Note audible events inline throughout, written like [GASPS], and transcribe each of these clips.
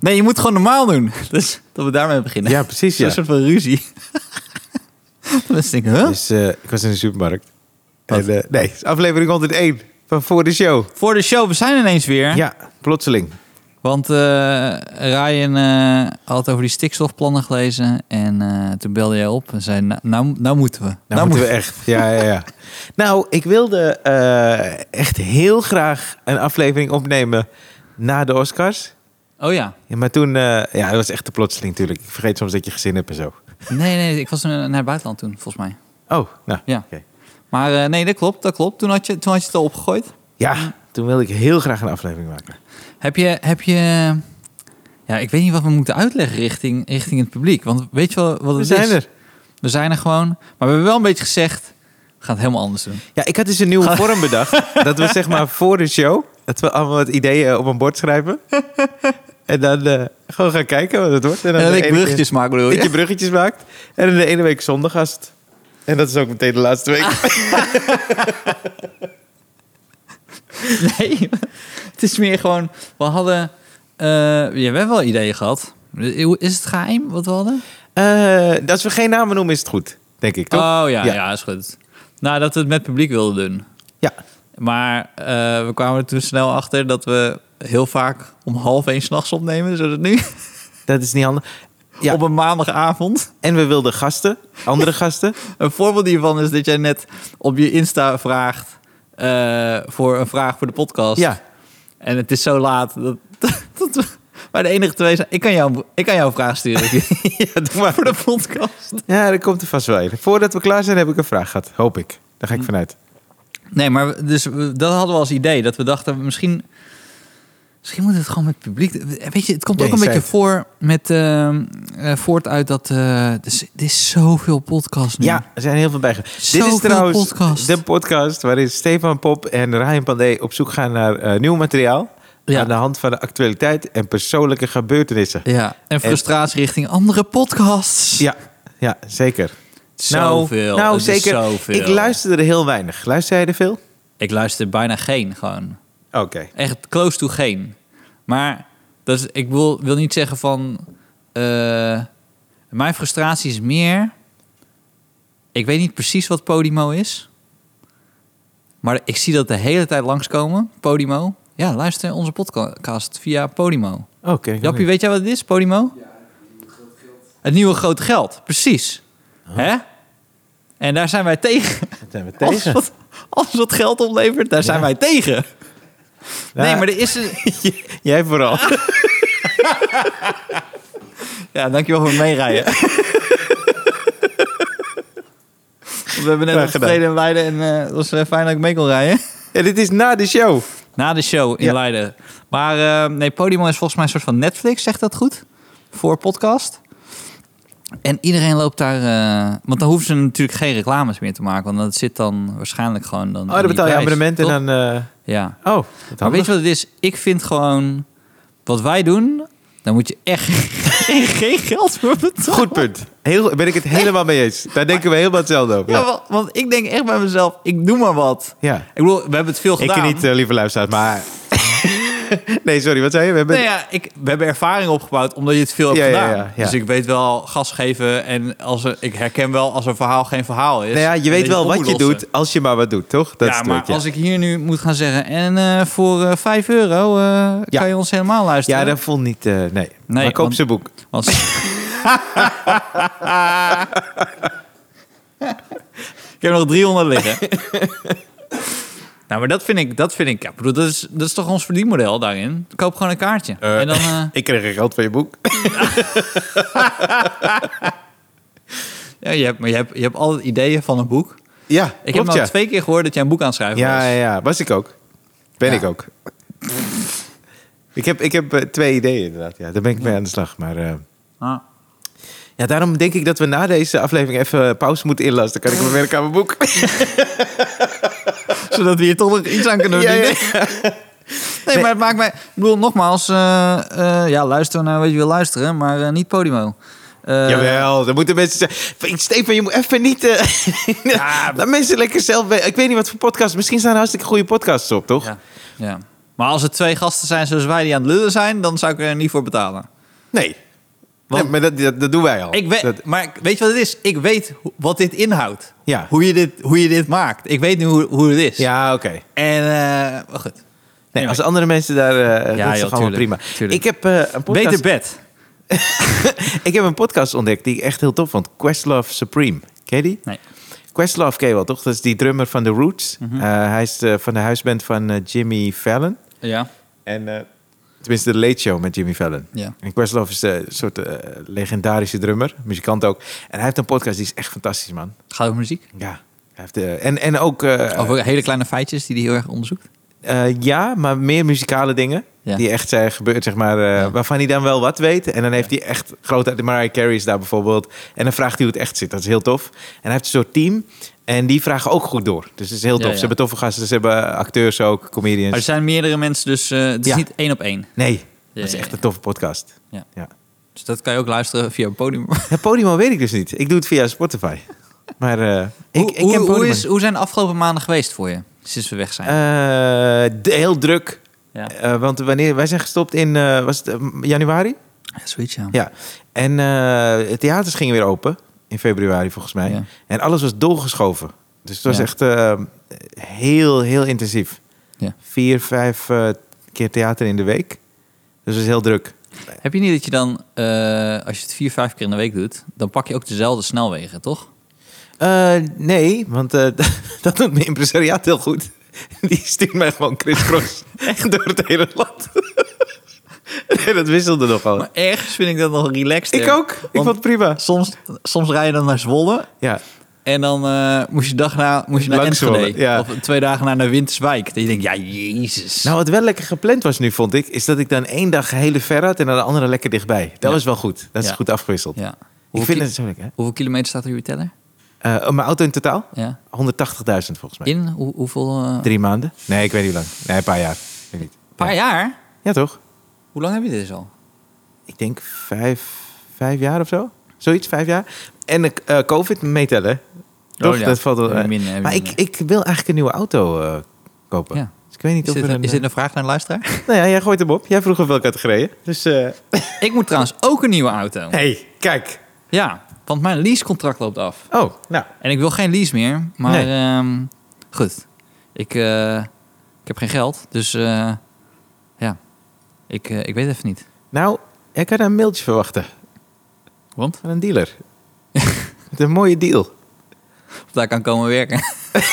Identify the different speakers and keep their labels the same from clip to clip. Speaker 1: Nee, je moet gewoon normaal doen. [LAUGHS] Dus dat we daarmee beginnen. [LAUGHS]
Speaker 2: Ja, precies,
Speaker 1: Zo'n
Speaker 2: ja.
Speaker 1: soort van ruzie. [LAUGHS] Dan is het denk ik, huh?
Speaker 2: Dus eh, ik was in de supermarkt. En, eh, nee, het is aflevering 101 van voor de show.
Speaker 1: Voor de show, we zijn ineens weer.
Speaker 2: Ja, plotseling. Nou,
Speaker 1: Want eh, Ryan eh, had over die stikstofplannen gelezen. En eh, toen belde jij op en zei, nou, nou, nou moeten we. Nou,
Speaker 2: Nou, moeten we echt. Ja, ja, ja. nou, ik wilde eh, echt heel graag een aflevering opnemen na de Oscars.
Speaker 1: Oh ja.
Speaker 2: Ja, maar toen, eh, ja, dat was echt de plotseling natuurlijk. Ik vergeet soms dat je gezin hebt en zo.
Speaker 1: Nee, nee, ik was naar het buitenland toen, volgens mij.
Speaker 2: Oh, nou.
Speaker 1: Ja.
Speaker 2: oké.
Speaker 1: Maar eh, nee, dat klopt, dat klopt. Toen had je, toen had je het al opgegooid.
Speaker 2: Ja, toen wilde ik heel graag een aflevering maken.
Speaker 1: Heb je, heb je... Ja, ik weet niet wat we moeten uitleggen richting, richting het publiek. Want weet je wel wat het
Speaker 2: We
Speaker 1: is?
Speaker 2: zijn er.
Speaker 1: We zijn er gewoon. Maar we hebben wel een beetje gezegd, we gaan het helemaal anders doen.
Speaker 2: Ja, ik had dus een nieuwe vorm
Speaker 1: [LAUGHS]
Speaker 2: bedacht. Dat we zeg maar voor de show, dat we allemaal wat ideeën op een bord schrijven. En dan eh, gewoon gaan kijken wat het wordt.
Speaker 1: En dat
Speaker 2: de
Speaker 1: ik
Speaker 2: ene keer
Speaker 1: bruggetjes maak, bedoel
Speaker 2: Dat je
Speaker 1: je?
Speaker 2: bruggetjes maakt. En dan de ene week zondag gast. En dat is ook meteen de laatste
Speaker 1: Ah.
Speaker 2: week.
Speaker 1: [LAUGHS] Nee, het is meer gewoon... We hadden... eh, ja, we hebben wel ideeën gehad. Is het geheim wat we hadden?
Speaker 2: Eh, als we geen namen noemen is het goed, denk ik, toch?
Speaker 1: Oh ja,
Speaker 2: Ja.
Speaker 1: ja. is goed. Nou, dat we het met publiek wilden doen.
Speaker 2: Ja.
Speaker 1: Maar eh, we kwamen er toen snel achter dat we heel vaak om half één s'nachts opnemen. Zoals het nu.
Speaker 2: Dat is niet handig. Ja.
Speaker 1: [LAUGHS] Op een maandagavond.
Speaker 2: En we wilden gasten, andere
Speaker 1: [LAUGHS]
Speaker 2: gasten.
Speaker 1: Een voorbeeld hiervan is dat jij net op je Insta vraagt eh, voor een vraag voor de podcast. [LAUGHS]
Speaker 2: Ja,
Speaker 1: En het is zo laat dat, [LAUGHS] dat we maar de enige twee zijn. Ik kan jou, ik kan jou een vraag sturen [LAUGHS]
Speaker 2: ja, doe maar.
Speaker 1: voor de podcast.
Speaker 2: ja, dat komt er vast wel in. Voordat we klaar zijn heb ik een vraag gehad, hoop ik. Daar
Speaker 1: Hm.
Speaker 2: ga ik vanuit.
Speaker 1: Nee, maar we- dus we- dat hadden we als idee. Dat we dachten, misschien, misschien moet het gewoon met het publiek. Eh, Weet je, het komt
Speaker 2: Ja,
Speaker 1: ook een
Speaker 2: je zei
Speaker 1: beetje
Speaker 2: het.
Speaker 1: voor met ehm, eh, voort uit dat. eh er is- er is zoveel podcast nu.
Speaker 2: Ja, er zijn heel veel bij. Dit
Speaker 1: Zoveel
Speaker 2: is trouwens
Speaker 1: podcast.
Speaker 2: de podcast waarin Stefan Pop en Ryan Pandey op zoek gaan naar eh, nieuw materiaal.
Speaker 1: Ja.
Speaker 2: Aan de hand van de actualiteit en persoonlijke gebeurtenissen.
Speaker 1: ja. En frustratie richting andere podcasts.
Speaker 2: Ja, ja zeker.
Speaker 1: Zoveel.
Speaker 2: Nou, nou
Speaker 1: Het is
Speaker 2: zeker.
Speaker 1: zoveel.
Speaker 2: Ik luisterde er heel weinig. Luister jij er veel?
Speaker 1: Ik luister bijna geen gewoon.
Speaker 2: Oké.
Speaker 1: Echt close to geen. Maar dat is, ik wil, wil niet zeggen van. eh, mijn frustratie is meer. Ik weet niet precies wat Podimo is. Maar ik zie dat de hele tijd langskomen. Podimo. Ja, luister onze podcast via Podimo.
Speaker 2: Oh, ken ik ook
Speaker 1: Jappie,
Speaker 2: niet.
Speaker 1: weet jij wat het is, Podimo? het nieuwe grote geld. Precies. Hè? En daar zijn wij tegen.
Speaker 2: Dat zijn we
Speaker 1: [LAUGHS] Alles
Speaker 2: tegen.
Speaker 1: wat, alles wat geld oplevert, daar zijn
Speaker 2: Ja.
Speaker 1: wij tegen.
Speaker 2: Nou,
Speaker 1: Nee, maar er [LAUGHS] is een...
Speaker 2: Jij vooral.
Speaker 1: [LAUGHS] Ja, dankjewel voor het meerijden. [LAUGHS] We hebben net
Speaker 2: Graag
Speaker 1: opgetreden in Leiden en eh, het was eh, fijn dat ik mee kon rijden.
Speaker 2: En dit is na de show.
Speaker 1: Na de show in
Speaker 2: Ja.
Speaker 1: Leiden. Maar eh, nee, Podimo is volgens mij een soort van Netflix, zegt dat goed? Voor podcast. En iedereen loopt daar... eh, want dan hoeven ze natuurlijk geen reclames meer te maken. Want dat zit dan waarschijnlijk gewoon... Dan
Speaker 2: Oh, dan betaal je abonnement en
Speaker 1: abonnementen
Speaker 2: dan... eh,
Speaker 1: Ja.
Speaker 2: oh,
Speaker 1: Maar
Speaker 2: dat
Speaker 1: weet je wat het is? Ik vind gewoon... Wat wij doen, daar moet je echt geen [LAUGHS] geld voor betalen.
Speaker 2: Goed punt. Heel, ben ik het helemaal mee eens. Daar denken we helemaal hetzelfde over.
Speaker 1: Ja,
Speaker 2: Ja.
Speaker 1: wa- want, ik denk echt bij mezelf, ik doe maar wat.
Speaker 2: ja.
Speaker 1: Ik bedoel, we hebben het veel
Speaker 2: Ik
Speaker 1: gedaan.
Speaker 2: ken niet, eh, lieve luisteraars, maar... [LAUGHS] nee, sorry, wat zei je? We hebben...
Speaker 1: Nou ja, ik, we hebben ervaring opgebouwd omdat je het veel hebt
Speaker 2: Ja, ja,
Speaker 1: gedaan.
Speaker 2: ja, ja.
Speaker 1: Dus ik weet wel gas geven en als er, ik herken wel als een verhaal geen verhaal is.
Speaker 2: Nou ja,
Speaker 1: en
Speaker 2: je weet
Speaker 1: dat
Speaker 2: wel
Speaker 1: het op
Speaker 2: wat je
Speaker 1: moet lossen.
Speaker 2: doet als je maar wat doet, toch? Dat is
Speaker 1: ja,
Speaker 2: het
Speaker 1: maar
Speaker 2: punt, ja.
Speaker 1: als ik hier nu moet gaan zeggen, en eh, voor eh 5 euro eh,
Speaker 2: Ja.
Speaker 1: kan je ons helemaal luisteren.
Speaker 2: Ja, dat vond niet... eh, nee. maar koop
Speaker 1: want-
Speaker 2: zijn boek. [LAUGHS]
Speaker 1: Want... ik heb nog 300 liggen. nou, maar dat vind ik, dat vind ik, ja, ik bedoel, dat is, dat is toch ons verdienmodel daarin. Koop gewoon een kaartje.
Speaker 2: Eh,
Speaker 1: en dan,
Speaker 2: [LAUGHS]
Speaker 1: eh,
Speaker 2: Ik kreeg geen geld van je boek.
Speaker 1: ja, je hebt, maar je hebt, je hebt altijd ideeën van een boek.
Speaker 2: Ja,
Speaker 1: Ik heb
Speaker 2: klopt,
Speaker 1: nou
Speaker 2: ja.
Speaker 1: twee keer gehoord dat jij een boek aan het schrijven
Speaker 2: Ja,
Speaker 1: was.
Speaker 2: ja, ja. Was ik ook. Ben
Speaker 1: Ja.
Speaker 2: ik ook. ik heb, ik heb eh, twee ideeën inderdaad. Ja, daar ben ik mee aan de slag. Maar eh,
Speaker 1: Ah.
Speaker 2: ja, daarom denk ik dat we na deze aflevering even eh, pauze moeten inlassen. Dan kan ik me werken aan mijn boek.
Speaker 1: Zodat we hier toch nog iets aan kunnen
Speaker 2: Ja, ja.
Speaker 1: verdienen. Nee, maar het maakt mij... Ik bedoel, nogmaals, eh, eh, ja, luister naar wat je wil luisteren, maar eh, niet Podimo. Eh,
Speaker 2: Jawel, dan moeten mensen zeggen... Stefan, je moet even niet... eh, [LAUGHS] Laat mensen lekker zelf... we- Ik weet niet wat voor podcast. Misschien staan er hartstikke goede podcasts op, toch?
Speaker 1: Ja. ja. Maar als het twee gasten zijn zoals wij die aan het lullen zijn, dan zou ik er niet voor betalen.
Speaker 2: Nee.
Speaker 1: Want-
Speaker 2: nee maar dat, dat, dat doen wij al.
Speaker 1: Ik weet,
Speaker 2: Dat-
Speaker 1: maar ik- weet je wat het is? Ik weet ho- wat dit inhoudt.
Speaker 2: Ja.
Speaker 1: Hoe, je dit, hoe je dit maakt. Ik weet nu hoe, hoe het is.
Speaker 2: ja, oké.
Speaker 1: En, eh, maar goed.
Speaker 2: Nee,
Speaker 1: Anyway.
Speaker 2: als andere mensen daar... eh dat is
Speaker 1: joh,
Speaker 2: toch allemaal
Speaker 1: tuurlijk,
Speaker 2: prima.
Speaker 1: tuurlijk.
Speaker 2: Ik heb, eh, een podcast,
Speaker 1: Beter bed.
Speaker 2: ik heb een podcast ontdekt die ik echt heel tof vond. Questlove Supreme. Ken je die?
Speaker 1: Nee.
Speaker 2: Questlove ken je wel, toch? Dat is die drummer van The Roots.
Speaker 1: Mhm.
Speaker 2: Eh, hij is eh, van de huisband van eh, Jimmy Fallon.
Speaker 1: Ja.
Speaker 2: En, eh, tenminste, de Late Show met Jimmy Fallon.
Speaker 1: Ja.
Speaker 2: En Questlove is eh, een soort eh, legendarische drummer, muzikant ook. En hij heeft een podcast die is echt fantastisch, man.
Speaker 1: Gaat over muziek.
Speaker 2: Ja. Hij heeft, eh, en, en ook... eh,
Speaker 1: Over hele kleine feitjes die hij heel erg onderzoekt.
Speaker 2: eh, ja, maar meer muzikale dingen.
Speaker 1: Ja.
Speaker 2: Die echt zijn gebeurd, zeg maar. eh, Waarvan hij dan wel wat weet. En dan heeft hij echt grote... Mariah Carey is daar bijvoorbeeld. En dan vraagt hij hoe het echt zit. Dat is heel tof. En hij heeft een soort team. En die vragen ook goed door. Dus dat is heel
Speaker 1: Ja,
Speaker 2: tof.
Speaker 1: ja.
Speaker 2: Ze hebben toffe gasten. Ze hebben acteurs ook,
Speaker 1: Maar
Speaker 2: comedians.
Speaker 1: er zijn meerdere mensen, dus eh, het is
Speaker 2: Ja.
Speaker 1: niet één op één.
Speaker 2: Nee, dat is
Speaker 1: ja,
Speaker 2: echt
Speaker 1: ja.
Speaker 2: een toffe podcast.
Speaker 1: Ja.
Speaker 2: Ja.
Speaker 1: Dus dat kan je ook luisteren via een podium.
Speaker 2: Het podium weet ik dus niet. Ik doe het via Spotify. Maar eh, ik,
Speaker 1: hoe,
Speaker 2: ik
Speaker 1: hoe-
Speaker 2: ken
Speaker 1: hoe
Speaker 2: Podimo
Speaker 1: is,
Speaker 2: niet.
Speaker 1: hoe zijn de afgelopen maanden geweest voor je? Sinds we weg zijn.
Speaker 2: Eh, de- heel druk.
Speaker 1: ja.
Speaker 2: Eh, want wanneer, wij zijn gestopt in eh, was het, eh, januari?
Speaker 1: Ja, Zoiets, ja.
Speaker 2: Ja. En eh, de theaters gingen weer open in februari volgens mij.
Speaker 1: Ja.
Speaker 2: En alles was doorgeschoven. Dus het was
Speaker 1: Ja.
Speaker 2: echt eh, heel, heel intensief.
Speaker 1: Ja.
Speaker 2: Vier, vijf eh, keer theater in de week. Dus het was heel druk.
Speaker 1: Heb je niet dat je dan, eh, als je het vier, vijf keer in de week doet, dan pak je ook dezelfde snelwegen, toch?
Speaker 2: Eh, nee, want eh, [LAUGHS] dat doet mijn impresariaat heel goed. [LAUGHS] Die stuurt mij gewoon [LAUGHS] crisscross door het hele land. [LAUGHS] nee, dat wisselde nogal.
Speaker 1: Maar ergens vind ik dat nog relaxed.
Speaker 2: ik ook. Ik vond het prima.
Speaker 1: Soms, soms rij je dan naar Zwolle
Speaker 2: Ja,
Speaker 1: en dan eh, moest je dag na moest je naar
Speaker 2: Langs
Speaker 1: Enschede.
Speaker 2: Zwolle, ja.
Speaker 1: Of twee dagen na naar Winterswijk. Dat je denkt, ja, jezus.
Speaker 2: Nou, wat wel lekker gepland was nu, vond ik, is dat ik dan één dag hele ver had en dan de andere lekker dichtbij. Dat
Speaker 1: Ja.
Speaker 2: was wel goed. Dat is
Speaker 1: Ja.
Speaker 2: goed afgewisseld.
Speaker 1: ja.
Speaker 2: Ik
Speaker 1: Hoeveel, ki-
Speaker 2: vind het zo lekker. hè?
Speaker 1: hoeveel kilometer staat er op je teller?
Speaker 2: Eh, mijn auto in totaal? 180.000
Speaker 1: Ja.
Speaker 2: volgens mij.
Speaker 1: In hoe, hoeveel? eh,
Speaker 2: Drie maanden? Nee, ik weet niet hoe lang. Nee, een paar jaar. Ik weet niet.
Speaker 1: paar jaar?
Speaker 2: Ja, toch?
Speaker 1: Hoe lang heb je dit dus al?
Speaker 2: Ik denk vijf, vijf jaar of zo. Zoiets, vijf jaar. En eh, COVID meetellen. Toch?
Speaker 1: Oh ja.
Speaker 2: Dat valt wel.
Speaker 1: Heb je
Speaker 2: eh,
Speaker 1: minder, heb je
Speaker 2: maar ik,
Speaker 1: minder.
Speaker 2: ik wil eigenlijk een nieuwe auto eh, kopen.
Speaker 1: Ja.
Speaker 2: Dus ik weet niet
Speaker 1: Is
Speaker 2: of
Speaker 1: dit,
Speaker 2: er een...
Speaker 1: is dit een vraag naar de luisteraar? [LAUGHS]
Speaker 2: eh, Nou ja, jij gooit hem op. Jij vroeg of welke had gereden. Dus, eh
Speaker 1: ik moet trouwens ook een nieuwe auto.
Speaker 2: hey, kijk.
Speaker 1: Ja, want mijn leasecontract loopt af.
Speaker 2: Oh, nou.
Speaker 1: En ik wil geen lease meer. Maar
Speaker 2: Nee.
Speaker 1: ehm, goed, ik, eh, ik heb geen geld. Dus eh, ja, ik, eh, ik weet even niet.
Speaker 2: Nou, jij kan een mailtje verwachten
Speaker 1: Want?
Speaker 2: van een
Speaker 1: [LAUGHS]
Speaker 2: dealer. Met een mooie deal.
Speaker 1: Of daar kan komen werken. [LAUGHS]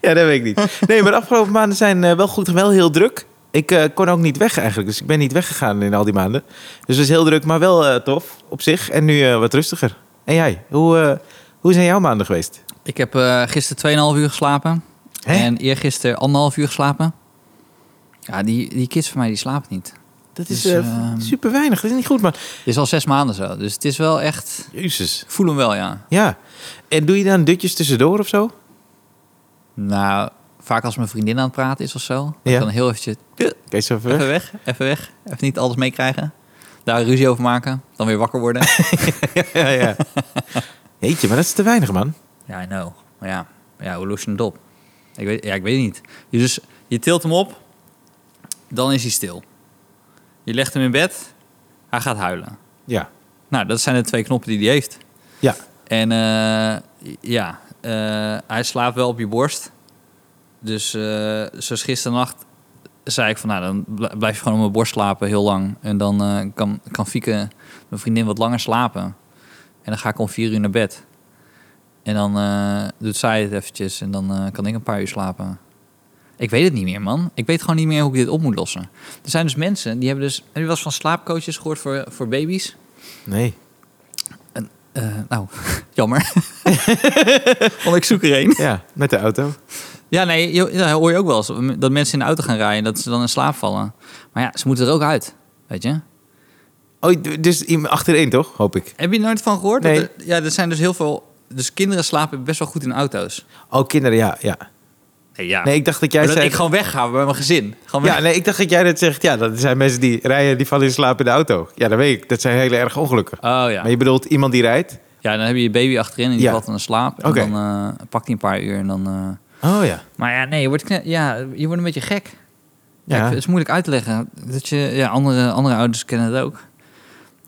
Speaker 2: Ja, dat weet ik niet. Nee, maar de afgelopen maanden zijn eh, wel goed, wel heel druk. Ik eh, kon ook niet weg eigenlijk, dus ik ben niet weggegaan in al die maanden. Dus het was heel druk, maar wel eh, tof op zich. En nu eh, wat rustiger. En jij, hoe, eh, hoe zijn jouw maanden geweest?
Speaker 1: Ik heb eh gisteren 2,5 uur geslapen.
Speaker 2: Hè?
Speaker 1: En eergisteren anderhalf uur geslapen. Ja, die, die kids van mij die slapen niet.
Speaker 2: Dat
Speaker 1: is,
Speaker 2: is
Speaker 1: eh,
Speaker 2: super weinig, dat is niet goed, maar...
Speaker 1: Het is al zes maanden zo. Dus het is wel echt...
Speaker 2: Jezus.
Speaker 1: Ik voel hem wel, ja.
Speaker 2: Ja. En doe je dan dutjes tussendoor of zo?
Speaker 1: Nou, vaak als mijn vriendin aan het praten is of zo.
Speaker 2: Ja.
Speaker 1: Dan heel eventjes... eh,
Speaker 2: Oké, zo ver.
Speaker 1: [LAUGHS] Even weg, even weg. Even niet alles meekrijgen. Daar ruzie over maken. Dan weer wakker worden.
Speaker 2: ja, ja. Jeetje, maar dat is te weinig, man.
Speaker 1: [LAUGHS] Ja, I know. Maar ja, maar ja hoe los je het op? Ik weet, ja, ik weet het niet. Je Dus je tilt hem op, dan is hij stil. Je legt hem in bed, hij gaat huilen.
Speaker 2: Ja.
Speaker 1: Nou, dat zijn de twee knoppen die hij heeft.
Speaker 2: Ja.
Speaker 1: En eh, ja, eh, hij slaapt wel op je borst. Dus eh, zoals gisternacht zei ik van... nou, dan bl- blijf je gewoon op mijn borst slapen heel lang. En dan eh, kan, kan Fieke, mijn vriendin, wat langer slapen. En dan ga ik om vier uur naar bed. En dan eh, doet zij het eventjes en dan eh, kan ik een paar uur slapen. Ik weet het niet meer, man. Ik weet gewoon niet meer hoe ik dit op moet lossen. Er zijn dus mensen, die hebben dus... Heb je wel eens van slaapcoaches gehoord voor, voor baby's?
Speaker 2: Nee.
Speaker 1: Eh, nou, jammer. Want ik zoek er een.
Speaker 2: Ja, met de auto.
Speaker 1: Ja, nee, je- ja, hoor je ook wel eens dat mensen in de auto gaan rijden en dat ze dan in slaap vallen. Maar ja, ze moeten er ook uit, weet je.
Speaker 2: Oh, d- dus iemand achtereen toch, hoop ik?
Speaker 1: Heb je er nooit van gehoord?
Speaker 2: Nee.
Speaker 1: Dat er- ja, er zijn dus heel veel... Dus kinderen slapen best wel goed in auto's.
Speaker 2: Oh, kinderen, ja, ja.
Speaker 1: Nee, ja.
Speaker 2: Nee, ik dacht dat jij
Speaker 1: Maar dat
Speaker 2: zei...
Speaker 1: ik gewoon wegga bij mijn gezin. Gewoon weg.
Speaker 2: Ja, nee, ik dacht dat jij dat zegt. Ja, dat zijn mensen die rijden, die vallen in slaap in de auto. Ja, dat weet ik. Dat zijn hele erg ongelukken.
Speaker 1: Oh ja.
Speaker 2: Maar je bedoelt iemand die rijdt?
Speaker 1: Ja, dan heb je je baby achterin en die
Speaker 2: Ja.
Speaker 1: valt dan in slaap. En
Speaker 2: Oké.
Speaker 1: dan eh, pakt hij een paar uur en dan... eh,
Speaker 2: Oh ja.
Speaker 1: Maar ja, nee, je wordt, kne- ja, je wordt een beetje gek. Ja. het is moeilijk uit te leggen. Dat je, ja, andere, andere ouders kennen het ook.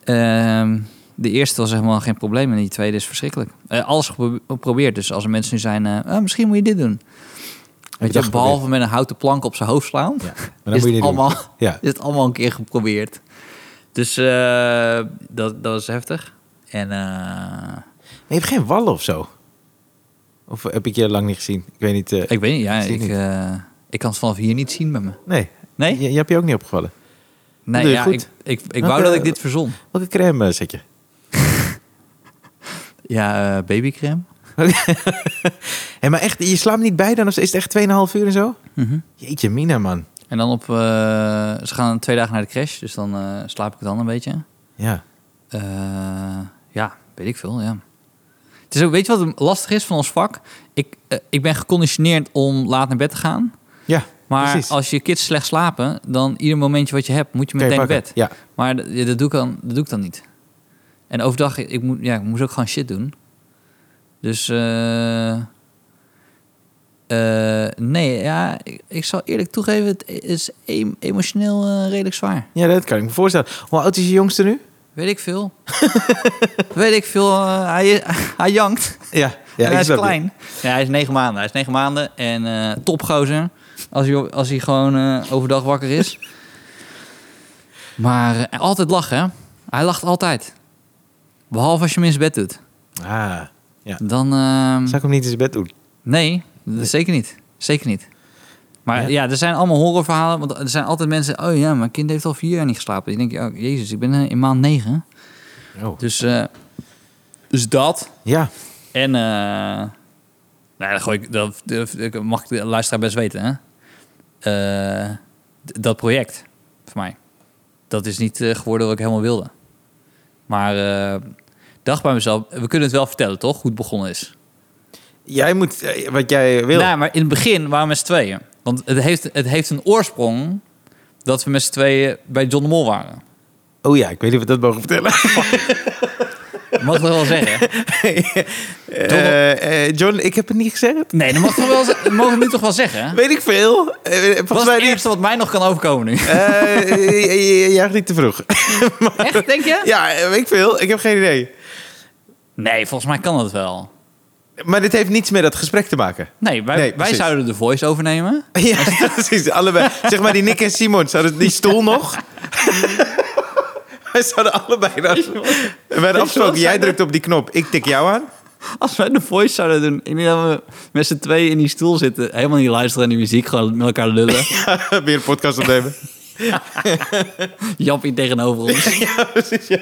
Speaker 1: Ehm, de eerste was helemaal geen probleem en die tweede is verschrikkelijk. Eh, alles gepro- geprobeerd. Dus als er mensen nu zijn, eh, ah, misschien moet je dit doen. Weet
Speaker 2: dat
Speaker 1: je, behalve met een houten plank op zijn hoofd slaan,
Speaker 2: Ja,
Speaker 1: [LAUGHS]
Speaker 2: maar dan
Speaker 1: is,
Speaker 2: moet je
Speaker 1: het
Speaker 2: dit
Speaker 1: allemaal,
Speaker 2: doen. Ja.
Speaker 1: is het allemaal een keer geprobeerd. Dus eh, dat, dat was heftig. En eh,
Speaker 2: Maar je hebt geen wallen of zo? Of heb ik je lang niet gezien? Ik weet niet. eh,
Speaker 1: ik weet niet, ja,
Speaker 2: Ik zie
Speaker 1: ik,
Speaker 2: het niet.
Speaker 1: eh, ik kan het vanaf hier niet zien met me.
Speaker 2: Nee.
Speaker 1: Nee?
Speaker 2: Je, je hebt je ook niet opgevallen.
Speaker 1: Nee,
Speaker 2: doe je
Speaker 1: ja,
Speaker 2: goed.
Speaker 1: ik, ik, ik
Speaker 2: Welke-
Speaker 1: wou dat ik dit verzon.
Speaker 2: Welke crème eh, zet je? [LAUGHS]
Speaker 1: Ja, eh, babycreme.
Speaker 2: Hé, maar echt, je slaapt niet bij dan? Of is het echt 2,5 uur en zo?
Speaker 1: Mhm.
Speaker 2: Jeetje, Mina, man.
Speaker 1: En dan op... eh, ze gaan twee dagen naar de crash, dus dan eh, slaap ik dan een beetje.
Speaker 2: Ja.
Speaker 1: Eh, ja, weet ik veel, ja. Het is ook, weet je wat lastig is van ons vak? Ik, eh, ik ben geconditioneerd om laat naar bed te gaan.
Speaker 2: Ja,
Speaker 1: Maar
Speaker 2: precies.
Speaker 1: als je kids slecht slapen, dan ieder momentje wat je hebt, moet je
Speaker 2: Kan je
Speaker 1: meteen naar
Speaker 2: pakken.
Speaker 1: bed.
Speaker 2: Ja.
Speaker 1: Maar d- ja, dat, doe ik dan, dat doe ik dan niet. En overdag, ik, moet, ja, ik moest ook gewoon shit doen. Dus, eh, eh, nee, ja, ik, ik zal eerlijk toegeven, het e- is em- emotioneel eh, redelijk zwaar.
Speaker 2: ja, dat kan ik me voorstellen. Hoe oud is je jongste nu?
Speaker 1: Weet ik veel. Weet ik veel. eh, hij, hij jankt.
Speaker 2: Ja,
Speaker 1: en hij is
Speaker 2: snap je.
Speaker 1: klein. Ja, hij is negen maanden. Hij is negen maanden en eh, topgozer. Als hij, als hij gewoon eh, overdag wakker is. [LAUGHS] Maar eh, altijd lachen, hè? Hij lacht altijd. Behalve als je hem in zijn bed doet.
Speaker 2: Ah,
Speaker 1: Dan... ehm,
Speaker 2: zou ik hem niet in zijn bed doen?
Speaker 1: nee, dat zeker niet. Zeker niet. Maar
Speaker 2: Ja.
Speaker 1: ja. er zijn allemaal horrorverhalen. Want er zijn altijd mensen... Oh ja, mijn kind heeft al vier jaar niet geslapen. Dan denk je, oh, jezus, ik ben eh, in maand negen.
Speaker 2: Oh.
Speaker 1: Dus, eh, dus dat...
Speaker 2: Ja,
Speaker 1: En, eh nou ja, dat, gooi ik, dat, dat mag ik de luisteraar best weten, hè? Eh, d- dat project, voor mij, dat is niet eh, geworden wat ik helemaal wilde. Maar eh, dacht bij mezelf, we kunnen het wel vertellen, toch? Hoe het begonnen is.
Speaker 2: jij moet eh, wat jij wil.
Speaker 1: Nou, maar in het begin waren we met z'n tweeën. Want het heeft, het heeft een oorsprong dat we met z'n tweeën bij John de Mol waren.
Speaker 2: Oh ja, ik weet niet of we dat mogen vertellen.
Speaker 1: Mag ik dat wel zeggen?
Speaker 2: [LAUGHS] Eh, eh, John, ik heb het niet gezegd.
Speaker 1: Nee, dat mag toch wel, ze- dat mogen we nu toch wel zeggen? hè?
Speaker 2: Weet ik veel. Eh,
Speaker 1: Dat
Speaker 2: volgens
Speaker 1: is
Speaker 2: mij
Speaker 1: het
Speaker 2: niet.
Speaker 1: eerste wat mij nog kan overkomen nu.
Speaker 2: Eh, je- je- je jaagt niet te [LAUGHS] vroeg.
Speaker 1: Echt, denk je?
Speaker 2: ja, eh, weet ik veel. Ik heb geen idee.
Speaker 1: Nee, volgens mij kan dat wel.
Speaker 2: Maar dit heeft niets met dat gesprek te maken.
Speaker 1: Nee, wij,
Speaker 2: Nee,
Speaker 1: wij
Speaker 2: precies.
Speaker 1: zouden de voice overnemen.
Speaker 2: [LAUGHS] Ja, precies. Allebei. Zeg maar, die Nick en Simon, zouden die stoel nog? [LAUGHS] Wij zouden allebei dan. [LAUGHS] We hadden afgesproken, jij drukt op die knop, ik tik jou aan. [LAUGHS]
Speaker 1: Als wij de voice zouden doen, ik denk dat we met z'n tweeën in die stoel zitten. Helemaal niet luisteren naar die muziek, gewoon met elkaar [LAUGHS] lullen.
Speaker 2: Weer een podcast opnemen.
Speaker 1: Jappie tegenover ons.
Speaker 2: Ja, precies. Ja.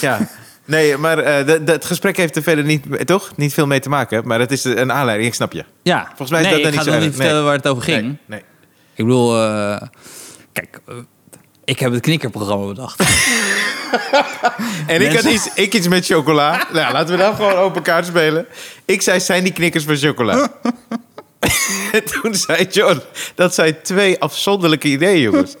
Speaker 2: ja. Nee, maar eh, dat- dat- het gesprek heeft er verder niet, eh, toch? niet veel mee te maken. Maar het is een aanleiding, ik snap je.
Speaker 1: Ja,
Speaker 2: Volgens mij is
Speaker 1: nee,
Speaker 2: dat dan
Speaker 1: ik
Speaker 2: niet
Speaker 1: ga
Speaker 2: zo
Speaker 1: dan
Speaker 2: erg.
Speaker 1: niet vertellen waar het over ging.
Speaker 2: Nee, nee.
Speaker 1: Ik bedoel, eh, kijk, eh, ik heb het knikkerprogramma [LAUGHS] bedacht.
Speaker 2: En ik had
Speaker 1: Mensen-
Speaker 2: iets, ik iets met chocola. nou, laten we dan gewoon open kaart spelen. Ik zei, zijn die knikkers van chocola?
Speaker 1: [LAUGHS]
Speaker 2: en toen zei John, dat zijn twee afzonderlijke ideeën, jongens. [LAUGHS]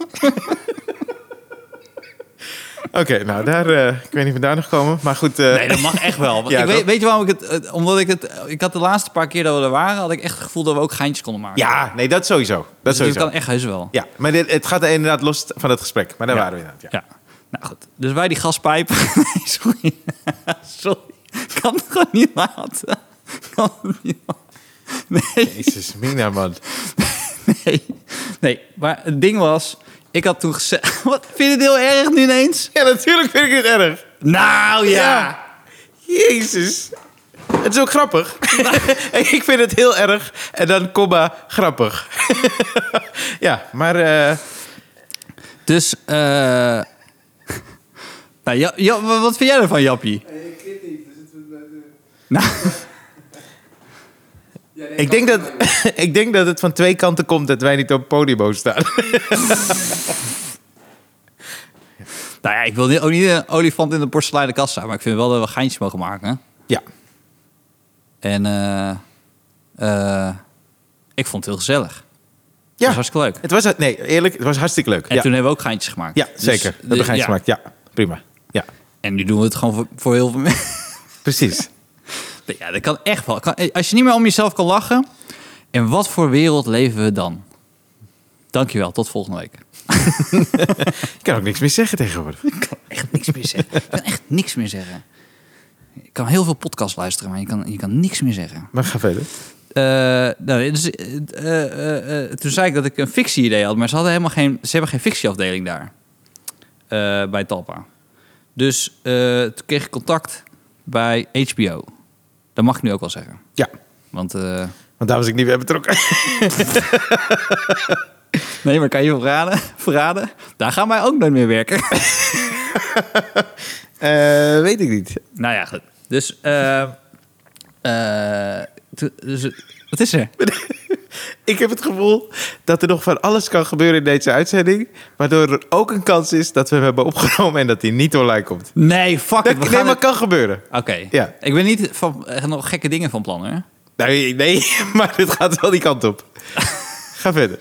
Speaker 2: Oké, nou daar, eh, ik weet niet vandaan nog komen, maar goed. eh,
Speaker 1: Nee, dat mag echt wel. Want
Speaker 2: Ja,
Speaker 1: ik weet,
Speaker 2: toch?
Speaker 1: weet je waarom ik het... eh, omdat ik het... Ik had de laatste paar keer dat we er waren, had ik echt het gevoel dat we ook geintjes konden maken.
Speaker 2: Ja, nee, dat sowieso. Dat
Speaker 1: dus het
Speaker 2: sowieso.
Speaker 1: kan echt heus wel.
Speaker 2: Ja, maar dit, het gaat inderdaad los van het gesprek. Maar daar
Speaker 1: Ja.
Speaker 2: waren we inderdaad, ja.
Speaker 1: Ja. Nou goed. Dus wij die gaspijp. [LAUGHS] Nee, sorry. [LAUGHS] sorry. Ik kan het gewoon niet laten. Ik kan het niet laten. Nee,
Speaker 2: Jezus, Mina, man.
Speaker 1: nee. Nee, maar het ding was. Ik had toen gezegd. [LAUGHS] Wat vind je dit heel erg nu ineens?
Speaker 2: Ja, natuurlijk vind ik het erg.
Speaker 1: Nou ja.
Speaker 2: Jezus. Het is ook
Speaker 1: [LAUGHS]
Speaker 2: grappig. ik vind het heel erg. En dan komma grappig. [LAUGHS] ja, maar... eh,
Speaker 1: Dus, eh. [LAUGHS] nou, ja, ja, wat vind jij ervan, Jappie? Nou, [LAUGHS]
Speaker 2: ik, denk dat, [LAUGHS] ik denk dat het van twee kanten komt dat wij niet op Podimo staan. [LAUGHS]
Speaker 1: nou ja, ik wil niet- ook niet een olifant in de porseleinen kast zijn, maar ik vind wel dat we geintjes mogen maken. Hè?
Speaker 2: ja.
Speaker 1: En eh, eh, ik vond het heel gezellig. Het was
Speaker 2: ja.
Speaker 1: hartstikke leuk.
Speaker 2: Het was, nee, eerlijk, het was hartstikke leuk.
Speaker 1: En
Speaker 2: Ja,
Speaker 1: toen hebben we ook geintjes gemaakt.
Speaker 2: ja
Speaker 1: Dus-
Speaker 2: zeker. Dat
Speaker 1: dus-
Speaker 2: heb ik
Speaker 1: ja.
Speaker 2: gemaakt. Ja, prima. Ja,
Speaker 1: En nu doen we het gewoon voor, voor heel veel mensen. [LAUGHS]
Speaker 2: precies.
Speaker 1: Ja, dat kan eh, echt wel. Kan- Als je niet meer om jezelf kan lachen, in wat voor wereld leven we dan? Dankjewel, tot volgende week.
Speaker 2: Ik kan ook niks meer zeggen tegenwoordig.
Speaker 1: Ik kan echt niks meer zeggen. Ik kan echt niks meer zeggen. Ik kan heel veel podcasts luisteren, maar je kan, je kan niks meer zeggen.
Speaker 2: Maar ga verder.
Speaker 1: Eh, nou, dus, eh, eh, eh, toen zei ik dat ik een fictie-idee had, maar ze, hadden helemaal geen, ze hebben geen fictieafdeling daar. eh, bij Talpa. Dus eh, toen kreeg ik contact bij HBO. Dat mag ik nu ook wel zeggen.
Speaker 2: Ja,
Speaker 1: Want. eh,
Speaker 2: want daar was ik niet bij betrokken. [LAUGHS]
Speaker 1: nee, maar kan je verraden? [LAUGHS] verraden? Daar gaan wij ook nooit meer werken. [LAUGHS]
Speaker 2: Eh, weet ik niet.
Speaker 1: nou ja, goed. Dus. eh, eh, toen- dus wat is er?
Speaker 2: Ik heb het gevoel dat er nog van alles kan gebeuren in deze uitzending. Waardoor er ook een kans is dat we hem hebben opgenomen en dat hij niet online komt.
Speaker 1: Nee, fuck
Speaker 2: Dat,
Speaker 1: it. we
Speaker 2: nee,
Speaker 1: gaan
Speaker 2: maar
Speaker 1: het-
Speaker 2: kan gebeuren.
Speaker 1: Oké.
Speaker 2: Ja.
Speaker 1: Ik ben niet van, eh, nog gekke dingen van plan, hè?
Speaker 2: Nee, nee, [LAUGHS] maar dit gaat wel die kant op. [LAUGHS] Ga verder.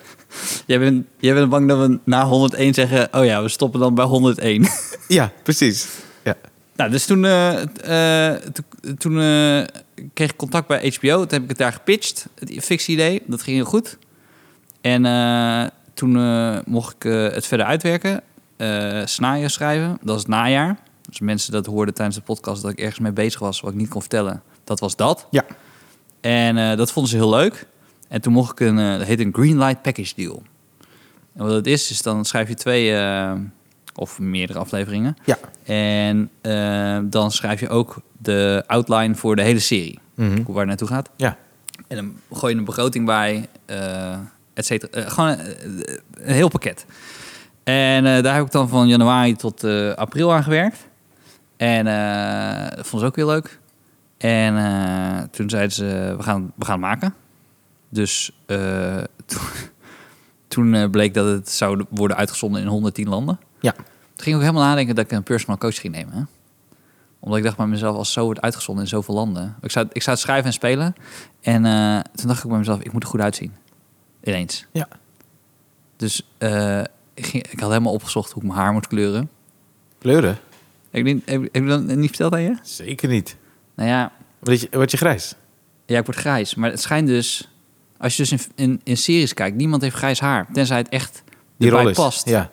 Speaker 1: Jij bent, jij bent bang dat we na 101 zeggen... oh ja, we stoppen dan bij [LAUGHS] 101.
Speaker 2: Ja, precies. Ja.
Speaker 1: nou, dus toen, eh, t- eh, to- toen eh, kreeg ik contact bij HBO. Toen heb ik het daar gepitcht, het fictie-idee. Dat ging heel goed. En eh, toen eh, mocht ik eh, het verder uitwerken. eh scenario's schrijven, dat is het najaar. Dus mensen dat hoorden tijdens de podcast... dat ik ergens mee bezig was, wat ik niet kon vertellen. Dat was dat.
Speaker 2: Ja.
Speaker 1: En eh, dat vonden ze heel leuk. En toen mocht ik een, eh, dat heet een Greenlight Package Deal. En wat dat is, is dan schrijf je twee eh, of meerdere afleveringen.
Speaker 2: Ja.
Speaker 1: En eh, dan schrijf je ook de outline voor de hele serie.
Speaker 2: Mhm.
Speaker 1: Waar het naartoe gaat.
Speaker 2: Ja.
Speaker 1: En dan gooi je een begroting bij, eh et cetera. Eh, gewoon eh, een heel pakket. En eh, daar heb ik dan van januari tot eh, april aan gewerkt. En eh, dat vond ze ook heel leuk. En eh, toen zeiden ze, we gaan, we gaan het maken. Dus eh, [LAUGHS] toen, toen eh, bleek dat het zou worden uitgezonden in 110 landen.
Speaker 2: Ja.
Speaker 1: Toen ging ik ook helemaal nadenken dat ik een personal coach ging nemen. hè. Omdat ik dacht bij mezelf, als zo wordt uitgezonden in zoveel landen. Ik zou, ik zou het schrijven en spelen. En eh, toen dacht ik bij mezelf, ik moet er goed uitzien. Ineens.
Speaker 2: Ja.
Speaker 1: Dus eh, ik, ging, ik had helemaal opgezocht hoe ik mijn haar moet kleuren.
Speaker 2: Kleuren?
Speaker 1: Heb ik, niet- heb, heb ik dat niet verteld aan je?
Speaker 2: Zeker niet.
Speaker 1: Nou ja,
Speaker 2: Word je, word je grijs?
Speaker 1: ja, ik word grijs. Maar het schijnt dus, als je dus in, in, in series kijkt, niemand heeft grijs haar. Tenzij het echt erbij
Speaker 2: rol is.
Speaker 1: past.
Speaker 2: Ja.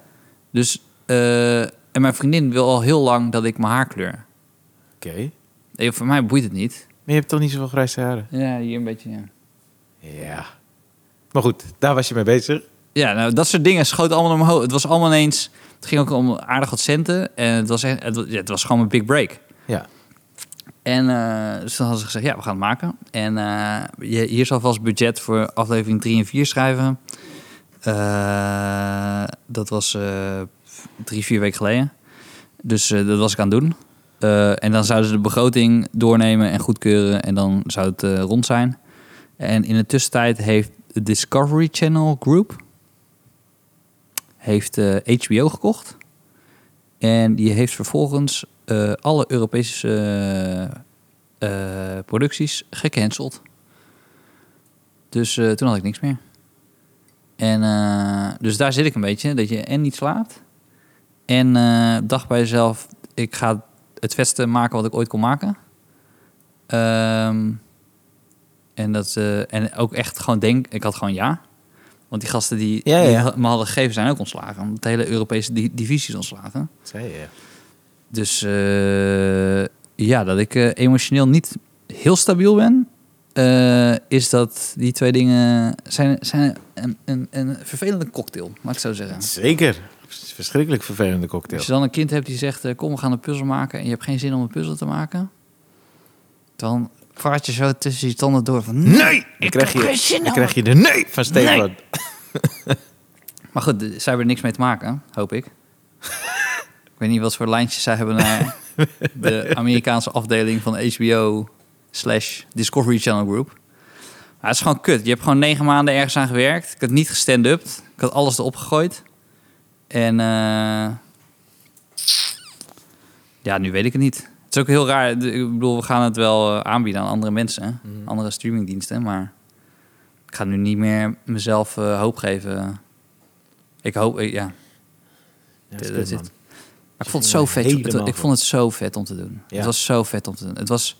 Speaker 1: Dus, eh, en mijn vriendin wil al heel lang dat ik mijn haar kleur.
Speaker 2: Oké.
Speaker 1: Eh, Voor mij boeit het niet.
Speaker 2: Maar je hebt toch niet zoveel grijze haren?
Speaker 1: Ja, hier een beetje, ja.
Speaker 2: Ja. Maar goed, daar was je mee bezig.
Speaker 1: Ja, nou, dat soort dingen schoten allemaal naar mijn hoofd. Het was allemaal ineens... Het ging ook om aardig wat centen. En het was, echt, het, was- ja, het was gewoon een big break.
Speaker 2: Ja.
Speaker 1: En eh dus toen hadden ze gezegd, ja, we gaan het maken. En eh, je, hier zal vast budget voor aflevering 3 en 4 schrijven. Eh, dat was eh, drie, vier weken geleden. Dus eh, dat was ik aan het doen. Eh, en dan zouden ze de begroting doornemen en goedkeuren. En dan zou het eh, rond zijn. En in de tussentijd heeft de Discovery Channel Group... heeft eh, HBO gekocht. En die heeft vervolgens eh, alle Europese eh, eh, producties gecanceld. Dus eh, toen had ik niks meer. En eh, dus daar zit ik een beetje. Dat je en niet slaapt. En eh, dacht bij jezelf, ik ga het vetste maken wat ik ooit kon maken. Ehm, en, dat, eh, en ook echt gewoon denk, ik had gewoon ja. Want die gasten die,
Speaker 2: Ja, ja,
Speaker 1: die
Speaker 2: ja.
Speaker 1: ha- me hadden gegeven zijn ook ontslagen. Omdat de hele Europese di- divisie is ontslagen.
Speaker 2: Zei je.
Speaker 1: Dus eh, ja, dat ik eh, emotioneel niet heel stabiel ben, eh, is dat die twee dingen zijn, zijn een, een, een vervelende cocktail, mag ik zo zeggen.
Speaker 2: Zeker. Verschrikkelijk vervelende cocktail.
Speaker 1: Als je dan een kind hebt die zegt, eh, kom we gaan een puzzel maken en je hebt geen zin om een puzzel te maken, dan vaart je zo tussen je tanden door van nee,
Speaker 2: Dan
Speaker 1: ik
Speaker 2: krijg
Speaker 1: krijg
Speaker 2: je,
Speaker 1: heb geen zin
Speaker 2: dan
Speaker 1: om."
Speaker 2: krijg je de nee van Stefan.
Speaker 1: Maar goed, eh, zij hebben er niks mee te maken, hoop ik. ik weet niet wat voor lijntjes zij hebben naar de Amerikaanse afdeling van HBO slash Discovery Channel Group. Maar het is gewoon kut. Je hebt gewoon negen maanden ergens aan gewerkt. Ik had niet gestand-upt. Ik had alles erop gegooid. En eh, ja, nu weet ik het niet. Het is ook heel raar. De- Ik bedoel, we gaan het wel eh, aanbieden aan andere mensen. hè. Andere streamingdiensten. Maar ik ga nu niet meer mezelf eh, hoop geven. Ik hoop, ik- ja.
Speaker 2: Ja,
Speaker 1: dat
Speaker 2: kut,
Speaker 1: is het.
Speaker 2: man.
Speaker 1: Maar ik vond het
Speaker 2: ging
Speaker 1: zo
Speaker 2: er
Speaker 1: vet. joh. Het-
Speaker 2: helemaal
Speaker 1: ik
Speaker 2: van.
Speaker 1: vond het zo vet om te doen.
Speaker 2: Ja.
Speaker 1: Het was zo vet om te doen. Het was.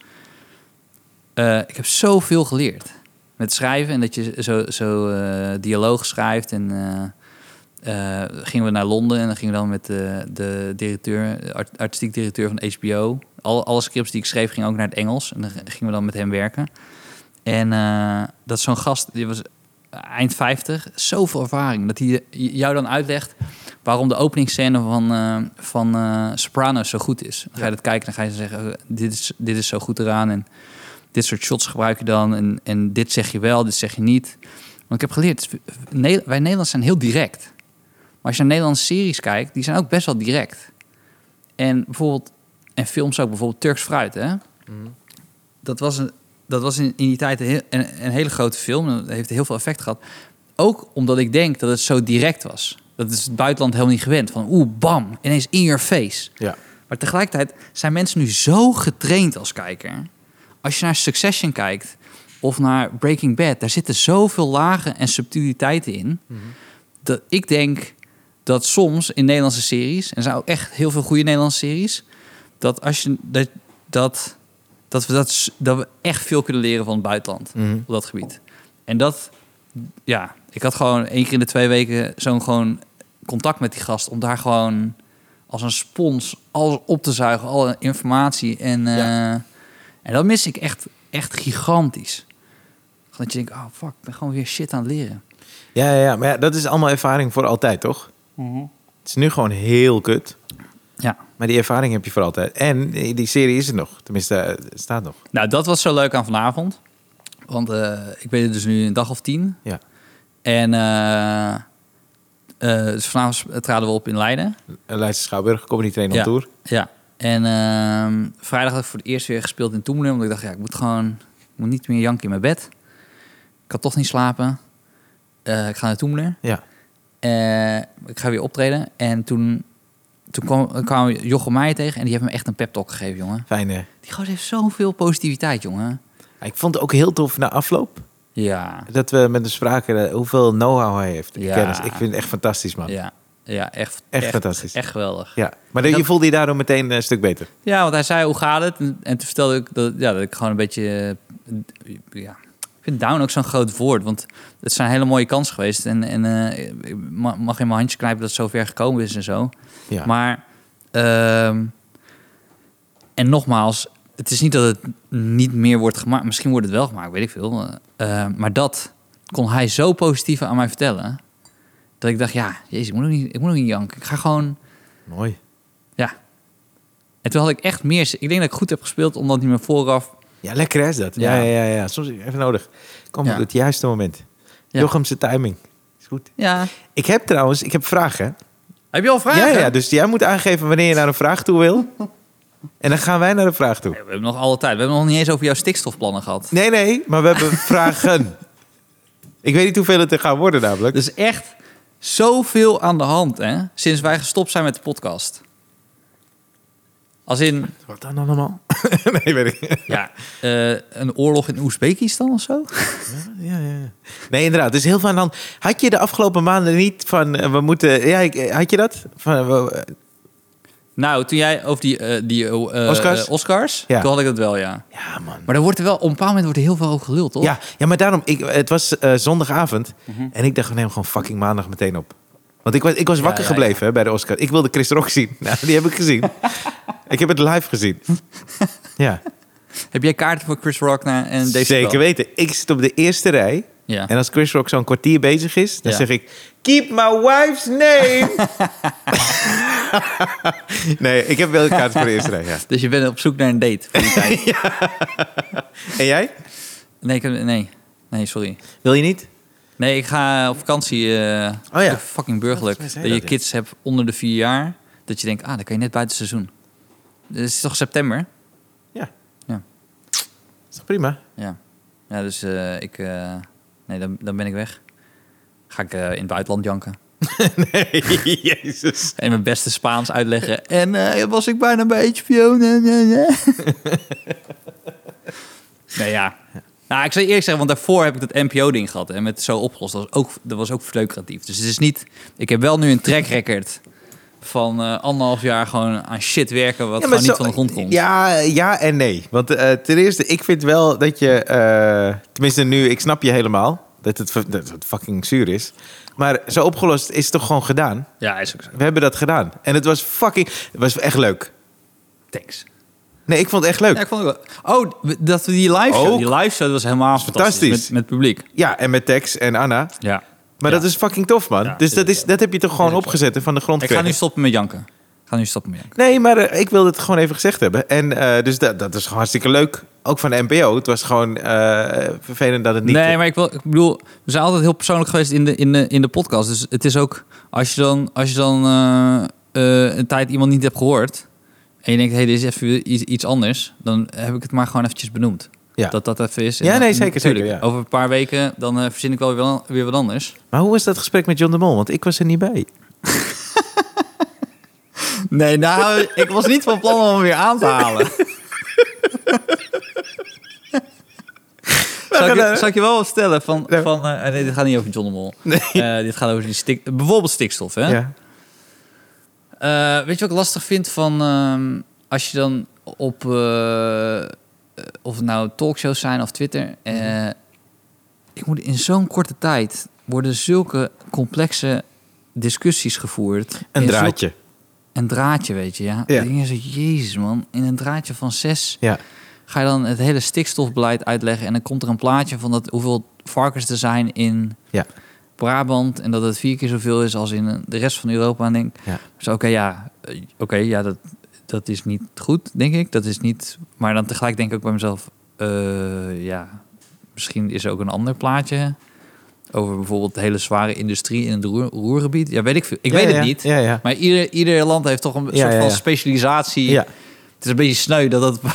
Speaker 1: eh, ik heb zoveel geleerd met schrijven en dat je zo, zo eh, dialoog schrijft en eh, eh, gingen we naar Londen en dan gingen we dan met de, de directeur, de art- artistiek directeur van HBO. Alle, alle scripts die ik schreef gingen ook naar het Engels. En dan g- gingen we dan met hem werken. En eh, dat is zo'n gast, die was eind 50, zoveel ervaring. Dat hij jou dan uitlegt waarom de openingsscène van, eh van eh, Sopranos zo goed is. Dan ga je dat kijken en dan ga je zeggen, eh, dit is, dit is zo goed eraan. En dit soort shots gebruik je dan. En, en dit zeg je wel, dit zeg je niet. Want ik heb geleerd, Ne- wij Nederlanders zijn heel direct. Maar als je naar Nederlandse series kijkt, die zijn ook best wel direct. En bijvoorbeeld, en films ook, bijvoorbeeld Turks Fruit, hè? Dat was, een, dat was in, in die tijd een, heel- een, een hele grote film. en Dat heeft heel veel effect gehad. Ook omdat ik denk dat het zo direct was. Dat is het buitenland helemaal niet gewend. Van oeh, bam, ineens in your face.
Speaker 2: Ja.
Speaker 1: Maar tegelijkertijd zijn mensen nu zo getraind als kijker. Als je naar Succession kijkt of naar Breaking Bad, daar zitten zoveel lagen en subtiliteiten in. Dat ik denk dat soms in Nederlandse series, en er zijn ook echt heel veel goede Nederlandse series, dat als je dat, dat, dat, we, dat, s- dat we echt veel kunnen leren van het buitenland
Speaker 2: Mhm.
Speaker 1: op dat gebied. En dat, ja, ik had gewoon één keer in de twee weken zo'n gewoon contact met die gast om daar gewoon als een spons alles op te zuigen, alle informatie. En,
Speaker 2: Ja.
Speaker 1: eh, en dat mis ik echt, echt gigantisch. Gewoon Dat je denkt, oh fuck, ik ben gewoon weer shit aan het leren.
Speaker 2: Ja, ja, ja, maar ja, dat is allemaal ervaring voor altijd, toch? Het is nu gewoon heel kut.
Speaker 1: Ja.
Speaker 2: Maar die ervaring heb je voor altijd. En die serie is er nog. Tenminste, eh, het staat nog.
Speaker 1: Nou, dat was zo leuk aan vanavond. Want eh, ik ben er dus nu een dag of tien.
Speaker 2: Ja.
Speaker 1: En eh, eh, dus vanavond traden we op in Leiden.
Speaker 2: Eh, Leidse Schouwburg, Comedy Train on
Speaker 1: Ja.
Speaker 2: Tour.
Speaker 1: Ja. En ehm, vrijdag had ik voor het eerst weer gespeeld in Toemelen. Omdat ik dacht, ja, ik moet gewoon... Ik moet niet meer janken in mijn bed. Ik kan toch niet slapen. Eh, ik ga naar Toemelen.
Speaker 2: Ja.
Speaker 1: Eh, ik ga weer optreden. En toen, toen kwam, kwam Jochem Meijer tegen. En die heeft me echt een pep talk gegeven, jongen.
Speaker 2: Fijn. eh.
Speaker 1: Die gozer heeft zoveel positiviteit, jongen.
Speaker 2: Ik vond het ook heel tof na afloop.
Speaker 1: Ja.
Speaker 2: Dat we met hem spraken eh, hoeveel know-how hij heeft. en
Speaker 1: Ja.
Speaker 2: Kennis. Ik vind het echt fantastisch, man. Ja.
Speaker 1: Ja. Ja, echt,
Speaker 2: Echt fantastisch.
Speaker 1: Echt geweldig.
Speaker 2: Maar dat- je
Speaker 1: Dat-
Speaker 2: voelde je daardoor meteen een stuk beter.
Speaker 1: Ja, want hij zei, hoe gaat het? En, en toen vertelde ik dat, ja, dat ik gewoon een beetje... eh, Ja, ik vind down ook zo'n groot woord. Want het zijn hele mooie kansen geweest. En, en eh, ik ma- mag in mijn handje knijpen dat het zover gekomen is en zo.
Speaker 2: Ja.
Speaker 1: Maar... ehm, en nogmaals, het is niet dat het niet meer wordt gemaakt. Misschien wordt het wel gemaakt, weet ik veel. Eh, maar dat kon hij zo positief aan mij vertellen... dat ik dacht, ja, jezus, ik moet nog niet, ik moet nog niet janken. Ik ga gewoon...
Speaker 2: Mooi.
Speaker 1: Ja. En toen had ik echt meer... Ik denk dat ik goed heb gespeeld, omdat hij me vooraf...
Speaker 2: Ja, lekker hè, is dat. Ja,
Speaker 1: Ja.
Speaker 2: ja, ja. ja. Soms even nodig. Kom
Speaker 1: Ja.
Speaker 2: op het juiste moment.
Speaker 1: Ja.
Speaker 2: Jochem zijn timing. Is goed.
Speaker 1: Ja.
Speaker 2: Ik heb trouwens, ik heb vragen.
Speaker 1: Heb je al vragen?
Speaker 2: Ja, ja, dus jij moet aangeven wanneer je naar een vraag toe wil. En dan gaan wij naar de vraag toe.
Speaker 1: We hebben nog alle tijd. We hebben nog niet eens over jouw stikstofplannen gehad.
Speaker 2: Nee, nee, maar we [LAUGHS] hebben vragen. Ik weet niet hoeveel het er gaan worden namelijk.
Speaker 1: Er is echt zoveel aan de hand, hè? Sinds wij gestopt zijn met de podcast. Als in,
Speaker 2: Wat dan allemaal? [LAUGHS] nee, weet ik niet.
Speaker 1: ja, eh, een oorlog in Oezbekistan of zo?
Speaker 2: Ja, ja, ja. Nee, inderdaad. Dus heel veel aan de hand. Had je de afgelopen maanden niet van, eh, we moeten... Ja, ik- eh, had je dat? Van, eh, we- eh,
Speaker 1: Nou, toen jij over die, eh, die eh,
Speaker 2: Oscars?
Speaker 1: eh, Oscars
Speaker 2: Ja.
Speaker 1: toen had ik dat wel, ja.
Speaker 2: ja, man.
Speaker 1: Maar er wordt er wel, op een bepaald moment wordt er heel veel over geluld, toch? Mhm.
Speaker 2: Ja, ja, maar daarom, ik, het was eh, zondagavond en ik dacht, we nemen gewoon fucking maandag meteen op. Want ik was, ik was
Speaker 1: Ja,
Speaker 2: wakker
Speaker 1: ja,
Speaker 2: gebleven hè, bij de Oscar. Ik wilde Chris Rock zien. [LAUGHS] Nou, die heb ik
Speaker 1: [LAUGHS]
Speaker 2: gezien. ik heb het live gezien. ja,
Speaker 1: Heb jij kaarten voor Chris Rock naar en deze
Speaker 2: zeker weten. Ik zit op de eerste rij.
Speaker 1: Ja.
Speaker 2: En als Chris Rock zo'n kwartier bezig is, dan
Speaker 1: Ja.
Speaker 2: zeg ik... Keep my wife's
Speaker 1: [LAUGHS]
Speaker 2: name! nee, ik heb wel een kaart voor de eerste rij, ja.
Speaker 1: Dus je bent op zoek naar een date voor die tijd.
Speaker 2: En jij?
Speaker 1: Nee, ik heb- nee. Nee, sorry.
Speaker 2: Wil je niet?
Speaker 1: Nee, ik ga op vakantie. eh
Speaker 2: Oh ja.
Speaker 1: Fucking
Speaker 2: Volgens
Speaker 1: burgerlijk.
Speaker 2: mij
Speaker 1: Dat,
Speaker 2: zei
Speaker 1: je
Speaker 2: dat, ja.
Speaker 1: kids hebt onder de vier jaar. Dat je denkt, ah, dan kan je net buiten seizoen. Het is toch september?
Speaker 2: Ja.
Speaker 1: Ja.
Speaker 2: Is toch prima? [LAUGHS]
Speaker 1: Ja. Ja, dus eh, ik... eh, nee, dan, dan ben ik weg. Ga ik eh, in het buitenland janken.
Speaker 2: nee, jezus.
Speaker 1: En mijn beste Spaans uitleggen. En eh, was ik bijna bij HBO. Nee, nee, nee. [LAUGHS] nee, ja. Nou, ik zou je eerlijk zeggen, want daarvoor heb ik dat NPO-ding gehad. En met zo opgelost. Dat was ook, dat was ook vleukratief. Dus het is niet... Ik heb wel nu een track record van eh, anderhalf jaar gewoon aan shit werken... wat
Speaker 2: Ja, maar
Speaker 1: gewoon niet
Speaker 2: zo-
Speaker 1: van de grond komt.
Speaker 2: Ja, ja en nee. Want eh, ten eerste, ik vind wel dat je... eh, tenminste nu, ik snap je helemaal. Dat het, dat het fucking zuur is. Maar zo opgelost is het toch gewoon gedaan.
Speaker 1: Ja, is ook zo.
Speaker 2: We hebben dat gedaan. En het was fucking... Het was echt leuk.
Speaker 1: Thanks.
Speaker 2: Nee, ik vond het echt leuk.
Speaker 1: Ja, ik vond het wel... Oh, dat we die live show...
Speaker 2: Ook.
Speaker 1: Die live show was helemaal fantastisch.
Speaker 2: fantastisch.
Speaker 1: Met, met publiek.
Speaker 2: Ja, en met Tex en Anna.
Speaker 1: Ja.
Speaker 2: Maar
Speaker 1: Ja.
Speaker 2: dat is fucking tof, man.
Speaker 1: Ja,
Speaker 2: dus dat,
Speaker 1: tuurlijk,
Speaker 2: is, dat heb je toch gewoon opgezet en van de grond
Speaker 1: Ik ga nu
Speaker 2: gekregen?
Speaker 1: stoppen met janken. Ik ga nu stoppen met janken.
Speaker 2: Nee, maar eh, ik wilde het gewoon even gezegd hebben. En eh, dus dat, dat is gewoon hartstikke leuk. Ook van de NPO. Het was gewoon eh, vervelend dat het niet...
Speaker 1: nee, maar ik, wil, ik bedoel, we zijn altijd heel persoonlijk geweest in de, in, de, in de podcast. Dus het is ook, als je dan, als je dan eh, eh, een tijd iemand niet hebt gehoord... en je denkt, hé, hey, dit is even iets, iets anders... dan heb ik het maar gewoon eventjes benoemd.
Speaker 2: Ja.
Speaker 1: Dat dat even is.
Speaker 2: Ja,
Speaker 1: dan-
Speaker 2: nee, zeker, zeker,
Speaker 1: tuurlijk,
Speaker 2: ja.
Speaker 1: Over een paar weken, dan eh, verzin ik wel weer, weer wat anders.
Speaker 2: Maar hoe was dat gesprek met John de Mol? Want ik was er niet bij.
Speaker 1: Nee, nou, [LAUGHS] ik was niet van plan om hem weer aan te halen. [LAUGHS] Zal ik, je- zal ik je wel wat stellen van...
Speaker 2: Ja.
Speaker 1: van eh, nee, dit gaat niet over John de Mol.
Speaker 2: Nee.
Speaker 1: Eh, dit gaat over die stik, bijvoorbeeld stikstof. Hè?
Speaker 2: Ja.
Speaker 1: Eh, weet je wat ik lastig vind van... ehm, als je dan op... eh, eh, of het nou talkshows zijn of Twitter...
Speaker 2: Mhm.
Speaker 1: eh, ik moet in zo'n korte tijd... worden zulke complexe discussies gevoerd.
Speaker 2: Een
Speaker 1: In zulke-
Speaker 2: draadje.
Speaker 1: een draadje, weet je, ja.
Speaker 2: Ja.
Speaker 1: Ik denk zo, jezus man, in een draadje van zes
Speaker 2: Ja.
Speaker 1: ga je dan het hele stikstofbeleid uitleggen en dan komt er een plaatje van dat hoeveel varkens er zijn in
Speaker 2: Ja.
Speaker 1: Brabant en dat het vier keer zoveel is als in eh, de rest van Europa. En denk,
Speaker 2: Ja.
Speaker 1: dus oké, ja, eh, oké, ja, dat, dat is niet goed, denk ik. Dat is niet, maar dan tegelijk denk ik ook bij mezelf, eh, ja, misschien is er ook een ander plaatje over bijvoorbeeld de hele zware industrie in het roer- roergebied. Ja, weet ik veel. Ik
Speaker 2: Ja,
Speaker 1: weet
Speaker 2: ja,
Speaker 1: het niet.
Speaker 2: Ja, ja.
Speaker 1: Maar ieder, ieder land heeft toch een soort
Speaker 2: ja,
Speaker 1: van
Speaker 2: ja.
Speaker 1: specialisatie.
Speaker 2: ja,
Speaker 1: Het is een beetje sneu dat dat [LAUGHS]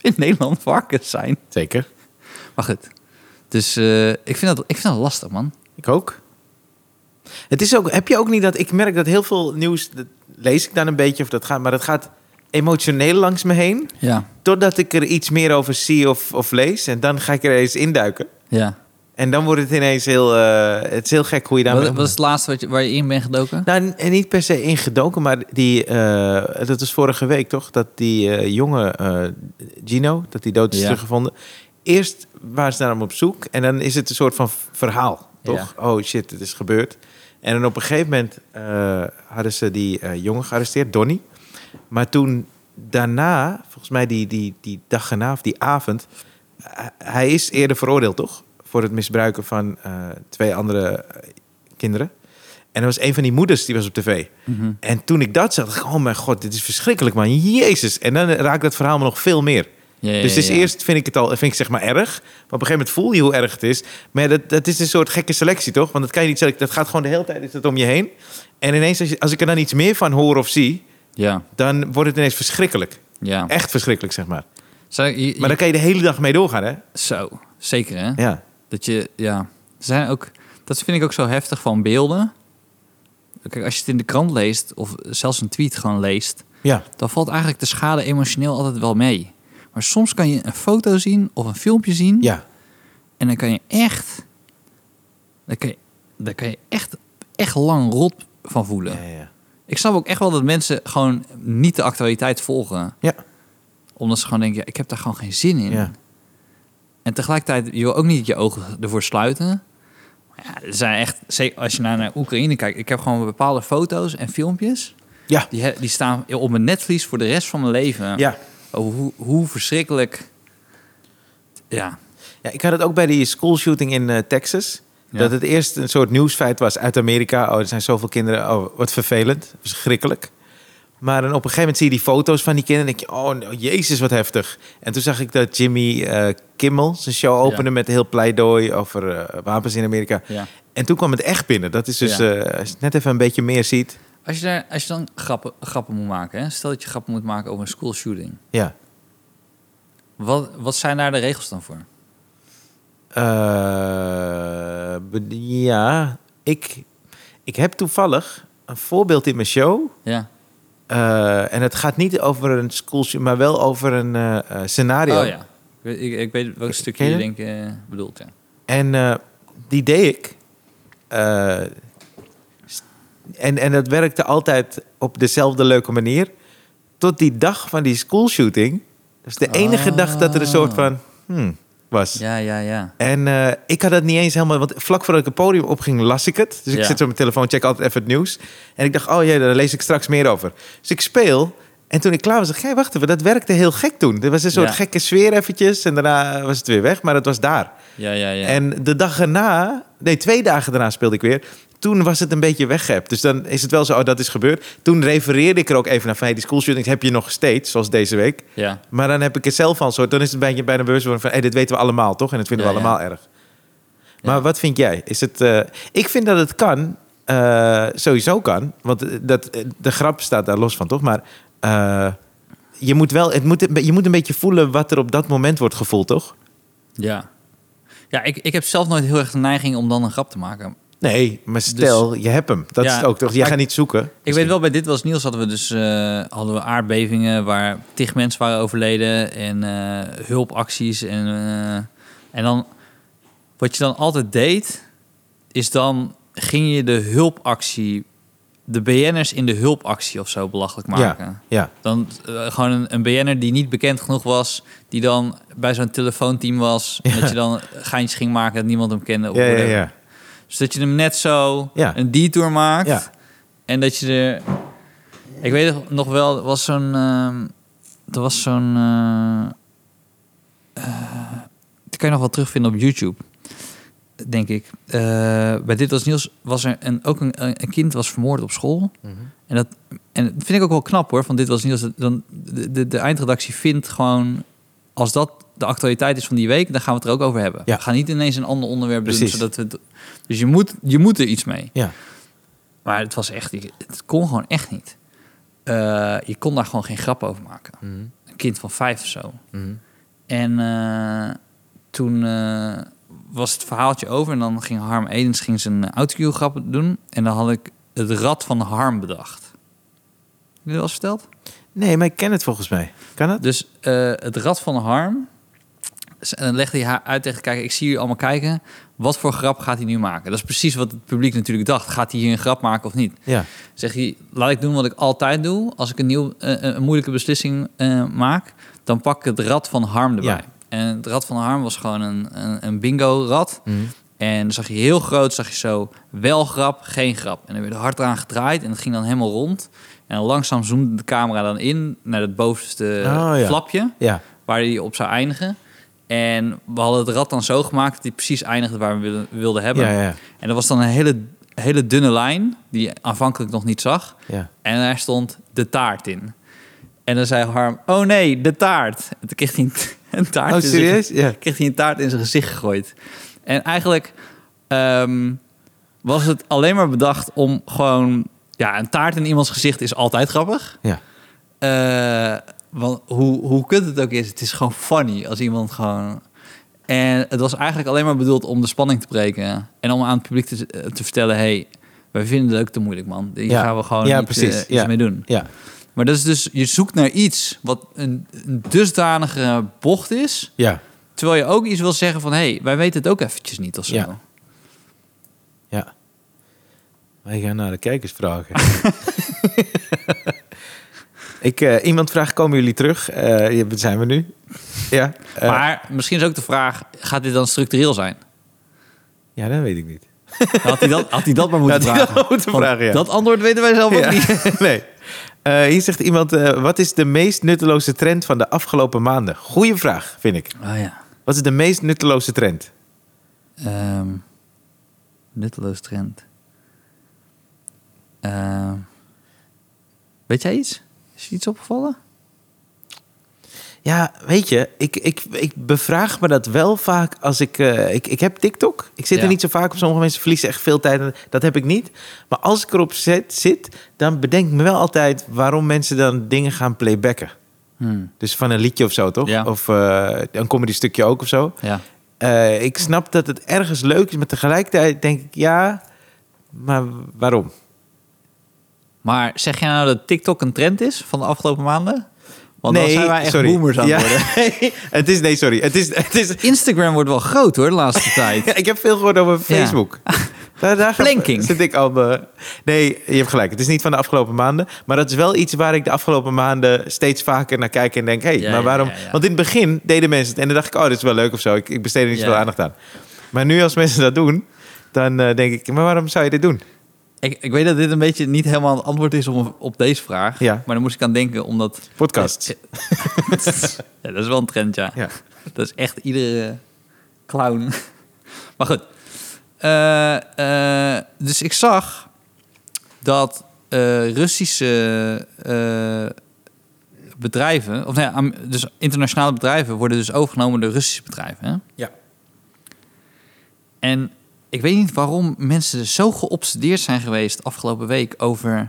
Speaker 1: in Nederland varkens zijn.
Speaker 2: zeker.
Speaker 1: Maar goed. Dus eh, ik, vind dat, ik vind dat lastig, man.
Speaker 2: Ik ook. Het is ook, heb je ook niet dat ik merk dat heel veel nieuws, dat lees ik dan een beetje of dat gaat, maar dat gaat emotioneel langs me heen.
Speaker 1: Ja,
Speaker 2: Totdat ik er iets meer over zie of, of lees. En dan ga ik er eens induiken.
Speaker 1: ja.
Speaker 2: En dan wordt het ineens heel, eh, het is heel gek hoe je daarmee
Speaker 1: Wat, wat is het laatste wat je, waar je in bent gedoken?
Speaker 2: Nou, n- en niet per se ingedoken, maar die, eh, dat is vorige week toch? Dat die eh, jonge eh, Gino, dat die dood is
Speaker 1: Ja.
Speaker 2: teruggevonden. Eerst waren ze naar hem op zoek en dan is het een soort van v- verhaal, toch? Oh shit, het is gebeurd. En dan op een gegeven moment eh, hadden ze die eh, jongen gearresteerd, Donny. Maar toen daarna, volgens mij die, die, die dag erna of die avond... eh, hij is eerder veroordeeld, toch? Voor het misbruiken van eh, twee andere eh, kinderen. En er was een van die moeders die was op tv.
Speaker 1: Mhm.
Speaker 2: En toen ik dat zag, dacht ik, oh mijn god, dit is verschrikkelijk, man. Jezus. En dan raakt dat verhaal me nog veel meer.
Speaker 1: Ja, ja,
Speaker 2: dus het is
Speaker 1: ja.
Speaker 2: eerst vind ik het al, vind ik het zeg maar erg. Maar op een gegeven moment voel je hoe erg het is. Maar ja, dat, dat is een soort gekke selectie, toch? Want dat kan je niet selecteren. Dat gaat gewoon de hele tijd is dat om je heen. En ineens, als, je, als ik er dan iets meer van hoor of zie,
Speaker 1: Ja,
Speaker 2: dan wordt het ineens verschrikkelijk.
Speaker 1: ja.
Speaker 2: Echt verschrikkelijk, zeg maar.
Speaker 1: Zou, je- je-
Speaker 2: Maar daar kan je de hele dag mee doorgaan, hè?
Speaker 1: Zo, zeker hè?
Speaker 2: Ja.
Speaker 1: Dat je, ja. Er zijn ook, dat vind ik ook zo heftig van beelden. Kijk, als je het in de krant leest, of zelfs een tweet gewoon leest...
Speaker 2: Ja.
Speaker 1: dan valt eigenlijk de schade emotioneel altijd wel mee. Maar soms kan je een foto zien of een filmpje zien.
Speaker 2: Ja.
Speaker 1: En dan kan je echt. Dan kan je, dan kan je echt, echt lang rot van voelen.
Speaker 2: Ja, ja.
Speaker 1: Ik snap ook echt wel dat mensen gewoon niet de actualiteit volgen.
Speaker 2: Ja.
Speaker 1: Omdat ze gewoon denken: ja, ik heb daar gewoon geen zin in.
Speaker 2: Ja.
Speaker 1: En tegelijkertijd, je wil ook niet je ogen ervoor sluiten. Maar ja, er zijn echt, zeker als je naar, naar Oekraïne kijkt, ik heb gewoon bepaalde foto's en filmpjes.
Speaker 2: Ja.
Speaker 1: Die, he- die staan op mijn netvlies voor de rest van mijn leven.
Speaker 2: ja.
Speaker 1: Over hoe, hoe verschrikkelijk. Ja.
Speaker 2: Ja, ik had het ook bij die schoolshooting in eh, Texas.
Speaker 1: Ja.
Speaker 2: Dat het eerst een soort nieuwsfeit was uit Amerika. Oh, er zijn zoveel kinderen. Oh, wat vervelend. Verschrikkelijk. Maar dan op een gegeven moment zie je die foto's van die kinderen. En denk je, oh nou, jezus, wat heftig. En toen zag ik dat Jimmy eh, Kimmel zijn show opende met een heel pleidooi over eh, wapens in Amerika.
Speaker 1: ja.
Speaker 2: En toen kwam het echt binnen. Dat is dus,
Speaker 1: Ja.
Speaker 2: eh, als je het net even een beetje meer ziet.
Speaker 1: Als, je daar, als je dan grappen, grappen moet maken, hè? stel dat je grappen moet maken over een school shooting.
Speaker 2: Ja.
Speaker 1: Wat, wat zijn daar de regels dan voor?
Speaker 2: Eh, be- ja, ik, ik heb toevallig een voorbeeld in mijn show.
Speaker 1: Ja.
Speaker 2: Eh, en het gaat niet over een schoolshoot, maar wel over een eh, eh, scenario.
Speaker 1: Oh ja. Ik, weet- ik, ik weet welk stukje
Speaker 2: ken
Speaker 1: je
Speaker 2: je
Speaker 1: denk eh, bedoelt. Ja.
Speaker 2: En eh, die deed ik. Eh, st- en, en dat werkte altijd op dezelfde leuke manier.
Speaker 1: Ah.
Speaker 2: Tot die dag van die schoolshooting. Dat is de enige dag dat er een soort van... hmm, was.
Speaker 1: Ja, ja, ja.
Speaker 2: En eh, ik had dat niet eens helemaal... Want vlak voordat ik het podium opging, las ik het. Dus ik
Speaker 1: Ja.
Speaker 2: zit zo op mijn telefoon, check altijd even het nieuws. En ik dacht, oh jee, daar lees ik straks meer over. Dus ik speel. En toen ik klaar was, dacht ik, hey, wacht even, dat werkte heel gek toen. Er was een soort
Speaker 1: Ja.
Speaker 2: gekke sfeer eventjes. En daarna was het weer weg, maar dat was daar.
Speaker 1: Ja, ja, ja.
Speaker 2: En de dag erna, nee, twee dagen daarna speelde ik weer. Toen was het een beetje weggehept. Dus dan is het wel zo, oh, dat is gebeurd. Toen refereerde ik er ook even naar van, hey, die schoolshootings heb je nog steeds, zoals deze week.
Speaker 1: ja.
Speaker 2: Maar dan heb ik het zelf al een soort, dan is het bijna, bijna bewustwording van, hey, dit weten we allemaal, toch? En dat vinden
Speaker 1: Ja,
Speaker 2: we
Speaker 1: ja.
Speaker 2: allemaal erg. Maar wat vind jij? Is het, eh, ik vind dat het kan, eh, sowieso kan. Want eh, dat, eh, de grap staat daar los van, toch? Maar eh, je, moet wel, het moet, een be- je moet een beetje voelen wat er op dat moment wordt gevoeld, toch?
Speaker 1: Ja, ja ik, ik heb zelf nooit heel erg de neiging om dan een grap te maken.
Speaker 2: Nee, maar stel, je hebt hem. Dat
Speaker 1: Dus- Ja.
Speaker 2: is het ook toch? Jij
Speaker 1: Maar
Speaker 2: gaat niet zoeken.
Speaker 1: Ik weet wel, bij dit was Niels hadden we dus eh, hadden we aardbevingen waar tig mensen waren overleden en eh, hulpacties. En, eh, en dan, wat je dan altijd deed, is dan ging je de hulpactie, de BN'ers in de hulpactie of zo belachelijk maken.
Speaker 2: Ja,
Speaker 1: Dan eh, gewoon een, een BN'er die niet bekend genoeg was, die dan bij zo'n telefoonteam was. En dat je dan geintjes ging maken dat niemand hem kende. of
Speaker 2: ja, ja. ja,
Speaker 1: Oh, whatever.
Speaker 2: ja.
Speaker 1: Dus dat je hem net zo
Speaker 2: Ja.
Speaker 1: een detour maakt.
Speaker 2: Ja.
Speaker 1: En dat je er... Ik weet nog wel, er was zo'n... ehm, er was zo'n... eh, eh, die kan je nog wel terugvinden op YouTube. Denk ik. Eh, bij Dit Was Niels was er een, ook een, een kind was vermoord op school.
Speaker 2: Mhm.
Speaker 1: En dat en dat vind ik ook wel knap hoor, van Dit Was Niels. dat Dan, de, de, de eindredactie vindt gewoon... Als dat de actualiteit is van die week, dan gaan we het er ook over hebben.
Speaker 2: Ja.
Speaker 1: We gaan niet ineens een ander onderwerp doen,
Speaker 2: Precies.
Speaker 1: zodat we het dus je moet, je moet er iets mee.
Speaker 2: Ja.
Speaker 1: Maar het was echt, ik- het kon gewoon echt niet. Eh, je kon daar gewoon geen grap over maken. Een kind van vijf of zo. En eh, toen eh, was het verhaaltje over en dan ging Harm Edens ging zijn eh, autocue grappen doen. En dan had ik het rad van Harm bedacht. Heb je dat wel eens verteld?
Speaker 2: Nee, maar ik ken het volgens mij. Kan het?
Speaker 1: Dus eh, het rad van Harm. S- En dan legde hij haar uit tegen kijken. Ik zie jullie allemaal kijken. Wat voor grap gaat hij nu maken? Dat is precies wat het publiek natuurlijk dacht. Gaat hij hier een grap maken of niet?
Speaker 2: Ja.
Speaker 1: Zeg hij, laat ik doen wat ik altijd doe. Als ik een, nieuw, eh, eh, een moeilijke beslissing eh, maak, dan pak ik het rad van Harm erbij.
Speaker 2: Ja.
Speaker 1: En het rad van Harm was gewoon een, een, een bingo-rad.
Speaker 2: Mhm.
Speaker 1: En dan zag je heel groot, zag je zo, wel grap, geen grap. En er werd hard aan gedraaid en het ging dan helemaal rond. En dan langzaam zoomde de camera dan in naar het bovenste
Speaker 2: Oh, ja.
Speaker 1: flapje,
Speaker 2: Ja.
Speaker 1: waar hij op zou eindigen. En we hadden het rad dan zo gemaakt dat hij precies eindigde waar we wilden- wilden hebben.
Speaker 2: Ja, ja.
Speaker 1: En dat was dan een hele, hele dunne lijn, die je aanvankelijk nog niet zag.
Speaker 2: Ja.
Speaker 1: En daar stond de taart in. En dan zei Harm, oh nee, de taart. En toen kreeg hij een, [LAUGHS] een taart
Speaker 2: Oh,
Speaker 1: in zijn-
Speaker 2: serieus? Ja.
Speaker 1: kreeg hij een taart in zijn gezicht gegooid. En eigenlijk ehm, was het alleen maar bedacht om gewoon... Ja, een taart in iemands gezicht is altijd grappig.
Speaker 2: Ja.
Speaker 1: Eh, want hoe, hoe kut het ook is, het is gewoon funny als iemand gewoon... En het was eigenlijk alleen maar bedoeld om de spanning te breken. En om aan het publiek te, eh, te vertellen... hey, wij vinden het ook te moeilijk, man. Hier
Speaker 2: Ja.
Speaker 1: gaan we gewoon
Speaker 2: Ja,
Speaker 1: niet,
Speaker 2: precies.
Speaker 1: eh, iets
Speaker 2: Ja.
Speaker 1: mee doen.
Speaker 2: Ja.
Speaker 1: Maar dat is dus... Je zoekt naar iets wat een, een dusdanige bocht is...
Speaker 2: Ja.
Speaker 1: terwijl je ook iets wil zeggen van... hey, wij weten het ook eventjes niet of zo.
Speaker 2: Ja. Ja. Wij gaan naar de kijkers
Speaker 1: [LAUGHS]
Speaker 2: vragen. ik, eh, iemand vraagt, komen jullie terug? Eh, ja, wat zijn we nu? Ja. eh,
Speaker 1: maar misschien is ook de vraag... gaat dit dan structureel
Speaker 2: [LAUGHS]
Speaker 1: zijn?
Speaker 2: ja, dat weet ik niet.
Speaker 1: Had hij dat, had hij dat maar moeten
Speaker 2: Had hij dat [LAUGHS]
Speaker 1: vragen.
Speaker 2: moeten
Speaker 1: Want
Speaker 2: vragen, ja.
Speaker 1: Dat antwoord weten wij zelf ook
Speaker 2: Ja, [LAUGHS]
Speaker 1: niet.
Speaker 2: nee. Eh, hier zegt iemand, eh, wat is de meest nutteloze trend van de afgelopen maanden? Goeie vraag, vind ik.
Speaker 1: Ah ja.
Speaker 2: Wat is de meest nutteloze trend?
Speaker 1: Ehm nutteloos trend. Ehm, weet jij iets? Is je iets opgevallen?
Speaker 2: Ja, weet je, ik, ik, ik bevraag me dat wel vaak als ik... eh, ik, ik heb TikTok. Ik zit
Speaker 1: Ja.
Speaker 2: er niet zo vaak op. Sommige mensen verliezen echt veel tijd. aan- Dat heb ik niet. Maar als ik erop zit, zit, dan bedenk ik me wel altijd... waarom mensen dan dingen gaan playbacken. Dus van een liedje of zo, toch?
Speaker 1: Ja.
Speaker 2: Of eh, een comedy stukje ook of zo.
Speaker 1: Ja.
Speaker 2: Eh, ik snap dat het ergens leuk is, maar tegelijkertijd denk ik... ja, maar waarom?
Speaker 1: Maar zeg jij nou dat TikTok een trend is van de afgelopen maanden? Want dan zijn wij echt boomers aan het
Speaker 2: Ja.
Speaker 1: worden.
Speaker 2: [LAUGHS] het is, nee, sorry. Het is, het is, [LAUGHS]
Speaker 1: Instagram wordt wel groot hoor de laatste tijd. [LAUGHS]
Speaker 2: Ja, ik heb veel gehoord over Facebook. Daar, daar ga-
Speaker 1: Planking.
Speaker 2: Zit ik al. eh, nee, je hebt gelijk. Het is niet van de afgelopen maanden. Maar dat is wel iets waar ik de afgelopen maanden steeds vaker naar kijk en denk: hé, hey,
Speaker 1: Ja,
Speaker 2: maar
Speaker 1: ja,
Speaker 2: waarom?
Speaker 1: ja, ja.
Speaker 2: Want in het begin deden mensen het en dan dacht ik: oh, dit is wel leuk of zo. Ik, ik besteed er niet
Speaker 1: Ja.
Speaker 2: zoveel aandacht aan. Maar nu, als mensen dat doen, dan eh, denk ik: maar waarom zou je dit doen?
Speaker 1: Ik, ik weet dat dit een beetje niet helemaal het antwoord is op, op deze vraag.
Speaker 2: Ja.
Speaker 1: Maar daar moest ik aan denken, omdat... [LAUGHS]
Speaker 2: Podcasts.
Speaker 1: ja, dat is wel een trend, ja.
Speaker 2: Ja.
Speaker 1: Dat is echt iedere clown. [LAUGHS] maar goed. Eh, eh, dus ik zag dat eh, Russische eh, bedrijven... Of nee, Am- dus internationale bedrijven worden dus overgenomen door Russische bedrijven. Hè?
Speaker 2: Ja.
Speaker 1: En ik weet niet waarom mensen zo geobsedeerd zijn geweest afgelopen week over...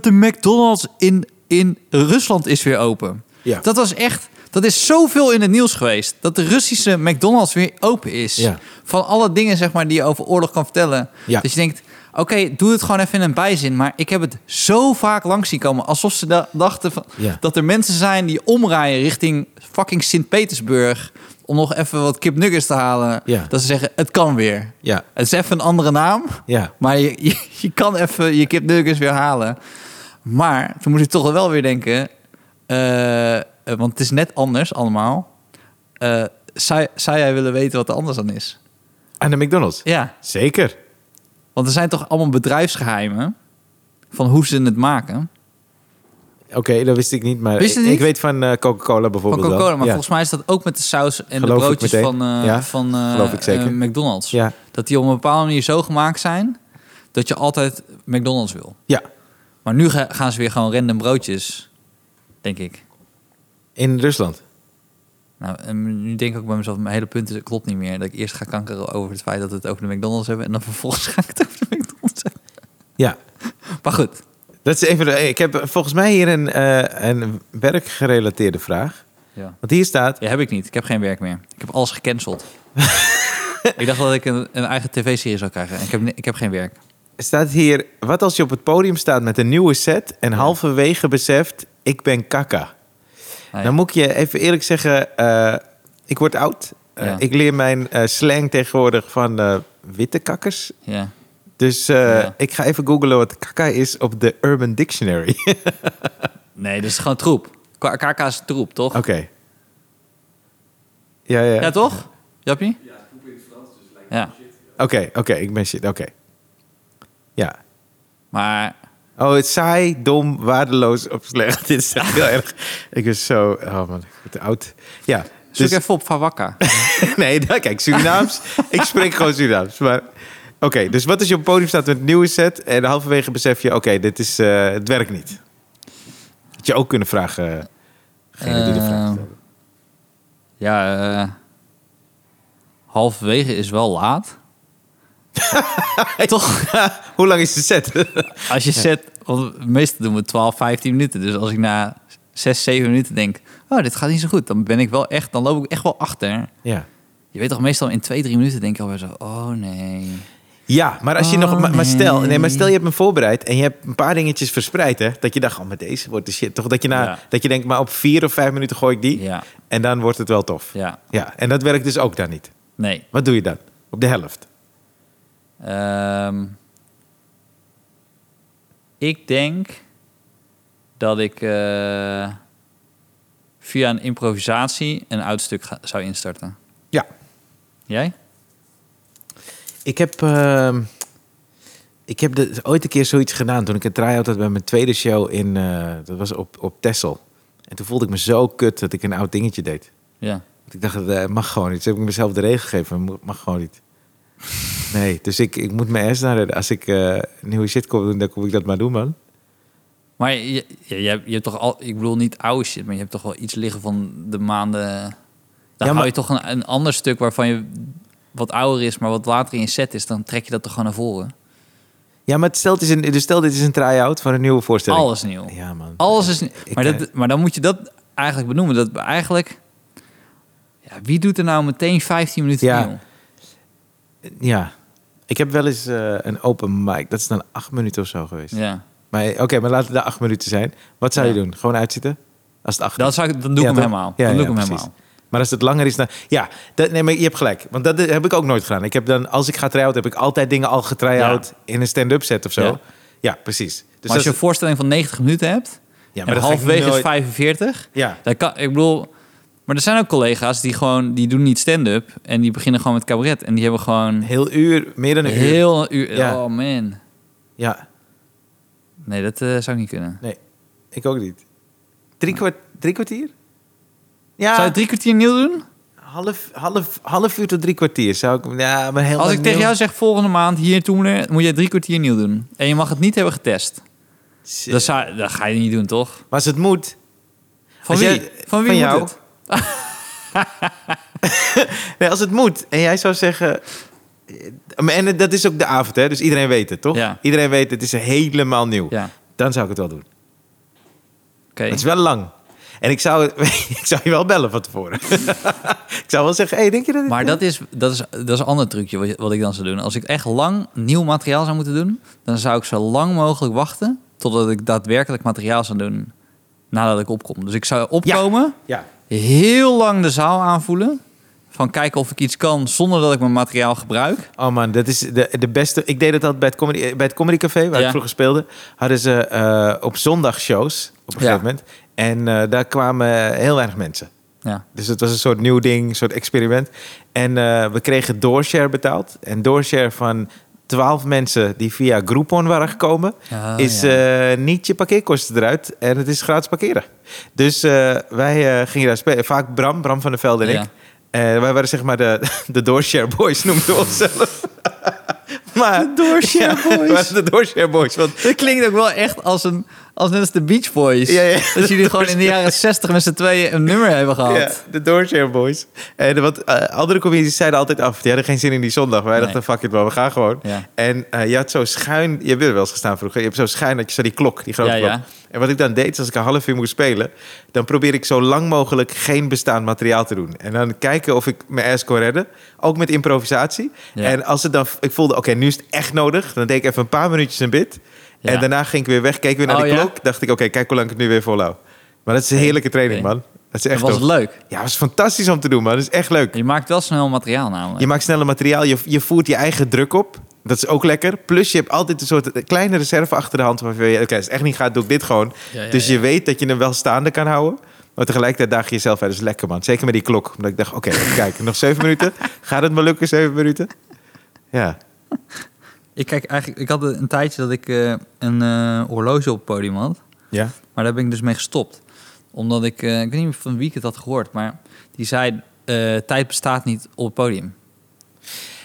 Speaker 1: De McDonald's in, in Rusland is weer open.
Speaker 2: Ja.
Speaker 1: Dat was echt... Dat is zoveel in het nieuws geweest. Dat de Russische McDonald's weer open is.
Speaker 2: Ja.
Speaker 1: Van alle dingen zeg maar, die je over oorlog kan vertellen.
Speaker 2: Ja.
Speaker 1: Dus je denkt, oké, doe het gewoon even in een bijzin. Maar ik heb het zo vaak langs zien komen. Alsof ze da- dachten van,
Speaker 2: Ja.
Speaker 1: dat er mensen zijn die omrijden richting fucking Sint-Petersburg. Om nog even wat kipnuggets te halen.
Speaker 2: Ja.
Speaker 1: Dat ze zeggen, het kan weer.
Speaker 2: Ja.
Speaker 1: Het is even een andere naam.
Speaker 2: Ja.
Speaker 1: Maar je, je, je kan even je kipnuggets weer halen. Maar toen moest ik toch wel weer denken... eh, eh, want het is net anders allemaal. Eh, zou, zou jij willen weten wat er anders dan is?
Speaker 2: Aan de McDonald's.
Speaker 1: Ja,
Speaker 2: Zeker.
Speaker 1: want er zijn toch allemaal bedrijfsgeheimen... van hoe ze het maken.
Speaker 2: Oké, dat wist ik niet. Maar
Speaker 1: Wist je
Speaker 2: ik,
Speaker 1: niet?
Speaker 2: ik weet van eh, Coca-Cola
Speaker 1: Van
Speaker 2: bijvoorbeeld.
Speaker 1: Coca-Cola. Maar
Speaker 2: wel. ja.
Speaker 1: volgens mij is dat ook met de saus en
Speaker 2: Geloof
Speaker 1: de
Speaker 2: ik
Speaker 1: broodjes
Speaker 2: meteen.
Speaker 1: van, eh,
Speaker 2: Ja,
Speaker 1: van eh,
Speaker 2: geloof ik zeker.
Speaker 1: eh, McDonald's.
Speaker 2: Ja.
Speaker 1: Dat die op een bepaalde manier zo gemaakt zijn... dat je altijd McDonald's wil.
Speaker 2: ja.
Speaker 1: Maar nu ga- gaan ze weer gewoon random broodjes, denk ik.
Speaker 2: In Rusland.
Speaker 1: Nou, en nu denk ik ook bij mezelf, mijn hele punt is, klopt niet meer. Dat ik eerst ga kankeren over het feit dat we het over de McDonald's hebben... en dan vervolgens [LAUGHS] ga ik het over de McDonald's hebben.
Speaker 2: Ja.
Speaker 1: Maar goed,
Speaker 2: Dat is even. de- Ik heb volgens mij hier een, eh, een werkgerelateerde vraag.
Speaker 1: ja.
Speaker 2: Want hier staat.
Speaker 1: ja, heb ik niet. Ik heb geen werk meer. Ik heb alles [LAUGHS] gecanceld. ik dacht dat ik een, een eigen tv-serie zou krijgen en ik heb, ni- ik heb geen werk.
Speaker 2: staat hier wat als je op het podium staat met een nieuwe set en halverwege beseft ik ben
Speaker 1: Ah,
Speaker 2: kaka.
Speaker 1: Nee.
Speaker 2: Dan moet ik je even eerlijk zeggen, eh, ik word oud. Eh,
Speaker 1: Ja.
Speaker 2: Ik leer mijn eh, slang tegenwoordig van eh, witte kakkers.
Speaker 1: Ja.
Speaker 2: Dus eh,
Speaker 1: Ja.
Speaker 2: ik ga even googlen wat kaka is op de Urban Dictionary. [LAUGHS] Oké.
Speaker 1: Nee, dat is gewoon troep. K- KK is troep, toch?
Speaker 2: Ja, ja.
Speaker 1: Ja,
Speaker 2: Oké,
Speaker 1: toch? Jappie? Ja, troep in het Frans, dus lijkt Ja,
Speaker 2: oké, ik ben shit. Oké. Ja.
Speaker 1: maar
Speaker 2: Oh, het is saai, dom, waardeloos of slecht. [LAUGHS] Dit is echt heel erg. Ik ben zo... Oh man, ik word oud. Ja.
Speaker 1: zoek
Speaker 2: dus-
Speaker 1: even op Fawakka.
Speaker 2: [LAUGHS] nee, daar, kijk, Surinaams. ik spreek gewoon Surinaams. Maar oké, dus wat als je op het podium staat met een nieuwe set... en halverwege besef je, oké, dit is, eh, het werkt niet. Had je ook kunnen vragen... Geen die de vraag
Speaker 1: Eh,
Speaker 2: stelde. [LAUGHS]
Speaker 1: Ja, eh, halverwege is wel laat. Toch?
Speaker 2: Hoe lang is de set?
Speaker 1: Als je zet, want meestal doen we 12, 15 minuten. Dus als ik na 6, 7 minuten denk, oh, dit gaat niet zo goed. Dan ben ik wel echt, dan loop ik echt wel achter.
Speaker 2: ja.
Speaker 1: Je weet toch meestal in 2, 3 minuten denk je alweer zo, oh nee.
Speaker 2: Ja, maar als je
Speaker 1: Oh,
Speaker 2: nog. Maar, maar stel, nee, maar
Speaker 1: nee.
Speaker 2: stel je hebt hem voorbereid en je hebt een paar dingetjes verspreid, hè? Dat je dacht, oh, maar deze wordt de shit. Toch dat je na,
Speaker 1: Ja.
Speaker 2: dat je denkt, maar op vier of vijf minuten gooi ik die
Speaker 1: Ja.
Speaker 2: en dan wordt het wel tof.
Speaker 1: Ja,
Speaker 2: Ja, en dat werkt dus ook dan niet.
Speaker 1: nee.
Speaker 2: Wat doe je dan? Op de helft.
Speaker 1: Ehm, ik denk dat ik eh, via een improvisatie een oud stuk ga- zou instarten.
Speaker 2: Ja.
Speaker 1: Jij?
Speaker 2: Ik heb, ehm, ik heb de- ooit een keer zoiets gedaan toen ik een try-out had bij mijn tweede show in, eh, dat was op, op Texel. En toen voelde ik me zo kut dat ik een oud dingetje deed.
Speaker 1: Ja.
Speaker 2: Want Ik dacht, dat eh, mag gewoon niet. Dus heb ik mezelf de regel gegeven, mo- mag gewoon
Speaker 1: [LAUGHS]
Speaker 2: niet. Nee, dus ik, ik moet mijn ass naar redden. Als ik eh, nieuwe shit kom doen, dan kom ik dat maar doen, man.
Speaker 1: Maar je, je, je hebt, je hebt toch al, ik bedoel niet oude shit, maar je hebt toch wel iets liggen van de maanden. Dan hou
Speaker 2: maar-
Speaker 1: je toch een, een ander stuk waarvan je wat ouder is, maar wat later in je set is, dan trek je dat toch gewoon naar voren.
Speaker 2: Ja, maar het stelt is een, dus stel dit is een try-out van een nieuwe voorstelling.
Speaker 1: Alles nieuw.
Speaker 2: Ja, man.
Speaker 1: Alles is.
Speaker 2: Ik,
Speaker 1: Maar,
Speaker 2: eh,
Speaker 1: dat, maar dan moet je dat eigenlijk benoemen. Dat eigenlijk. Ja, wie doet er nou meteen 15 minuten
Speaker 2: Ja.
Speaker 1: nieuw?
Speaker 2: Ja. Ik heb wel eens eh, een open mic. Dat is dan acht minuten of zo geweest.
Speaker 1: Ja.
Speaker 2: Maar oké, maar laten het de acht minuten zijn. Wat zou je
Speaker 1: Ja.
Speaker 2: doen? Gewoon uitzitten? Als het acht
Speaker 1: Dan, zou ik, dan doe ik
Speaker 2: Ja,
Speaker 1: hem
Speaker 2: toch?
Speaker 1: helemaal.
Speaker 2: Ja,
Speaker 1: dan doe
Speaker 2: ja,
Speaker 1: ik hem
Speaker 2: precies.
Speaker 1: helemaal.
Speaker 2: Maar als het langer is dan... Ja, dat, nee, maar je hebt gelijk. Want dat heb ik ook nooit gedaan. Ik heb dan, als ik ga try-out, heb ik altijd dingen al getry-out in een stand-up set of zo.
Speaker 1: Ja.
Speaker 2: Ja, precies. Dus
Speaker 1: maar als je
Speaker 2: dat
Speaker 1: een
Speaker 2: is-
Speaker 1: voorstelling van 90 minuten hebt...
Speaker 2: ja,
Speaker 1: en
Speaker 2: dat ga ik
Speaker 1: halverwege is
Speaker 2: nooit-
Speaker 1: 45...
Speaker 2: Ja,
Speaker 1: Dat kan, ik bedoel... Maar er zijn ook collega's die gewoon... Die doen niet stand-up en die beginnen gewoon met cabaret. En die hebben
Speaker 2: een
Speaker 1: gewoon
Speaker 2: heel uur, meer dan een uur.
Speaker 1: heel... een uur-
Speaker 2: Ja.
Speaker 1: Oh man.
Speaker 2: Ja,
Speaker 1: Nee, dat eh, zou ik niet kunnen.
Speaker 2: nee, ik ook niet. Drie, kwart, drie kwartier? Ja,
Speaker 1: Zou je drie kwartier nieuw doen?
Speaker 2: half, half, half uur tot drie kwartier zou ik... Ja, maar heel
Speaker 1: Als
Speaker 2: lang
Speaker 1: ik tegen
Speaker 2: nieuw-
Speaker 1: jou zeg volgende maand hier toen er, moet jij drie kwartier nieuw doen. En je mag het niet hebben getest.
Speaker 2: Shit.
Speaker 1: Dat, zou, dat ga je niet doen, toch?
Speaker 2: Maar als het moet...
Speaker 1: Van
Speaker 2: Als
Speaker 1: wie?
Speaker 2: jij-
Speaker 1: van wie
Speaker 2: van
Speaker 1: moet
Speaker 2: jou.
Speaker 1: het?
Speaker 2: Nee, als het moet. En jij zou zeggen... eh, En dat is ook de avond, hè? Dus iedereen weet het, toch?
Speaker 1: Ja.
Speaker 2: Iedereen weet het. Het is helemaal nieuw.
Speaker 1: Ja,
Speaker 2: Dan zou ik het wel doen.
Speaker 1: oké.
Speaker 2: Het is wel lang. En ik zou, [LAUGHS] ik zou je wel bellen van tevoren. [LAUGHS] ik zou wel zeggen, hey, denk je dat... dit-
Speaker 1: Maar dat is, dat, is, dat is een ander trucje wat, wat ik dan zou doen. Als ik echt lang nieuw materiaal zou moeten doen... dan zou ik zo lang mogelijk wachten... totdat ik daadwerkelijk materiaal zou doen nadat ik opkom. Dus ik zou opkomen,
Speaker 2: Ja,
Speaker 1: heel lang de zaal aanvoelen... van kijken of ik iets kan zonder dat ik mijn materiaal gebruik.
Speaker 2: Oh man, dat is de, de beste. Ik deed het altijd bij het Comedy, eh, bij het comedy Café, waar
Speaker 1: Ja.
Speaker 2: ik vroeger speelde. Hadden ze eh, op zondag shows op een
Speaker 1: Ja.
Speaker 2: gegeven moment. En eh, daar kwamen eh, heel weinig mensen.
Speaker 1: Ja.
Speaker 2: Dus het was een soort nieuw ding, een soort experiment. En eh, we kregen doorshare betaald. En doorshare van 12 mensen die via Groupon waren gekomen,
Speaker 1: Ah,
Speaker 2: is
Speaker 1: ja.
Speaker 2: eh, niet je parkeerkosten eruit. En het is gratis parkeren. Dus eh, wij eh, gingen daar spelen. Vaak Bram, Bram van der Velde en
Speaker 1: Ja.
Speaker 2: ik. Eh, wij waren zeg maar de, [LAUGHS] de doorshare boys, noemden we onszelf. [LAUGHS] maar, de [LAUGHS]
Speaker 1: doorshare boys.
Speaker 2: de doorshare boys. Want
Speaker 1: Dat klinkt ook wel echt als een... als net als de Beach Boys.
Speaker 2: Ja, ja.
Speaker 1: Dat jullie gewoon in de jaren zestig met z'n tweeën een nummer hebben gehad.
Speaker 2: Ja, de Doorshare Boys. En wat eh, andere comedies zeiden altijd af. Die hadden geen zin in die zondag. Wij
Speaker 1: Nee.
Speaker 2: dachten, fuck it wel, we gaan gewoon.
Speaker 1: Ja.
Speaker 2: En eh, je had zo schuin... Je hebt er wel eens gestaan vroeger. Je hebt zo schuin dat je zo die klok, die grote
Speaker 1: Ja,
Speaker 2: klok.
Speaker 1: ja.
Speaker 2: En wat ik dan deed, is als ik een half uur moest spelen... dan probeer ik zo lang mogelijk geen bestaand materiaal te doen. En dan kijken of ik mijn ass kon redden. Ook met improvisatie.
Speaker 1: Ja.
Speaker 2: En als het dan... Ik voelde, oké, nu is het echt nodig. Dan deed ik even een paar minuutjes een bit.
Speaker 1: Ja.
Speaker 2: En daarna ging ik weer weg, keek weer naar
Speaker 1: Oh,
Speaker 2: die
Speaker 1: ja?
Speaker 2: klok. Dacht ik, oké, kijk hoe lang ik het nu weer volhou. Maar dat is een heerlijke training,
Speaker 1: Oké.
Speaker 2: man. Dat is
Speaker 1: En
Speaker 2: echt
Speaker 1: was
Speaker 2: tof.
Speaker 1: het leuk.
Speaker 2: Ja, het is fantastisch om te doen, man. Dat is echt leuk.
Speaker 1: Je maakt wel snel materiaal namelijk.
Speaker 2: Je maakt sneller materiaal, je, je voert je eigen druk op. Dat is ook lekker. Plus je hebt altijd een soort kleine reserve achter de hand... waarvan je, oké, als het echt niet gaat, doe ik dit gewoon.
Speaker 1: Ja, ja,
Speaker 2: dus
Speaker 1: ja.
Speaker 2: je weet dat je hem wel staande kan houden. Maar tegelijkertijd daag je jezelf uit. Dat is lekker, man. Zeker met die klok. Omdat ik dacht,
Speaker 1: [LAUGHS]
Speaker 2: oké, even kijken. Nog zeven minuten. Gaat het me lukken, zeven minuten? Ja.
Speaker 1: Ik kijk eigenlijk, ik had een tijdje dat ik eh, een eh, horloge op het podium had,
Speaker 2: Ja?
Speaker 1: maar daar ben ik dus mee gestopt. Omdat ik, eh, ik weet niet meer van wie ik het had gehoord, maar die zei, eh, tijd bestaat niet op het podium.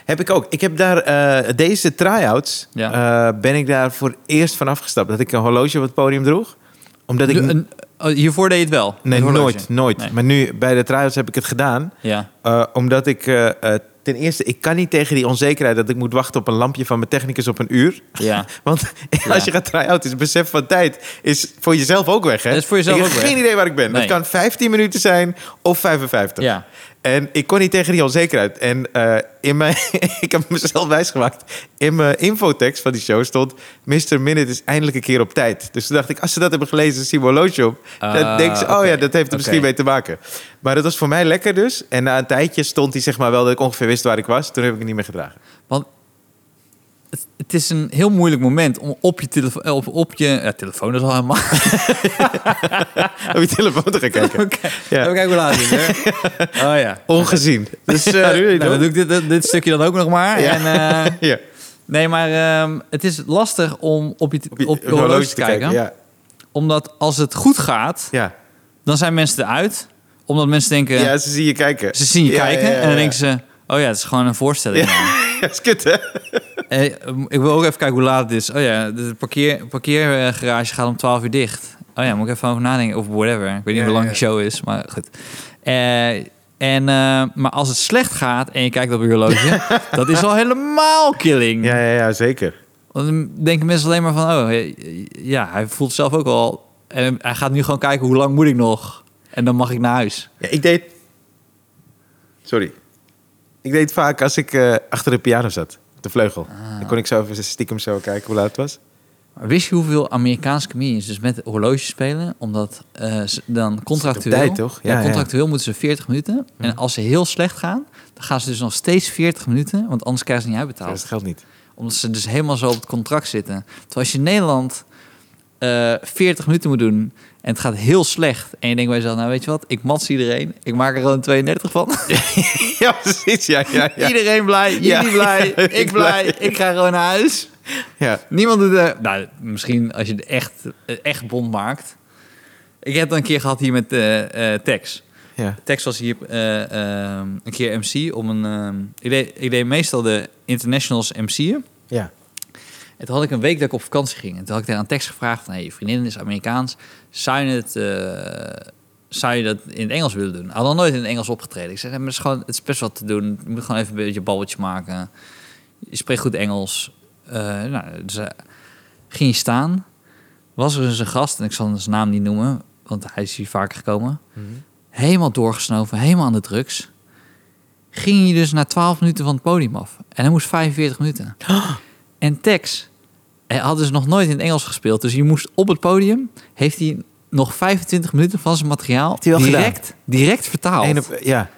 Speaker 2: Heb ik ook. Ik heb daar eh, deze try-outs... eh, ben ik daar voor eerst van afgestapt. Dat ik een horloge op het podium droeg. Omdat ik...
Speaker 1: Nu- een- oh, hiervoor deed je het wel?
Speaker 2: Nee,
Speaker 1: Een horloge.
Speaker 2: nooit, nooit.
Speaker 1: Nee.
Speaker 2: Maar nu, bij de try heb ik het gedaan.
Speaker 1: Ja,
Speaker 2: eh, omdat ik, eh, eh, ten eerste, ik kan niet tegen die onzekerheid... dat ik moet wachten op een lampje van mijn technicus op een uur.
Speaker 1: ja.
Speaker 2: [LAUGHS] Want
Speaker 1: Ja.
Speaker 2: als je gaat try-out, is het besef van tijd... is voor jezelf ook weg, hè?
Speaker 1: Dat is voor jezelf
Speaker 2: ik
Speaker 1: ook
Speaker 2: heb
Speaker 1: weg.
Speaker 2: geen idee waar ik ben.
Speaker 1: Nee.
Speaker 2: Het kan 15 minuten zijn of 55.
Speaker 1: ja.
Speaker 2: En ik kon niet tegen die onzekerheid. En eh, in mijn, [LAUGHS] ik heb mezelf wijsgemaakt. In mijn infotekst van die show stond... Mr. Minute is eindelijk een keer op tijd. Dus toen dacht ik, als ze dat hebben gelezen, zien we een horloge op.
Speaker 1: Ah,
Speaker 2: dan denk ze, oh
Speaker 1: oké.
Speaker 2: ja, dat heeft er misschien
Speaker 1: Oké.
Speaker 2: mee te maken. Maar dat was voor mij lekker dus. En na een tijdje stond hij zeg maar wel dat ik ongeveer wist waar ik was. Toen heb ik het niet meer
Speaker 1: [LAUGHS]
Speaker 2: gedragen.
Speaker 1: Want het, het is een heel moeilijk moment om op je telefoon, eh, op, op je ja, telefoon is al helemaal.
Speaker 2: Op je telefoon te gaan kijken.
Speaker 1: [LAUGHS] Oké,
Speaker 2: Ja.
Speaker 1: Even kijken hoe laat het is. hè. Oh ja.
Speaker 2: Ongezien.
Speaker 1: Dus eh,
Speaker 2: Ja, doe je
Speaker 1: nou,
Speaker 2: dat.
Speaker 1: dan doe ik dit, dit, dit stukje dan ook nog maar.
Speaker 2: Ja.
Speaker 1: En, eh,
Speaker 2: Ja,
Speaker 1: Nee, maar ehm, het is lastig om op je, op je, horloge, te kijken.
Speaker 2: Ja,
Speaker 1: Omdat als het goed gaat,
Speaker 2: ja.
Speaker 1: dan zijn mensen eruit. Omdat mensen denken,
Speaker 2: ja ze zien je kijken.
Speaker 1: ze zien je
Speaker 2: Ja,
Speaker 1: kijken.
Speaker 2: ja, ja,
Speaker 1: En dan
Speaker 2: ja.
Speaker 1: denken ze, oh ja, het is gewoon een voorstelling. man.
Speaker 2: [LAUGHS] Ja, dat is kut, hè?
Speaker 1: Eh, ik wil ook even kijken hoe laat het is. Oh ja, de parkeer, parkeergarage gaat om 12 uur dicht. Oh ja, moet ik even over nadenken. Of whatever. Ik weet niet
Speaker 2: Ja,
Speaker 1: hoe lang
Speaker 2: ja,
Speaker 1: de show is, maar goed. Eh, en, eh, maar als het slecht gaat en je kijkt op je
Speaker 2: [LAUGHS]
Speaker 1: horloge, dat is al helemaal killing.
Speaker 2: Ja, ja, ja, zeker.
Speaker 1: Want dan denken mensen alleen maar van, oh eh, ja, hij voelt zelf ook al. En hij gaat nu gewoon kijken hoe lang moet ik nog. En dan mag ik naar huis.
Speaker 2: Ja, ik deed. Sorry. Ik deed vaak
Speaker 1: Ah. Nou.
Speaker 2: als ik eh, achter de piano zat, op de vleugel. Dan kon ik zo even stiekem zo kijken hoe laat het was.
Speaker 1: Maar wist je hoeveel Amerikaanse comedians dus met horloges spelen? Omdat eh, ze dan contractueel...
Speaker 2: tijd, toch? Ja,
Speaker 1: Ja,
Speaker 2: ja.
Speaker 1: contractueel moeten ze 40 minuten. En als ze heel slecht gaan, dan gaan ze dus nog steeds 40 minuten. Want anders krijgen ze niet
Speaker 2: Dat is
Speaker 1: uitbetaald.
Speaker 2: het geld niet. [LAUGHS]
Speaker 1: Omdat ze dus helemaal zo op het contract zitten. Terwijl als je in Nederland eh 40 minuten moet doen en het gaat heel slecht. En je denkt bij jezelf, nou weet je wat, ik mats iedereen. Ik maak er gewoon 32 van.
Speaker 2: Ja, precies. Ja, ja,
Speaker 1: [LAUGHS]
Speaker 2: ja.
Speaker 1: Iedereen blij, jullie
Speaker 2: Ja, [LAUGHS]
Speaker 1: blij,
Speaker 2: ja,
Speaker 1: ik blij. Ik ga gewoon naar huis.
Speaker 2: ja.
Speaker 1: Niemand doet... eh, nou, misschien als je het echt, eh, echt bond maakt. Ik heb dat een keer gehad hier met eh, eh, Tex.
Speaker 2: ja.
Speaker 1: Tex was hier eh, ehm, een keer MC om een... ehm, ik, deed, ik deed meestal de internationals MC'en.
Speaker 2: ja.
Speaker 1: En toen had ik een week dat ik op vakantie ging. En toen had ik daar aan Tex gevraagd van... Hey, je vriendin is Amerikaans. Zou je, het, eh, zou je dat in het Engels willen doen? Hij had nog nooit in het Engels opgetreden. Ik zei, nee, maar het, is gewoon, het is best wat te doen. Je moet gewoon even een beetje babbeltje maken. Je spreekt goed Engels. Eh, nou, dus, eh, ging je staan. Was er dus een gast, en ik zal zijn naam niet noemen... want hij is hier vaker gekomen.
Speaker 2: Mhm.
Speaker 1: Helemaal doorgesnoven, helemaal aan de drugs. Ging hij dus na 12 minuten van het podium af. En hij moest 45 minuten.
Speaker 2: [GASPS]
Speaker 1: En Tex hij had dus nog nooit in het Engels gespeeld. Dus hij moest op het podium. Heeft hij nog 25 minuten van zijn materiaal
Speaker 2: hij wel
Speaker 1: direct, direct vertaald.
Speaker 2: Eén op- ja.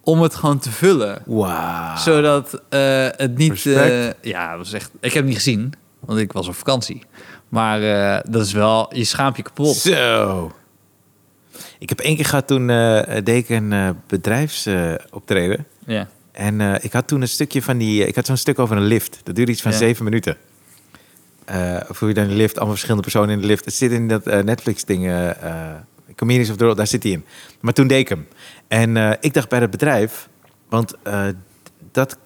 Speaker 1: Om het gewoon te vullen.
Speaker 2: Wauw.
Speaker 1: Ah. Zodat eh, het niet. eh
Speaker 2: Respect.
Speaker 1: ja, dat is echt. Ik heb het niet gezien, want ik was op vakantie. Maar eh, dat is wel. Je schaamt je kapot.
Speaker 2: Zo. Ik heb één keer gehad toen eh eh, deed ik een eh, bedrijfsoptreden.
Speaker 1: Ja.
Speaker 2: en eh, ik had toen een stukje van die. eh, ik had zo'n stuk over een lift. Dat duurde iets van
Speaker 1: Ja.
Speaker 2: zeven minuten. Eh of hoe je dan in de lift, allemaal verschillende personen in de lift. Het zit in dat eh, Netflix-ding. eh eh, Comedians of the World, daar zit hij in. Maar toen deed ik hem. En eh, ik dacht bij het bedrijf. Want eh, dat.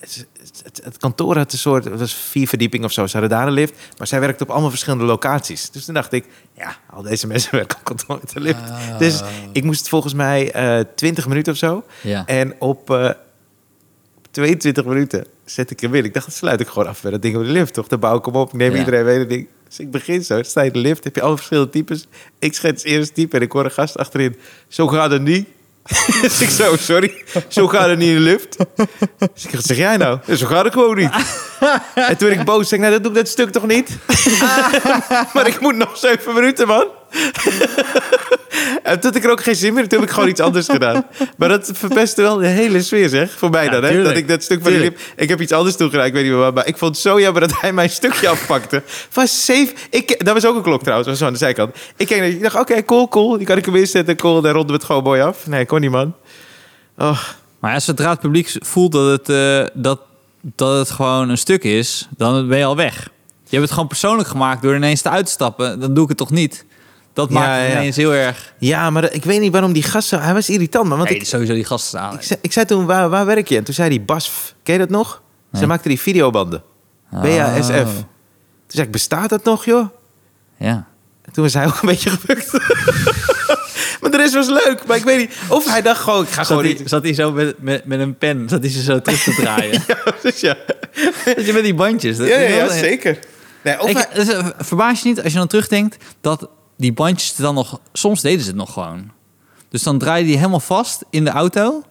Speaker 2: Het, het- het kantoor had een soort, het was vier verdieping of zo. Ze hadden daar een lift, maar zij werkte op allemaal verschillende locaties. Dus toen dacht ik, ja, al deze mensen [LAUGHS] werken op kantoor met de lift. Dus ik moest volgens mij eh, twintig minuten of zo.
Speaker 1: Ja.
Speaker 2: En op eh, 22 minuten zet ik hem in. Ik dacht, dat sluit ik gewoon af bij dat ding op de lift, toch? Dan bouw ik hem op, ik neem
Speaker 1: Ja.
Speaker 2: iedereen mee. dat ding. Dus ik begin zo, sta je in de lift, heb je alle verschillende types. Ik schets eerst type en ik hoor een gast achterin. Zo gaat het niet. [LAUGHS] dus ik zo, sorry, zo gaat het niet in de lift. Dus ik zeg, wat zeg jij nou? Ja, Zo gaat het gewoon niet. en toen werd ik boos, zei ik, nou, dat doe ik dat stuk toch niet?
Speaker 1: Ah.
Speaker 2: [LAUGHS] maar ik moet nog zeven minuten, man. en toen had ik er ook geen zin meer in. Toen heb ik gewoon iets anders gedaan. Maar dat verpestte wel de hele sfeer, zeg. Voor mij
Speaker 1: Ja,
Speaker 2: dan, hè. Dat
Speaker 1: tuurlijk.
Speaker 2: ik dat stuk van die
Speaker 1: Tuurlijk.
Speaker 2: lip... Ik heb iets anders toegedaan, ik weet niet meer waar. Maar ik vond het zo jammer dat hij mijn stukje afpakte. Van zeven... Ik, dat was ook een klok trouwens, was zo aan de zijkant. Ik keek naar die, ik dacht, oké, cool, cool. Die kan ik hem inzetten, cool. Dan ronden we het gewoon mooi af. Nee, kon niet, man. Oh,
Speaker 1: Maar ja, zodra het publiek voelt dat het, eh, dat, dat het gewoon een stuk is, dan ben je al weg. Je hebt het gewoon persoonlijk gemaakt door ineens te uitstappen. Dan doe ik het toch niet. Dat
Speaker 2: Ja,
Speaker 1: maakt
Speaker 2: ja,
Speaker 1: het
Speaker 2: ja.
Speaker 1: ineens heel erg.
Speaker 2: Ja, maar ik weet niet waarom die gast zo... Hij was irritant, man. Want
Speaker 1: Nee,
Speaker 2: ik,
Speaker 1: sowieso die gasten aan.
Speaker 2: ik, zei, ik zei toen, waar, waar werk je? En toen zei hij, BASF. Ken je dat nog? Ze
Speaker 1: Nee.
Speaker 2: maakte die videobanden. Ah. BASF.
Speaker 1: Oh,
Speaker 2: Toen zei ik, bestaat dat nog, joh?
Speaker 1: Ja.
Speaker 2: En toen was hij ook een beetje gebukt. [LAUGHS] maar de rest was leuk. Maar ik weet niet... Of hij dacht gewoon, ik ga
Speaker 1: Zat
Speaker 2: gewoon
Speaker 1: hij,
Speaker 2: niet... [LAUGHS]
Speaker 1: zat hij zo met, met, met een pen, zat hij ze zo terug te [LAUGHS] draaien.
Speaker 2: Ja, dus ja.
Speaker 1: dat je met die bandjes. dat-
Speaker 2: Ja, ja, ja,
Speaker 1: dat-
Speaker 2: zeker. Nee, of
Speaker 1: Ik,
Speaker 2: hij-
Speaker 1: dus, eh, verbaas je niet als je dan terugdenkt dat die bandjes dan nog... Soms deden ze het nog gewoon. Dus dan draai je die helemaal vast in de auto.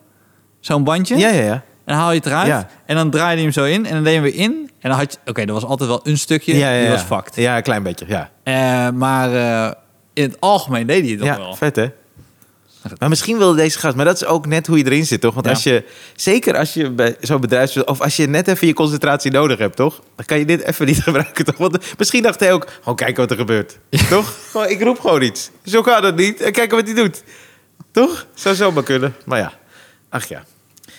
Speaker 1: Zo'n bandje.
Speaker 2: ja, ja, ja.
Speaker 1: En dan haal je het eruit.
Speaker 2: Ja.
Speaker 1: En dan draaide je hem zo in. En dan deed je hem weer in. En dan had je... Oké, er was altijd wel een stukje.
Speaker 2: ja, ja,
Speaker 1: Die
Speaker 2: ja.
Speaker 1: was fucked.
Speaker 2: Ja, een klein beetje, ja.
Speaker 1: Eh, maar eh, in het algemeen deed hij het nog
Speaker 2: Ja,
Speaker 1: wel.
Speaker 2: vet hè? Maar misschien wilde deze gast, maar dat is ook net hoe je erin zit, toch? Want
Speaker 1: Ja.
Speaker 2: als je, zeker als je bij zo'n bedrijf of als je net even je concentratie nodig hebt, toch? Dan kan je dit even niet [LAUGHS] gebruiken, toch? Want misschien dacht hij ook, gewoon kijken wat er
Speaker 1: [LAUGHS]
Speaker 2: gebeurt, toch? Gewoon, ik roep gewoon iets. Zo gaat dat niet. En kijken wat hij doet, toch? Zou zomaar kunnen. Maar ja, ach ja.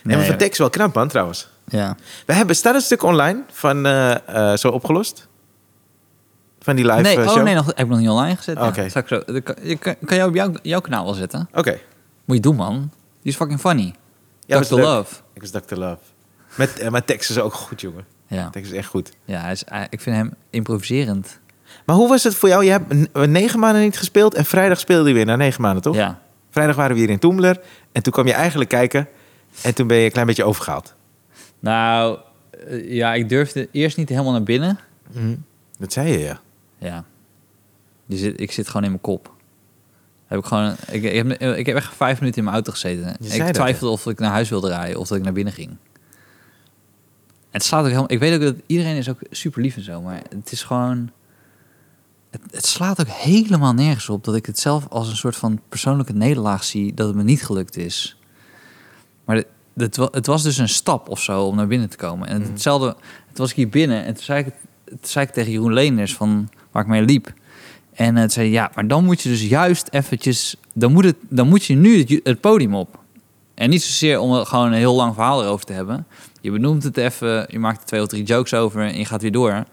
Speaker 1: Nee,
Speaker 2: en we
Speaker 1: ja.
Speaker 2: tekst wel knap, man, trouwens.
Speaker 1: Ja.
Speaker 2: We hebben, staat een stuk online van eh, eh, Zo Opgelost? Van die live
Speaker 1: Nee,
Speaker 2: eh,
Speaker 1: oh
Speaker 2: show?
Speaker 1: nee, nog, heb ik nog niet online gezet.
Speaker 2: Oké.
Speaker 1: Ja, zal ik zo, dan kan, je kan, kan jij op jouw, jouw kanaal wel zetten?
Speaker 2: Oké.
Speaker 1: Moet je doen, man. Die is fucking funny.
Speaker 2: Ja,
Speaker 1: Ja,
Speaker 2: was
Speaker 1: Dr.
Speaker 2: leuk.
Speaker 1: Love.
Speaker 2: Ik was Dr. Love. Met, eh, maar Tex is ook goed, jongen.
Speaker 1: Ja,
Speaker 2: Tex is echt goed.
Speaker 1: ja hij is, hij- ik vind hem improviserend.
Speaker 2: Maar hoe was het voor jou? Je hebt n- negen maanden niet gespeeld en vrijdag speelde je weer na negen maanden, toch?
Speaker 1: Ja.
Speaker 2: Vrijdag waren we hier in Toemler en toen kwam je eigenlijk kijken en toen ben je een klein beetje overgehaald.
Speaker 1: Nou, eh, ja, ik durfde eerst niet helemaal naar binnen.
Speaker 2: Dat zei je, ja.
Speaker 1: Ja. Je zit, ik zit gewoon in mijn kop. Heb ik, gewoon, ik, ik, heb, ik heb echt vijf minuten in mijn auto gezeten.
Speaker 2: Je zei
Speaker 1: ik
Speaker 2: dat,
Speaker 1: twijfelde of ik naar huis wilde rijden of dat ik naar binnen ging. En het slaat ook helemaal... Ik weet ook dat iedereen is ook super lief en zo, maar het is gewoon... het, het slaat ook helemaal nergens op dat ik het zelf als een soort van persoonlijke nederlaag zie dat het me niet gelukt is. Maar het, het, wa- het was dus een stap of zo om naar binnen te komen. En
Speaker 2: Mhm.
Speaker 1: hetzelfde, het was ik hier binnen en toen zei ik, het- toen zei ik tegen Jeroen Leenders van waar ik mee liep. En het zei hij, ja, maar dan moet je dus juist eventjes, dan moet, het, dan moet je nu het, ju- het podium op. En niet zozeer om er gewoon een heel lang verhaal erover te hebben. Je benoemt het even, je maakt er twee of drie jokes over en je gaat weer door.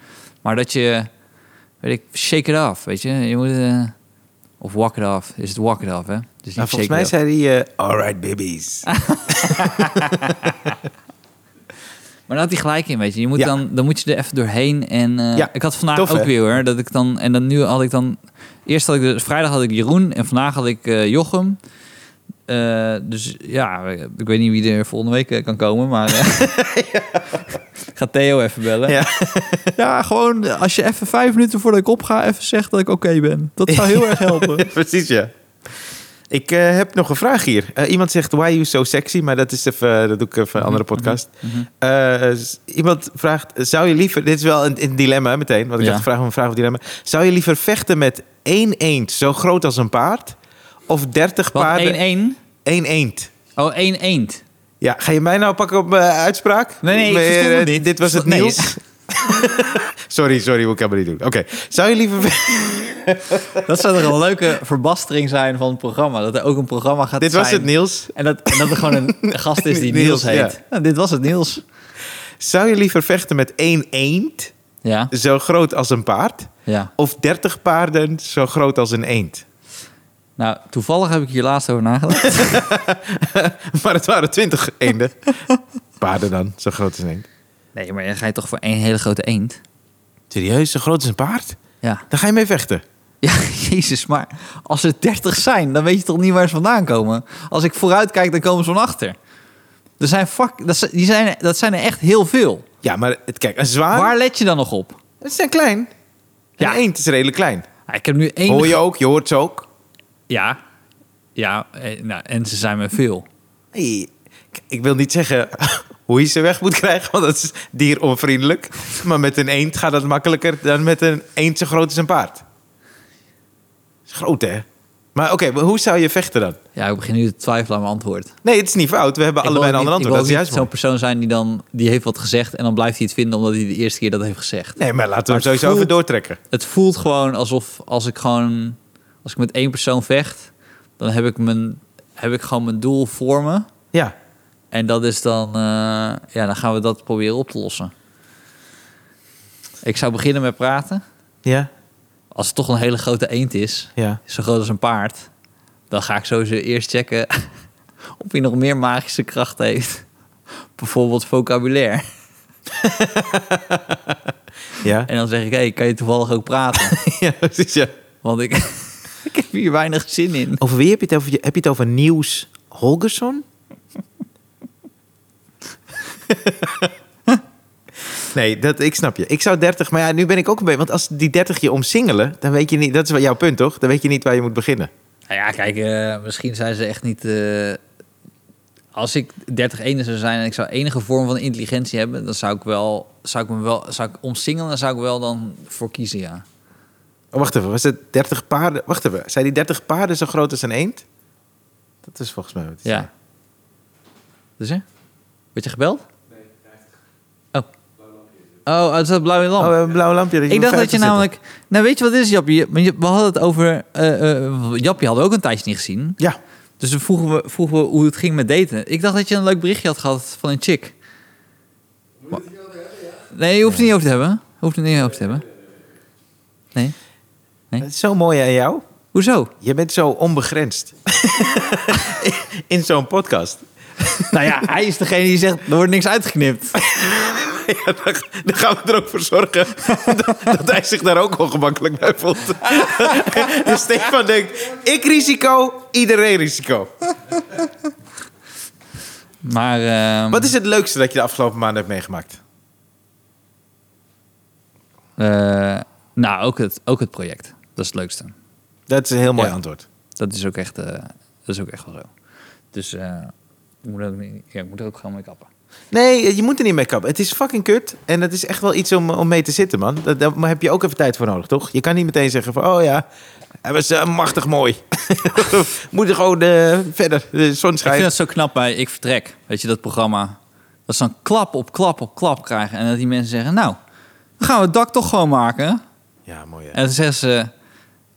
Speaker 1: Maar dat je, weet ik, shake it off, weet je. je moet, eh, of walk it off. Is het walk it off, hè? Dus niet shake
Speaker 2: Nou,
Speaker 1: it
Speaker 2: volgens mij
Speaker 1: off.
Speaker 2: zei hij, eh, alright babies.
Speaker 1: Maar daar had hij gelijk in, weet je. je moet
Speaker 2: Ja.
Speaker 1: dan, dan moet je er even doorheen. En eh,
Speaker 2: Ja.
Speaker 1: ik had vandaag
Speaker 2: Tof,
Speaker 1: ook
Speaker 2: hè?
Speaker 1: weer hoor. Dat ik dan, en dan nu had ik dan... Eerst had ik dus, vrijdag had ik Jeroen en vandaag had ik eh, Jochem. Eh, dus ja, ik weet niet wie er volgende week eh, kan komen, maar... [LAUGHS] eh Ga Theo even bellen.
Speaker 2: Ja.
Speaker 1: [LAUGHS] Ja, gewoon eh, als je even vijf minuten voordat ik opga... even zegt dat ik oké ben. Dat zou heel erg [LAUGHS] helpen.
Speaker 2: Precies, [LAUGHS] ja. Ik eh, heb nog een vraag hier. Eh, iemand zegt, why you so sexy? Maar dat, is even, eh, dat doe ik even een andere podcast.
Speaker 1: Mhm.
Speaker 2: Eh, s- iemand vraagt, zou je liever... Dit is wel een, een dilemma meteen, want ik
Speaker 1: Ja.
Speaker 2: had gevraagd om een vraag of dilemma. Zou je liever vechten met één eend zo groot als een paard? Of dertig
Speaker 1: Wat, e-
Speaker 2: paarden...
Speaker 1: 1-1?
Speaker 2: één eend.
Speaker 1: Oh, 1 eend.
Speaker 2: Ja, ga je mij nou pakken op mijn uitspraak?
Speaker 1: Nee, nee, ik
Speaker 2: Maar, eh,
Speaker 1: verstond het
Speaker 2: dit.
Speaker 1: niet.
Speaker 2: was het
Speaker 1: Nee.
Speaker 2: nieuws. [LAUGHS] sorry, sorry, ik kan het niet doen. Oké, zou je liever...
Speaker 1: Dat zou toch een leuke verbastering zijn van het programma. Dat er ook een programma gaat
Speaker 2: [LAUGHS] dit
Speaker 1: zijn.
Speaker 2: was het nieuws.
Speaker 1: En dat, en dat er gewoon [LAUGHS] een gast is die
Speaker 2: Niels,
Speaker 1: Niels heet.
Speaker 2: ja.
Speaker 1: Nou, dit was het Niels.
Speaker 2: Zou je liever vechten met één eend...
Speaker 1: Ja,
Speaker 2: zo groot als een paard?
Speaker 1: ja.
Speaker 2: Of 30 paarden zo groot als een eend? [LAUGHS]
Speaker 1: Nou, toevallig heb ik hier laatst over [LAUGHS] nagedacht.
Speaker 2: Maar het waren 20 [LAUGHS] eenden. Paarden dan, zo groot als een eend.
Speaker 1: Nee, maar dan ga je toch voor één hele grote eend?
Speaker 2: Serieus, zo groot als een paard?
Speaker 1: Ja.
Speaker 2: Daar ga je mee vechten.
Speaker 1: [LAUGHS] Ja, jezus, maar als er dertig zijn, dan weet je toch niet waar ze vandaan komen? Als ik vooruit kijk, dan komen ze van achter. Er zijn fuck, dat, zijn, die zijn, dat zijn er echt heel veel.
Speaker 2: Ja, maar het, kijk, een zwaar...
Speaker 1: Waar let je dan nog op?
Speaker 2: Ze zijn klein. Een
Speaker 1: Ja.
Speaker 2: eend is redelijk klein.
Speaker 1: Ah, Ik heb nu één...
Speaker 2: Hoor je ook, je hoort ze ook.
Speaker 1: Ja, ja eh, nou, en ze zijn me veel.
Speaker 2: Hey, k- Ik wil niet zeggen [LAUGHS] hoe je ze weg moet krijgen, want dat is dieronvriendelijk. Maar met een eend gaat dat makkelijker dan met een eend zo groot als een paard. is groot, hè? Maar oké, maar hoe zou je vechten dan?
Speaker 1: Ja, ik begin nu te twijfelen aan mijn antwoord.
Speaker 2: Nee, het is niet fout. We hebben
Speaker 1: Ik
Speaker 2: allebei een
Speaker 1: wil ook
Speaker 2: ander
Speaker 1: niet-
Speaker 2: antwoord. Dat is
Speaker 1: Ik wil ook
Speaker 2: juist
Speaker 1: niet zo'n persoon
Speaker 2: mooi.
Speaker 1: zijn die dan die heeft wat gezegd en dan blijft hij het vinden omdat hij de eerste keer dat heeft gezegd.
Speaker 2: Nee, maar laten we
Speaker 1: Maar
Speaker 2: hem sowieso
Speaker 1: voelt-
Speaker 2: even doortrekken.
Speaker 1: Het voelt gewoon alsof als ik gewoon als ik met één persoon vecht, dan heb ik mijn heb ik gewoon mijn doel voor me
Speaker 2: Ja.
Speaker 1: en dat is dan eh, ja dan gaan we dat proberen op te lossen. Ik zou beginnen met praten.
Speaker 2: Ja.
Speaker 1: Als het toch een hele grote eend is,
Speaker 2: Ja.
Speaker 1: zo groot als een paard, dan ga ik sowieso eerst checken [LAUGHS] of hij nog meer magische kracht heeft. Bijvoorbeeld vocabulaire.
Speaker 2: Ja.
Speaker 1: En dan zeg ik, hey, kan je toevallig ook [LAUGHS] praten?
Speaker 2: [LAUGHS] ja, precies, ja.
Speaker 1: Want ik, [LAUGHS] ik heb hier weinig zin in.
Speaker 2: Over wie heb je het over? Heb je het over Niels Holgersson? [LAUGHS] nee, dat, ik snap je. Ik zou 30, maar ja, nu ben ik ook een beetje... Want als die 30 je omsingelen, dan weet je niet... Dat is wel jouw punt, toch? Dan weet je niet waar je moet beginnen.
Speaker 1: Nou ja, kijk, eh, misschien zijn ze echt niet... eh, als ik 30 ene zou zijn en ik zou enige vorm van intelligentie hebben... dan zou ik, wel, zou ik me wel... Zou ik omsingelen, zou ik wel dan voor kiezen, ja.
Speaker 2: Oh, wacht even, was het 30 paarden? Wacht even, zijn die 30 paarden zo groot als een eend? Dat is volgens mij wat het is.
Speaker 1: Ja. Dus hè? Word je gebeld? Nee, 50. Oh. Oh, het is dat blauwe
Speaker 2: Oh,
Speaker 1: lamp.
Speaker 2: we hebben een blauw lampje.
Speaker 1: Ik dacht dat je
Speaker 2: vijftig
Speaker 1: namelijk... Nou, weet je wat het is, Jappie? Je- maar je- We hadden het over... eh eh Jappie hadden we ook een tijdje niet gezien.
Speaker 2: zit. Ja,
Speaker 1: Dus toen vroegen we, vroegen we hoe het ging met daten. Ik dacht dat je een leuk berichtje had gehad van een chick. Nee, je hoeft het niet over te hebben. Hoeft het niet over te hebben. Nee.
Speaker 2: het is zo mooi aan jou.
Speaker 1: Hoezo?
Speaker 2: Je bent zo onbegrensd. [LAUGHS] In zo'n podcast.
Speaker 1: [LAUGHS] Nou ja, hij is degene die zegt, er wordt niks uitgeknipt.
Speaker 2: [LAUGHS] Ja, dan, dan gaan we er ook voor zorgen [LAUGHS] dat, dat hij zich daar ook ongemakkelijk bij voelt. [LAUGHS] dus Stefan denkt, ik risico, iedereen risico.
Speaker 1: Maar ehm,
Speaker 2: Wat is het leukste dat je de afgelopen maanden hebt meegemaakt?
Speaker 1: eh, nou, ook het, ook het project. Dat is het leukste.
Speaker 2: Dat is een heel mooi
Speaker 1: Ja.
Speaker 2: antwoord.
Speaker 1: Dat is ook echt, eh, dat is ook echt wel zo. Dus eh, ik, moet er ook niet, ja, ik moet er ook gewoon mee kappen.
Speaker 2: Nee, je moet er niet mee kappen. Het is fucking kut. En het is echt wel iets om, om mee te zitten, man. Daar, daar heb je ook even tijd voor nodig, toch? Je kan niet meteen zeggen van, oh ja, hij was eh, machtig mooi. [LAUGHS] moet er gewoon eh, verder. De zon
Speaker 1: Ik
Speaker 2: schijnt.
Speaker 1: vind dat zo knap bij Ik Vertrek. Weet je, dat programma. Dat ze dan klap op klap op klap krijgen. En dat die mensen zeggen, nou, dan gaan we het dak toch gewoon maken.
Speaker 2: Ja, mooi. Hè?
Speaker 1: En dan zeggen ze,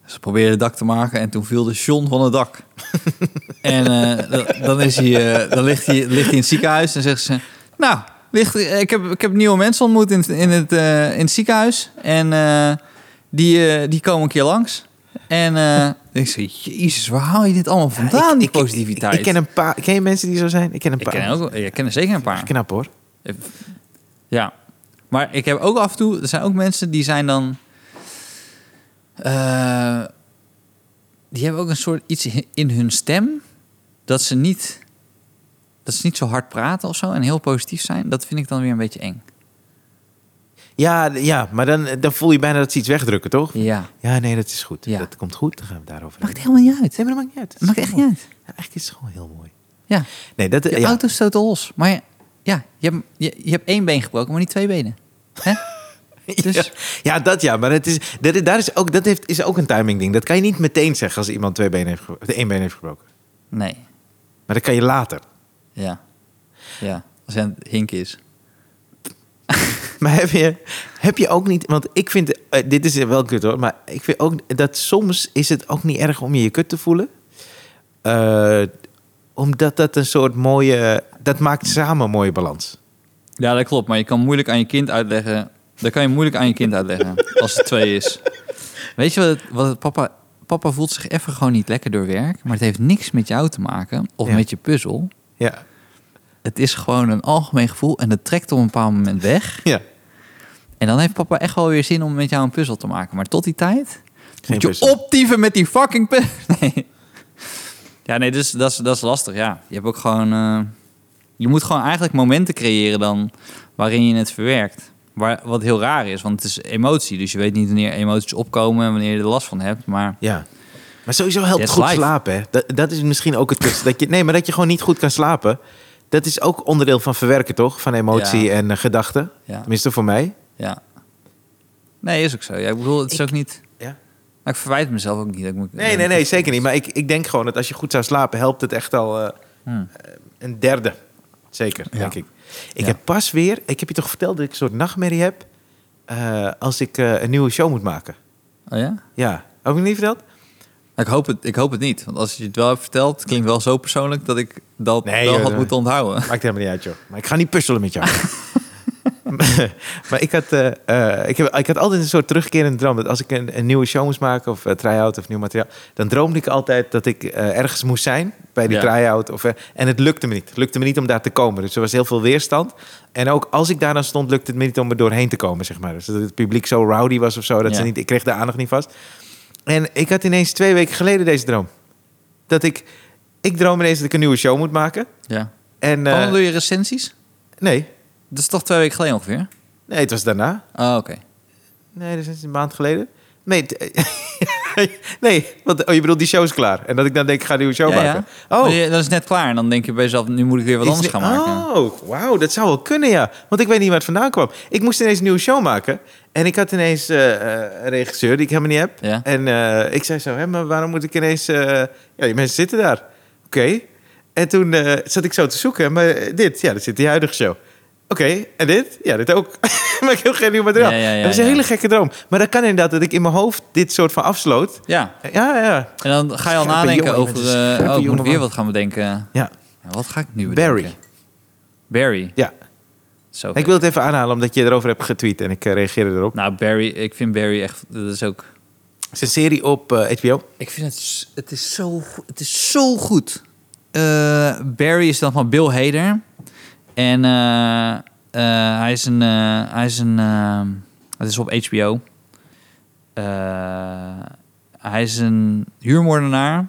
Speaker 1: ze probeerden het dak te maken. En toen viel de John van het
Speaker 2: [LAUGHS]
Speaker 1: dak. en eh, dan- dan, is hij, eh, dan ligt, hij, ligt hij in het ziekenhuis. En zeggen ze, nou, ligt, ik, heb, ik heb nieuwe mensen ontmoet in, het- in, het, eh, in het ziekenhuis. En eh, die, eh, die komen een keer langs. En eh, ik zeg, jezus, waar haal je dit allemaal vandaan,
Speaker 2: ik-
Speaker 1: die
Speaker 2: ik-
Speaker 1: positiviteit?
Speaker 2: Ik ken een paar. Ken je mensen die zo zijn? Ik ken een
Speaker 1: Ik
Speaker 2: paar.
Speaker 1: ken, ook, ik ken er zeker een paar.
Speaker 2: Knap hoor.
Speaker 1: Ja. Maar ik heb ook af en toe... Er zijn ook mensen die zijn dan... eh, die hebben ook een soort iets in hun stem... dat ze niet... dat ze niet zo hard praten of zo... en heel positief zijn. Dat vind ik dan weer een beetje eng.
Speaker 2: Ja, d- ja maar dan, eh, dan voel je bijna dat ze iets wegdrukken, toch?
Speaker 1: Ja.
Speaker 2: Ja, nee, dat is goed.
Speaker 1: Ja.
Speaker 2: Dat komt goed. Dan gaan we het daarover
Speaker 1: Maakt helemaal niet uit.
Speaker 2: Nee, maar dat maakt niet uit. Dat is
Speaker 1: Maakt echt niet
Speaker 2: gewoon-
Speaker 1: uit.
Speaker 2: Ja, eigenlijk is het gewoon heel mooi.
Speaker 1: Ja. oh,
Speaker 2: Nee, dat,
Speaker 1: Je
Speaker 2: ja.
Speaker 1: auto stoot de los. Maar ja, ja je, hebt, je, je hebt één been gebroken, maar niet twee benen. Hè? Dus...
Speaker 2: [LAUGHS] Ja, ja, dat ja. Maar het is, dat, is- daar is ook, dat heeft, is ook een timing ding. Dat kan je niet meteen zeggen als iemand twee benen heeft, ge- of één been heeft gebroken.
Speaker 1: Nee.
Speaker 2: Maar dat kan je later. [LAUGHS]
Speaker 1: Ja. Ja. Als hij aan het hinken is.
Speaker 2: Maar heb je, heb je ook niet... Want ik vind... eh, dit is wel kut hoor. Maar ik vind ook dat soms is het ook niet erg om je je kut te voelen. Eh, omdat dat een soort mooie... Dat maakt samen een mooie balans.
Speaker 1: Ja, dat klopt. Maar je kan moeilijk aan je kind uitleggen. Dat kan je moeilijk aan je kind uitleggen als het twee is. Weet je wat, het- wat het papa. Papa voelt zich even gewoon niet lekker door werk. Maar het heeft niks met jou te maken of
Speaker 2: Ja.
Speaker 1: met je puzzel.
Speaker 2: Ja.
Speaker 1: Het is gewoon een algemeen gevoel en dat trekt op een bepaald moment weg.
Speaker 2: Ja.
Speaker 1: En dan heeft papa echt wel weer zin om met jou een puzzel te maken. Maar tot die tijd moet je
Speaker 2: puzzel.
Speaker 1: optieven met die fucking puzzel. [LAUGHS] Nee. Ja, nee, dus dat is, dat is lastig, ja. Je hebt ook gewoon... eh, je moet gewoon eigenlijk momenten creëren dan waarin je het verwerkt. Waar, wat heel raar is, want het is emotie. Dus je weet niet wanneer emoties opkomen en wanneer je er last van hebt. Maar
Speaker 2: Ja. Maar sowieso helpt
Speaker 1: That's
Speaker 2: goed
Speaker 1: life.
Speaker 2: slapen. Hè? Dat, dat is misschien ook het kutste. Dat je, nee, maar dat je gewoon niet goed kan slapen. Dat is ook onderdeel van verwerken, toch? Van emotie
Speaker 1: Ja.
Speaker 2: en eh, gedachten.
Speaker 1: Ja.
Speaker 2: Tenminste voor mij.
Speaker 1: ja. Nee, is ook zo. Ja, ik bedoel, het is ook niet...
Speaker 2: Ja.
Speaker 1: Maar ik verwijt mezelf ook niet. dat Ik moet,
Speaker 2: Nee, nee, nee, zeker niet. Maar ik, ik denk gewoon dat als je goed zou slapen, helpt het echt al eh,
Speaker 1: Hmm.
Speaker 2: eh, een derde. Zeker,
Speaker 1: Ja.
Speaker 2: denk ik. Ik
Speaker 1: Ja.
Speaker 2: heb pas weer, ik heb je toch verteld dat ik een soort nachtmerrie heb eh, als ik eh, een nieuwe show moet maken.
Speaker 1: Oh ja?
Speaker 2: Ja, heb ik niet verteld?
Speaker 1: Ik hoop, het, ik hoop het niet. Want als je het wel hebt verteld, het klinkt wel zo persoonlijk dat ik dat
Speaker 2: Nee,
Speaker 1: wel
Speaker 2: joh,
Speaker 1: had
Speaker 2: nee.
Speaker 1: moeten
Speaker 2: [LAUGHS]
Speaker 1: onthouden.
Speaker 2: Maakt helemaal niet uit, joh. Maar ik ga niet puzzelen met jou. [LAUGHS] maar, maar ik had, eh, eh, ik, heb, ik had altijd een soort terugkerende droom. Dat als ik een, een nieuwe show moest maken, of eh, try-out of nieuw materiaal... dan droomde ik altijd dat ik eh, ergens moest zijn bij die
Speaker 1: Ja.
Speaker 2: try-out. Of, eh, en het lukte me niet. Het lukte me niet om daar te komen. Dus er was heel veel weerstand. En ook als ik daar dan stond, lukte het me niet om er doorheen te komen, zeg maar. Dus dat het publiek zo rowdy was of zo, dat ze
Speaker 1: Ja.
Speaker 2: niet, ik kreeg de aandacht niet vast. En ik had ineens twee weken geleden deze droom. Dat ik, ik droom ineens dat ik een nieuwe show moet maken...
Speaker 1: Ja.
Speaker 2: En, eh,
Speaker 1: Waarom doe je recensies?
Speaker 2: Nee.
Speaker 1: Dat is toch twee weken geleden ongeveer?
Speaker 2: Nee, het was daarna.
Speaker 1: Oh, oké.
Speaker 2: Nee, dat is een maand geleden. Nee, het- [LAUGHS] nee want, oh, je bedoelt die show is klaar. En dat ik dan denk, ik ga een nieuwe show
Speaker 1: Ja, ja.
Speaker 2: maken. Oh,
Speaker 1: Maar je- Dat is net klaar. En dan denk je bij jezelf, nu moet ik weer wat
Speaker 2: iets-
Speaker 1: anders gaan maken.
Speaker 2: Oh, wauw, dat zou wel kunnen, ja. Want ik weet niet waar het vandaan kwam. Ik moest ineens een nieuwe show maken. En ik had ineens eh, eh, een regisseur die ik helemaal niet heb.
Speaker 1: Ja.
Speaker 2: En eh, ik zei zo, hè, maar waarom moet ik ineens... eh, ja, die mensen zitten daar. Oké. En toen eh, zat ik zo te zoeken. Maar eh, dit, ja, dat zit in die huidige show. Oké, en dit? Ja, dit ook. [LAUGHS] maar ik heb geen nieuw materiaal.
Speaker 1: Ja, ja, ja,
Speaker 2: dat is een
Speaker 1: ja.
Speaker 2: hele gekke droom. Maar dat kan inderdaad dat ik in mijn hoofd dit soort van afsloot.
Speaker 1: Ja.
Speaker 2: Ja, ja.
Speaker 1: En dan ga je al
Speaker 2: Scherpe
Speaker 1: nadenken
Speaker 2: jongen,
Speaker 1: over...
Speaker 2: je bent een
Speaker 1: eh,
Speaker 2: scherpe
Speaker 1: oh, ik moet
Speaker 2: jongeman.
Speaker 1: weer wat gaan bedenken.
Speaker 2: Ja,
Speaker 1: Ja, wat ga ik nu bedenken?
Speaker 2: Barry.
Speaker 1: Barry.
Speaker 2: Ja.
Speaker 1: Zo.
Speaker 2: Ik wil het even aanhalen omdat je erover hebt getweet en ik eh, reageerde erop.
Speaker 1: Nou, Barry. Ik vind Barry echt... Dat is ook...
Speaker 2: Het is een serie op eh, HBO.
Speaker 1: Ik vind het... s- Het is zo, go- het is zo goed. Eh, Barry is dan van Bill Hader. En eh, eh, hij is een... eh, hij is een eh, het is op HBO. Eh, hij is een huurmoordenaar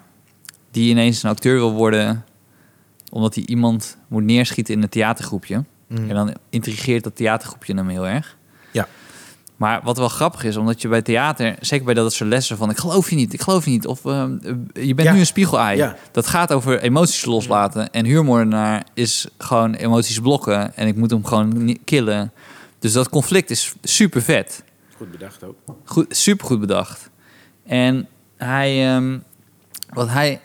Speaker 1: die ineens een acteur wil worden... omdat hij iemand moet neerschieten in een theatergroepje. En dan intrigeert dat theatergroepje hem heel erg.
Speaker 2: Ja.
Speaker 1: Maar wat wel grappig is, omdat je bij theater, zeker bij dat soort lessen van ik geloof je niet, ik geloof je niet, of ehm, je bent
Speaker 2: Ja.
Speaker 1: nu een spiegelaai.
Speaker 2: Ja.
Speaker 1: Dat gaat over emoties loslaten. En huurmoordenaar is gewoon emoties blokken en ik moet hem gewoon ni- killen. Dus dat conflict is super vet.
Speaker 2: Goed bedacht ook.
Speaker 1: Goed, super goed bedacht. En hij, ehm, wat hij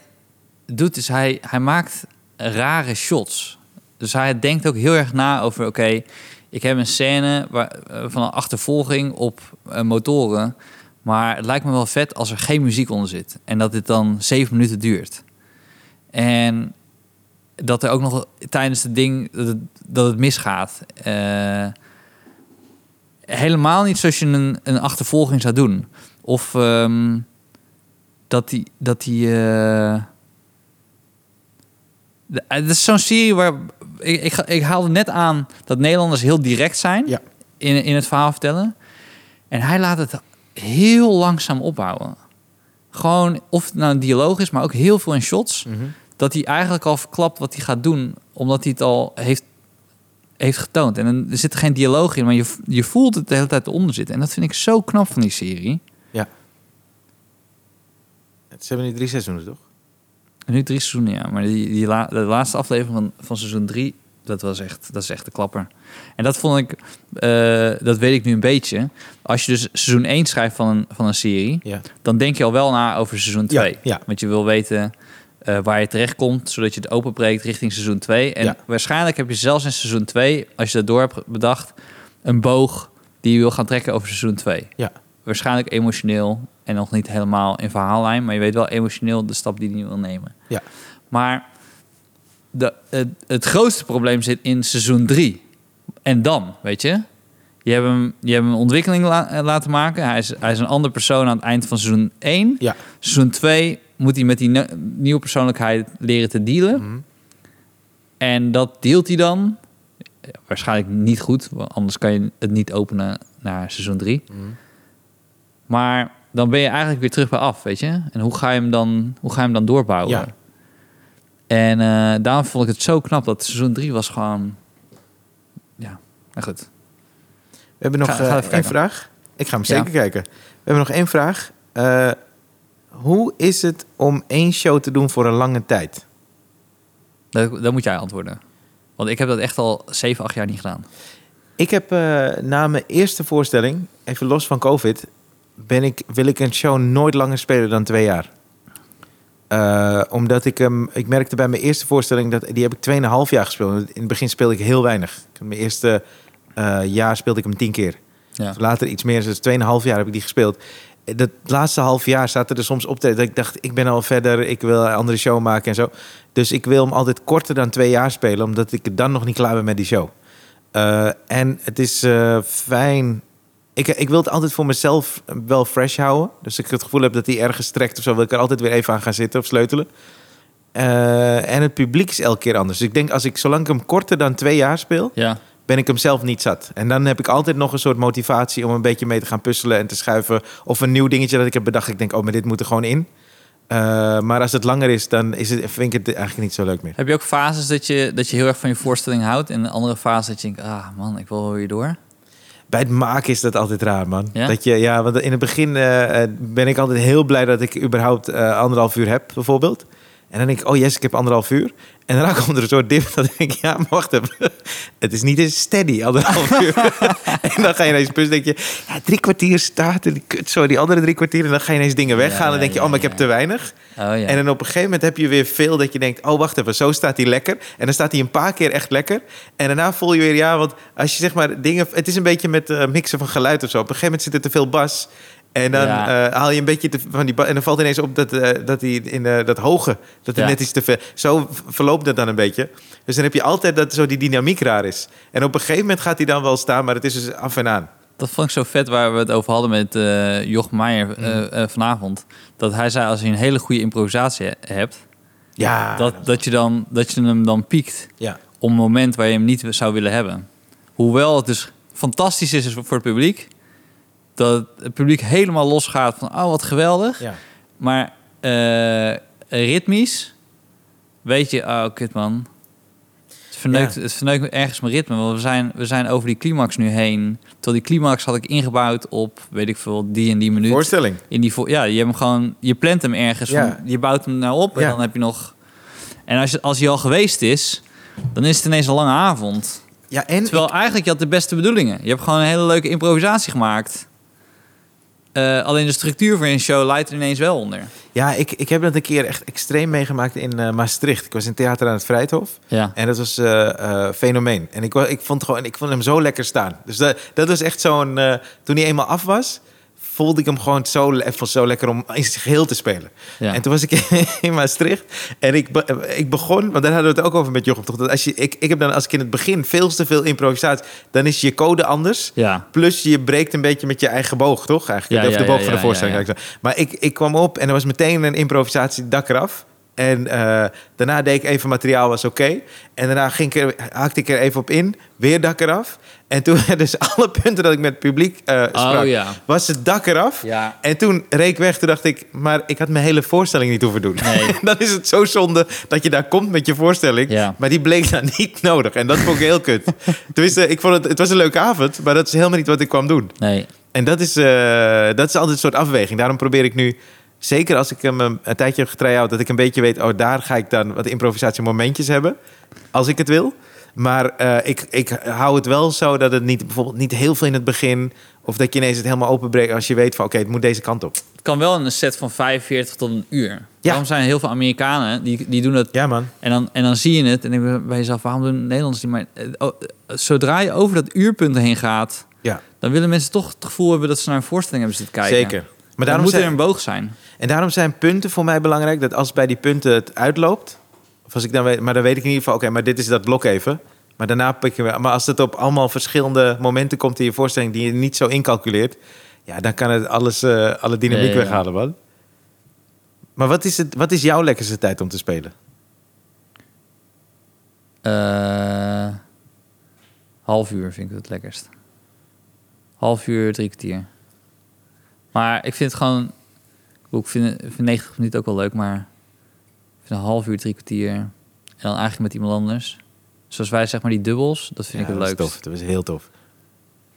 Speaker 1: doet is hij, hij maakt rare shots. Dus hij denkt ook heel erg na over, oké, ik heb een scène waar, eh, van een achtervolging op eh, motoren. Maar het lijkt me wel vet als er geen muziek onder zit. En dat dit dan zeven minuten duurt. En dat er ook nog tijdens het ding dat het, dat het misgaat. Eh, helemaal niet zoals je een, een achtervolging zou doen. Of ehm, dat die. Dat die eh, de- eh, dat is zo'n serie waar. Ik, ik, ga- ik haalde net aan dat Nederlanders heel direct zijn
Speaker 2: Ja.
Speaker 1: in, in het verhaal vertellen. En hij laat het heel langzaam opbouwen. Gewoon, of het nou een dialoog is, maar ook heel veel in shots. Dat hij eigenlijk al verklapt wat hij gaat doen, omdat hij het al heeft heeft getoond. En dan zit er geen dialoog in, maar je, je voelt het de hele tijd eronder zitten. En dat vind ik zo knap van die serie.
Speaker 2: Ze hebben nu drie seizoenen, toch?
Speaker 1: En nu drie seizoenen, ja. Maar die, die la- de laatste aflevering van, van seizoen drie, dat was echt, dat is echt de klapper. En dat vond ik, eh, dat weet ik nu een beetje. Als je dus seizoen 1 schrijft van een, van een serie,
Speaker 2: Ja.
Speaker 1: dan denk je al wel na over seizoen 2.
Speaker 2: Ja, ja.
Speaker 1: Want je wil weten eh, waar je terecht komt, zodat je het openbreekt richting seizoen 2. En
Speaker 2: Ja.
Speaker 1: waarschijnlijk heb je zelfs in seizoen 2, als je dat door hebt bedacht, een boog die je wil gaan trekken over seizoen 2.
Speaker 2: Ja.
Speaker 1: Waarschijnlijk emotioneel en nog niet helemaal in verhaallijn, maar je weet wel emotioneel de stap die hij wil nemen.
Speaker 2: Ja.
Speaker 1: Maar de, het, het grootste probleem zit in seizoen 3. En dan, weet je? Je hebt hem, je hebt hem een ontwikkeling la- eh, laten maken. Hij is, hij is een ander persoon aan het eind van seizoen 1.
Speaker 2: Ja.
Speaker 1: Seizoen 2 moet hij met die ne- nieuwe persoonlijkheid leren te dealen.
Speaker 2: Mhm.
Speaker 1: En dat deelt hij dan. eh, Waarschijnlijk niet goed, want anders kan je het niet openen naar seizoen 3.
Speaker 2: Mhm.
Speaker 1: Maar dan ben je eigenlijk weer terug bij af, weet je? En hoe ga je hem dan, hoe ga je hem dan doorbouwen?
Speaker 2: Ja.
Speaker 1: En eh, daarom vond ik het zo knap dat seizoen 3 was gewoon. Ja, nou goed.
Speaker 2: We hebben nog
Speaker 1: Ga- ga
Speaker 2: eh,
Speaker 1: even
Speaker 2: één
Speaker 1: kijken.
Speaker 2: vraag. Ik ga hem
Speaker 1: Ja.
Speaker 2: zeker kijken. We hebben nog één vraag. Eh, hoe is het om één show te doen voor een lange tijd?
Speaker 1: Dat, dat moet jij antwoorden. Want ik heb dat echt al 7, 8 jaar niet gedaan.
Speaker 2: Ik heb eh, na mijn eerste voorstelling, even los van COVID, ben ik, wil ik een show nooit langer spelen dan twee jaar. Eh, omdat ik hem, ik merkte bij mijn eerste voorstelling dat die heb ik 2,5 jaar gespeeld. In het begin speelde ik heel weinig. Mijn eerste eh, jaar speelde ik hem tien keer.
Speaker 1: Ja.
Speaker 2: Later iets meer, dus 2,5 jaar heb ik die gespeeld. Eh, Dat laatste half jaar zaten er soms op dat ik dacht, ik ben al verder, ik wil een andere show maken en zo. Dus ik wil hem altijd korter dan twee jaar spelen, omdat ik dan nog niet klaar ben met die show. Eh, en het is eh, fijn. Ik, ik wil het altijd voor mezelf wel fresh houden. Dus ik het gevoel heb dat die ergens trekt of zo, wil ik er altijd weer even aan gaan zitten of sleutelen. Eh, en het publiek is elke keer anders. Dus ik denk, als ik, zolang ik hem korter dan twee jaar speel,
Speaker 1: Ja.
Speaker 2: ben ik hem zelf niet zat. En dan heb ik altijd nog een soort motivatie om een beetje mee te gaan puzzelen en te schuiven. Of een nieuw dingetje dat ik heb bedacht. Ik denk, oh, maar dit moet er gewoon in. Eh, maar als het langer is, dan is het, vind ik het eigenlijk niet zo leuk meer.
Speaker 1: Heb je ook fases dat je, dat je heel erg van je voorstelling houdt en een andere fase dat je denkt, ah man, ik wil wel weer door?
Speaker 2: Bij het maken is dat altijd raar, man.
Speaker 1: Ja?
Speaker 2: Dat je, ja, want in het begin eh, eh, ben ik altijd heel blij dat ik überhaupt eh, anderhalf uur heb, bijvoorbeeld. En dan denk ik, oh yes, ik heb anderhalf uur. En daarna [LAUGHS] komt er een soort dip dat ik denk, ja, maar wacht even. [LAUGHS] Het is niet eens
Speaker 1: [LAUGHS]
Speaker 2: steady, anderhalf uur. [LAUGHS] en dan ga je ineens plus denk je, ja, drie kwartier staat en die kut, zo, die andere drie kwartier. En dan ga je ineens dingen weghalen en dan denk je,
Speaker 1: ja,
Speaker 2: oh, maar ik
Speaker 1: ja.
Speaker 2: heb te weinig.
Speaker 1: Oh ja.
Speaker 2: En dan op een gegeven moment heb je weer veel dat je denkt... oh, wacht even, zo staat hij lekker. En dan staat hij een paar keer echt lekker. En daarna voel je weer, ja, want als je zeg maar dingen... Het is een beetje met eh, mixen van geluid of zo. Op een gegeven moment zit er te veel bas. En dan
Speaker 1: Ja.
Speaker 2: eh, haal je een beetje te- van die bas... En dan valt ineens op dat, eh, dat die in eh, dat hoge... dat er
Speaker 1: Ja.
Speaker 2: net iets te veel... Zo v- verloopt dat dan een beetje. Dus dan heb je altijd dat zo die dynamiek raar is. En op een gegeven moment gaat hij dan wel staan... maar het is dus af en aan.
Speaker 1: Dat vond ik zo vet waar we het over hadden met eh Joch
Speaker 2: Mm.
Speaker 1: Meijer eh, eh, vanavond. Dat hij zei, als je een hele goede improvisatie he- hebt,
Speaker 2: Ah, Ja,
Speaker 1: dat, dat, je dan, dat je hem dan piekt
Speaker 2: ja.
Speaker 1: op een moment waar je hem niet zou willen hebben. Hoewel het dus fantastisch is voor het publiek, dat het publiek helemaal losgaat van, oh wat geweldig.
Speaker 2: ja.
Speaker 1: Maar eh, ritmisch weet je, oh kut man. Het is verneukt, het verneukt ergens mijn ritme. Want we zijn, we zijn over die climax nu heen. Tot die climax had ik ingebouwd op, weet ik veel, die en die minuut.
Speaker 2: Voorstelling.
Speaker 1: in die vo- ja, je hebt hem gewoon, je plant hem ergens,
Speaker 2: Ja.
Speaker 1: van- je bouwt hem nou op en
Speaker 2: Ja.
Speaker 1: dan heb je nog. En als, je- als hij al geweest is, dan is het ineens een lange avond.
Speaker 2: Ja, en
Speaker 1: Terwijl eigenlijk je had de beste bedoelingen. Je hebt gewoon een hele leuke improvisatie gemaakt. Eh, alleen de structuur van je show leidt er ineens wel onder.
Speaker 2: Ja, ik, ik heb dat een keer echt extreem meegemaakt in eh, Maastricht. Ik was in theater aan het Vrijthof.
Speaker 1: Ja.
Speaker 2: En dat was eh, eh, fenomeen. En ik, wa- ik, vond gewoon, ik vond hem zo lekker staan. Dus dat, dat was echt zo'n... eh, toen hij eenmaal af was, voelde ik hem gewoon zo, le- ik vond het zo lekker om in zijn geheel te spelen.
Speaker 1: Ja.
Speaker 2: En toen was ik [LAUGHS] in Maastricht en ik, be- ik begon... Want daar hadden we het ook over met Jochem. Toch? Dat als je, ik, ik heb dan als ik in het begin veel te veel improvisatie... dan is je code anders.
Speaker 1: ja.
Speaker 2: Plus je breekt een beetje met je eigen boog, toch? Eigenlijk.
Speaker 1: Ja,
Speaker 2: of
Speaker 1: ja,
Speaker 2: de boog
Speaker 1: ja,
Speaker 2: van de
Speaker 1: ja,
Speaker 2: voorstelling.
Speaker 1: ja,
Speaker 2: eigenlijk. Maar ik, ik kwam op en er was meteen een improvisatie dak eraf. En eh, daarna deed ik even materiaal, was oké. En daarna ging ik er, haakte ik er even op in, weer dak eraf. En toen, [LAUGHS] dus alle punten dat ik met het publiek eh, sprak,
Speaker 1: Oh ja.
Speaker 2: was het dak eraf.
Speaker 1: Ja.
Speaker 2: En toen reek ik weg, toen dacht ik, maar ik had mijn hele voorstelling niet hoeven doen.
Speaker 1: Nee.
Speaker 2: [LAUGHS] dan is het zo zonde dat je daar komt met je voorstelling.
Speaker 1: Ja.
Speaker 2: Maar die bleek dan [LAUGHS] niet nodig. En dat vond ik heel kut. Tenminste, ik vond het, het was een leuke avond, maar dat is helemaal niet wat ik kwam doen.
Speaker 1: Nee.
Speaker 2: En dat is, eh, dat is altijd een soort afweging. Daarom probeer ik nu, zeker als ik hem een, een tijdje heb getry-out, dat ik een beetje weet, oh, daar ga ik dan wat improvisatiemomentjes hebben. Als ik het wil. Maar eh, ik, ik hou het wel zo dat het niet, bijvoorbeeld niet heel veel in het begin. Of dat je ineens het helemaal openbreekt als je weet van oké, het moet deze kant op.
Speaker 1: Het kan wel in een set van 45 tot een uur. Daarom zijn heel veel Amerikanen, die, die doen dat
Speaker 2: Ja man.
Speaker 1: En dan, en dan zie je het en dan denk je bij jezelf, waarom doen Nederlanders niet? Maar eh, oh, eh, zodra je over dat uurpunt heen gaat,
Speaker 2: Ja,
Speaker 1: dan willen mensen toch het gevoel hebben dat ze naar een voorstelling hebben zitten kijken.
Speaker 2: zeker. Maar
Speaker 1: Maar
Speaker 2: daarom
Speaker 1: daarom moet
Speaker 2: zijn,
Speaker 1: er een boog zijn.
Speaker 2: En daarom zijn punten voor mij belangrijk. Dat als bij die punten het uitloopt. Of als ik dan weet, maar dan weet ik in ieder geval, oké, maar dit is dat blok even. Maar daarna pik je weer. Maar als het op allemaal verschillende momenten komt in je voorstelling die je niet zo incalculeert. Ja, dan kan het alles, eh, alle dynamiek
Speaker 1: Ja, ja, ja.
Speaker 2: weghalen, man. Maar wat is, het, wat is jouw lekkerste tijd om te spelen?
Speaker 1: Eh, half uur vind ik het lekkerst. Half uur, drie kwartier. Maar ik vind het gewoon... Ik vind, ik vind 90 minuten ook wel leuk, maar... Ik vind een half uur, drie kwartier... En dan eigenlijk met iemand anders. Zoals wij, zeg maar, die dubbels. Dat vind ik
Speaker 2: Ja,
Speaker 1: het
Speaker 2: dat was
Speaker 1: leukst.
Speaker 2: tof. Dat was heel tof.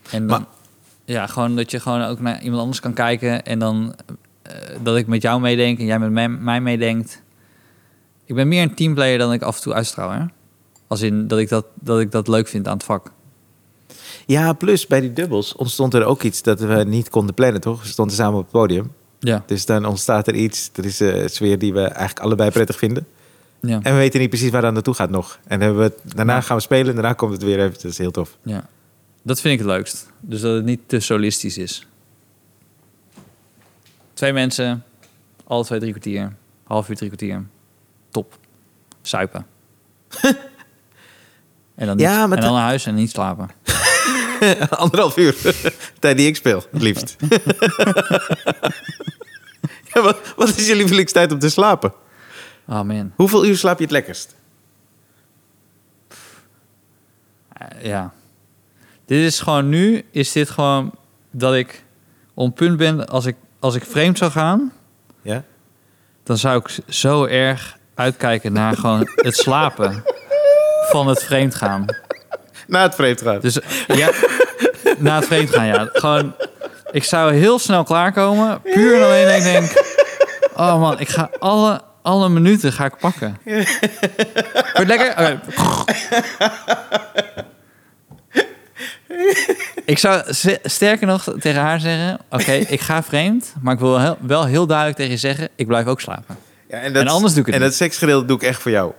Speaker 1: En dan,
Speaker 2: Maar-
Speaker 1: ja, gewoon dat je gewoon ook naar iemand anders kan kijken en dan eh, dat ik met jou meedenk en jij met mij, mij meedenkt. Ik ben meer een teamplayer dan ik af en toe uitstraal, hè? Als in dat ik dat, dat ik dat leuk vind aan het vak.
Speaker 2: Ja, plus bij die dubbels ontstond er ook iets dat we niet konden plannen, toch? We stonden samen op het podium.
Speaker 1: Ja,
Speaker 2: Dus dan ontstaat er iets. Er is eh, een sfeer die we eigenlijk allebei prettig vinden.
Speaker 1: ja,
Speaker 2: En we weten niet precies waar dat naartoe gaat nog. En hebben we het- daarna gaan we spelen en daarna komt het weer even. Dat is heel tof.
Speaker 1: ja. Dat vind ik het leukst. Dus dat het niet te solistisch is. Twee mensen, alle twee drie kwartier, half uur drie kwartier. Top. [LAUGHS] Suipen. en dan, niet,
Speaker 2: Ja, maar
Speaker 1: en dan naar huis en niet slapen.
Speaker 2: Anderhalf uur. [LAUGHS] Tijd die ik speel, het liefst. [LAUGHS] ja, wat, wat is je lievelingstijd om te slapen?
Speaker 1: Oh man.
Speaker 2: Hoeveel uur slaap je het lekkerst?
Speaker 1: Eh, ja. Dit is gewoon nu, is dit gewoon dat ik op punt ben als ik, als ik vreemd zou gaan,
Speaker 2: Ja?
Speaker 1: dan zou ik z- zo erg uitkijken naar gewoon het slapen van het vreemd gaan.
Speaker 2: Na het vreemd gaan.
Speaker 1: Dus ja, [LAUGHS] na het vreemd gaan, ja. Gewoon, ik zou heel snel klaarkomen, puur en alleen dat ik denk, oh man, ik ga alle, alle minuten ga ik pakken. Wordt het lekker? Oké. Ik zou ze- sterker nog tegen haar zeggen: Oké, ik ga vreemd, maar ik wil heel- wel heel duidelijk tegen je zeggen: Ik blijf ook slapen.
Speaker 2: Ja, dat,
Speaker 1: en anders doe ik het
Speaker 2: En
Speaker 1: niet.
Speaker 2: dat seksgedeelte doe ik echt voor jou.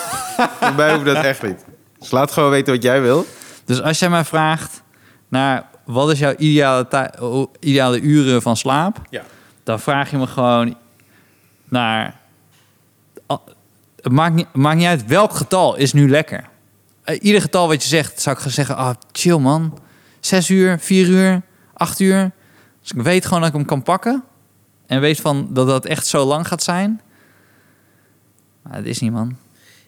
Speaker 2: [LAUGHS] voor mij hoeft dat echt niet. Dus laat gewoon weten wat jij wil.
Speaker 1: Dus als jij mij vraagt naar wat is jouw ideale, tij- oh, ideale uren van slaap,
Speaker 2: Ja.
Speaker 1: dan vraag je me gewoon naar. al- Het maakt niet, maakt niet uit welk getal is nu lekker. Eh, Ieder getal wat je zegt, zou ik gaan zeggen: ah, chill man. Zes uur, vier uur, acht uur. Dus ik weet gewoon dat ik hem kan pakken. En weet van dat dat echt zo lang gaat zijn. Maar dat is niet, man.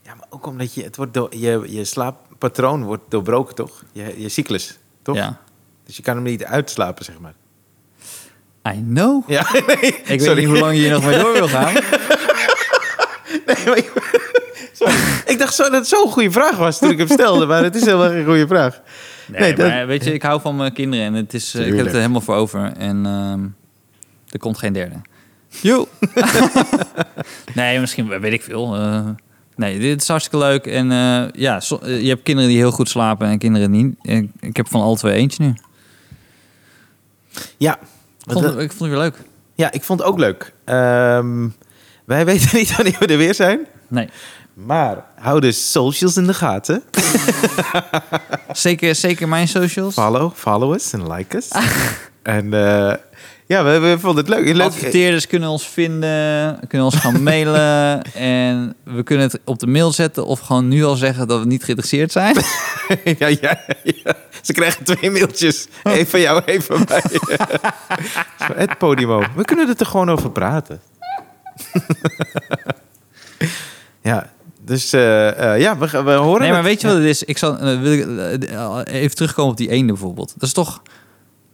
Speaker 2: Ja, maar ook omdat je, het wordt door- je, je slaappatroon wordt doorbroken, toch? Je, je cyclus, toch?
Speaker 1: Ja.
Speaker 2: Dus je kan hem niet uitslapen, zeg maar.
Speaker 1: I know.
Speaker 2: Ja, [LAUGHS] nee.
Speaker 1: Ik
Speaker 2: sorry.
Speaker 1: weet niet hoe lang je hier nog mee door wil gaan.
Speaker 2: Nee, maar ik- sorry, Sorry. ik dacht zo dat het zo'n goede vraag was toen ik hem stelde, maar het is helemaal geen goede vraag.
Speaker 1: Nee,
Speaker 2: [LAUGHS] Nee, dat-
Speaker 1: maar weet je, ik hou van mijn kinderen en het is, eh, ik heb het
Speaker 2: Tuurlijk.
Speaker 1: er helemaal voor over. En ehm, er komt geen derde. Joe! nee, misschien weet ik veel. eh. nee, dit is hartstikke leuk. En eh, ja, so- eh, je hebt kinderen die heel goed slapen en kinderen die niet. En ik heb van alle twee eentje nu. Ik
Speaker 2: Ja,
Speaker 1: vond, het- ik vond het weer leuk.
Speaker 2: eh, ja ik vond het ook leuk. Ehm, wij [LAUGHS] weten niet wanneer we er weer zijn,
Speaker 1: Nee,
Speaker 2: maar hou de socials in de gaten.
Speaker 1: zeker, zeker mijn socials.
Speaker 2: Follow, follow us en like us. En eh, ja, we, we vonden het leuk. leuk.
Speaker 1: Adverteerders kunnen ons vinden, kunnen ons
Speaker 2: [LAUGHS]
Speaker 1: gaan mailen. en we kunnen het op de mail zetten of gewoon nu al zeggen dat we niet geïnteresseerd
Speaker 2: [LAUGHS]
Speaker 1: zijn.
Speaker 2: ja, ja, ja. Ze krijgen twee mailtjes. Eén van jou, één van [LAUGHS] mij. Oh. het Podimo. We kunnen er toch gewoon over praten. [LAUGHS] ja, dus eh, eh, ja, we, gaan- we horen
Speaker 1: Nee, maar
Speaker 2: het.
Speaker 1: weet je wat het is? Ik zal, eh, wil ik, eh, eh, even terugkomen op die eenden bijvoorbeeld. Dat is toch...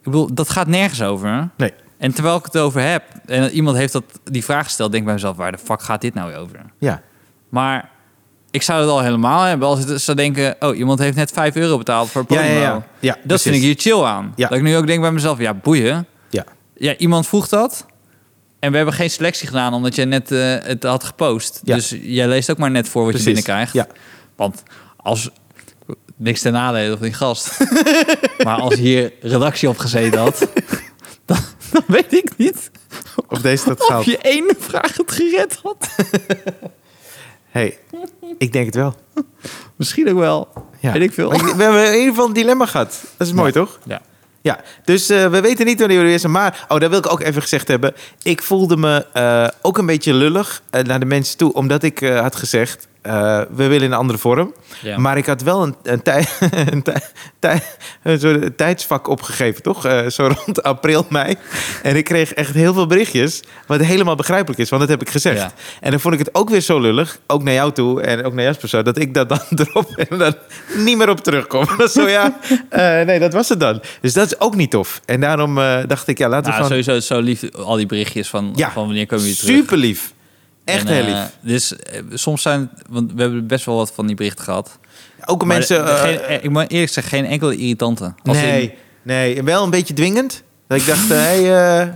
Speaker 1: Ik bedoel, dat gaat nergens over. hè?
Speaker 2: Nee.
Speaker 1: En terwijl ik het over heb... en iemand heeft dat, die vraag gesteld... denk ik bij mezelf, waar de fuck gaat dit nou weer over?
Speaker 2: Ja.
Speaker 1: Maar ik zou het al helemaal hebben... als ik zou denken, oh, iemand heeft net 5 euro betaald voor
Speaker 2: Ja,
Speaker 1: Podimo.
Speaker 2: ja, ja. ja
Speaker 1: Dat vind ik hier chill aan.
Speaker 2: Ja.
Speaker 1: Dat ik nu ook denk bij mezelf, ja, boeien.
Speaker 2: Ja.
Speaker 1: Ja, iemand vroeg dat... En we hebben geen selectie gedaan omdat jij net eh, het had gepost.
Speaker 2: Ja.
Speaker 1: Dus jij leest ook maar net voor wat je binnenkrijgt.
Speaker 2: Ja.
Speaker 1: Want als... Niks ten nadele van die gast. [LAUGHS] maar als hier redactie op gezeten had... [LAUGHS] dan, dan weet ik niet
Speaker 2: Of deze dat
Speaker 1: of
Speaker 2: goud.
Speaker 1: je ene vraag het gered had.
Speaker 2: hey, ik denk het wel.
Speaker 1: Misschien ook wel.
Speaker 2: Ja.
Speaker 1: Weet ik veel.
Speaker 2: Maar We hebben in ieder geval een dilemma gehad. Dat is mooi, toch?
Speaker 1: Ja.
Speaker 2: Ja, dus eh, we weten niet wanneer we er weer zijn. Maar, oh, dat wil ik ook even gezegd hebben. Ik voelde me eh, ook een beetje lullig eh, naar de mensen toe. Omdat ik eh, had gezegd, eh, we willen een andere vorm.
Speaker 1: Ja.
Speaker 2: Maar ik had wel een, een, tij, [LAUGHS] een, tij- tij- een soort tijdsvak opgegeven, toch? Eh, zo rond [LAUGHS] april, mei. En ik kreeg echt heel veel berichtjes. Wat helemaal begrijpelijk is, want dat heb ik gezegd.
Speaker 1: Ja.
Speaker 2: En dan vond ik het ook weer zo lullig, ook naar jou toe en ook naar Jasper zo, dat ik dat dan [LAUGHS] erop en dan niet meer op terugkom. [LAUGHS] Dat is zo, ja, eh, nee, dat was het dan. Dus dat is ook niet tof. En daarom eh, dacht ik, ja, laten we
Speaker 1: Nou,
Speaker 2: gewoon...
Speaker 1: sowieso zo lief al die berichtjes van,
Speaker 2: Ja.
Speaker 1: van wanneer komen jullie terug.
Speaker 2: Super lief. Echt
Speaker 1: En,
Speaker 2: heel
Speaker 1: eh,
Speaker 2: lief.
Speaker 1: dus eh, soms zijn... Want we hebben best wel wat van die berichten gehad.
Speaker 2: Ook
Speaker 1: Maar
Speaker 2: mensen...
Speaker 1: de- de-
Speaker 2: eh,
Speaker 1: geen- eh, ik moet eerlijk zeggen, geen enkele irritante. Als
Speaker 2: nee,
Speaker 1: in-
Speaker 2: nee, wel een beetje dwingend. Dat ik dacht, [LAUGHS] hé, hey, eh,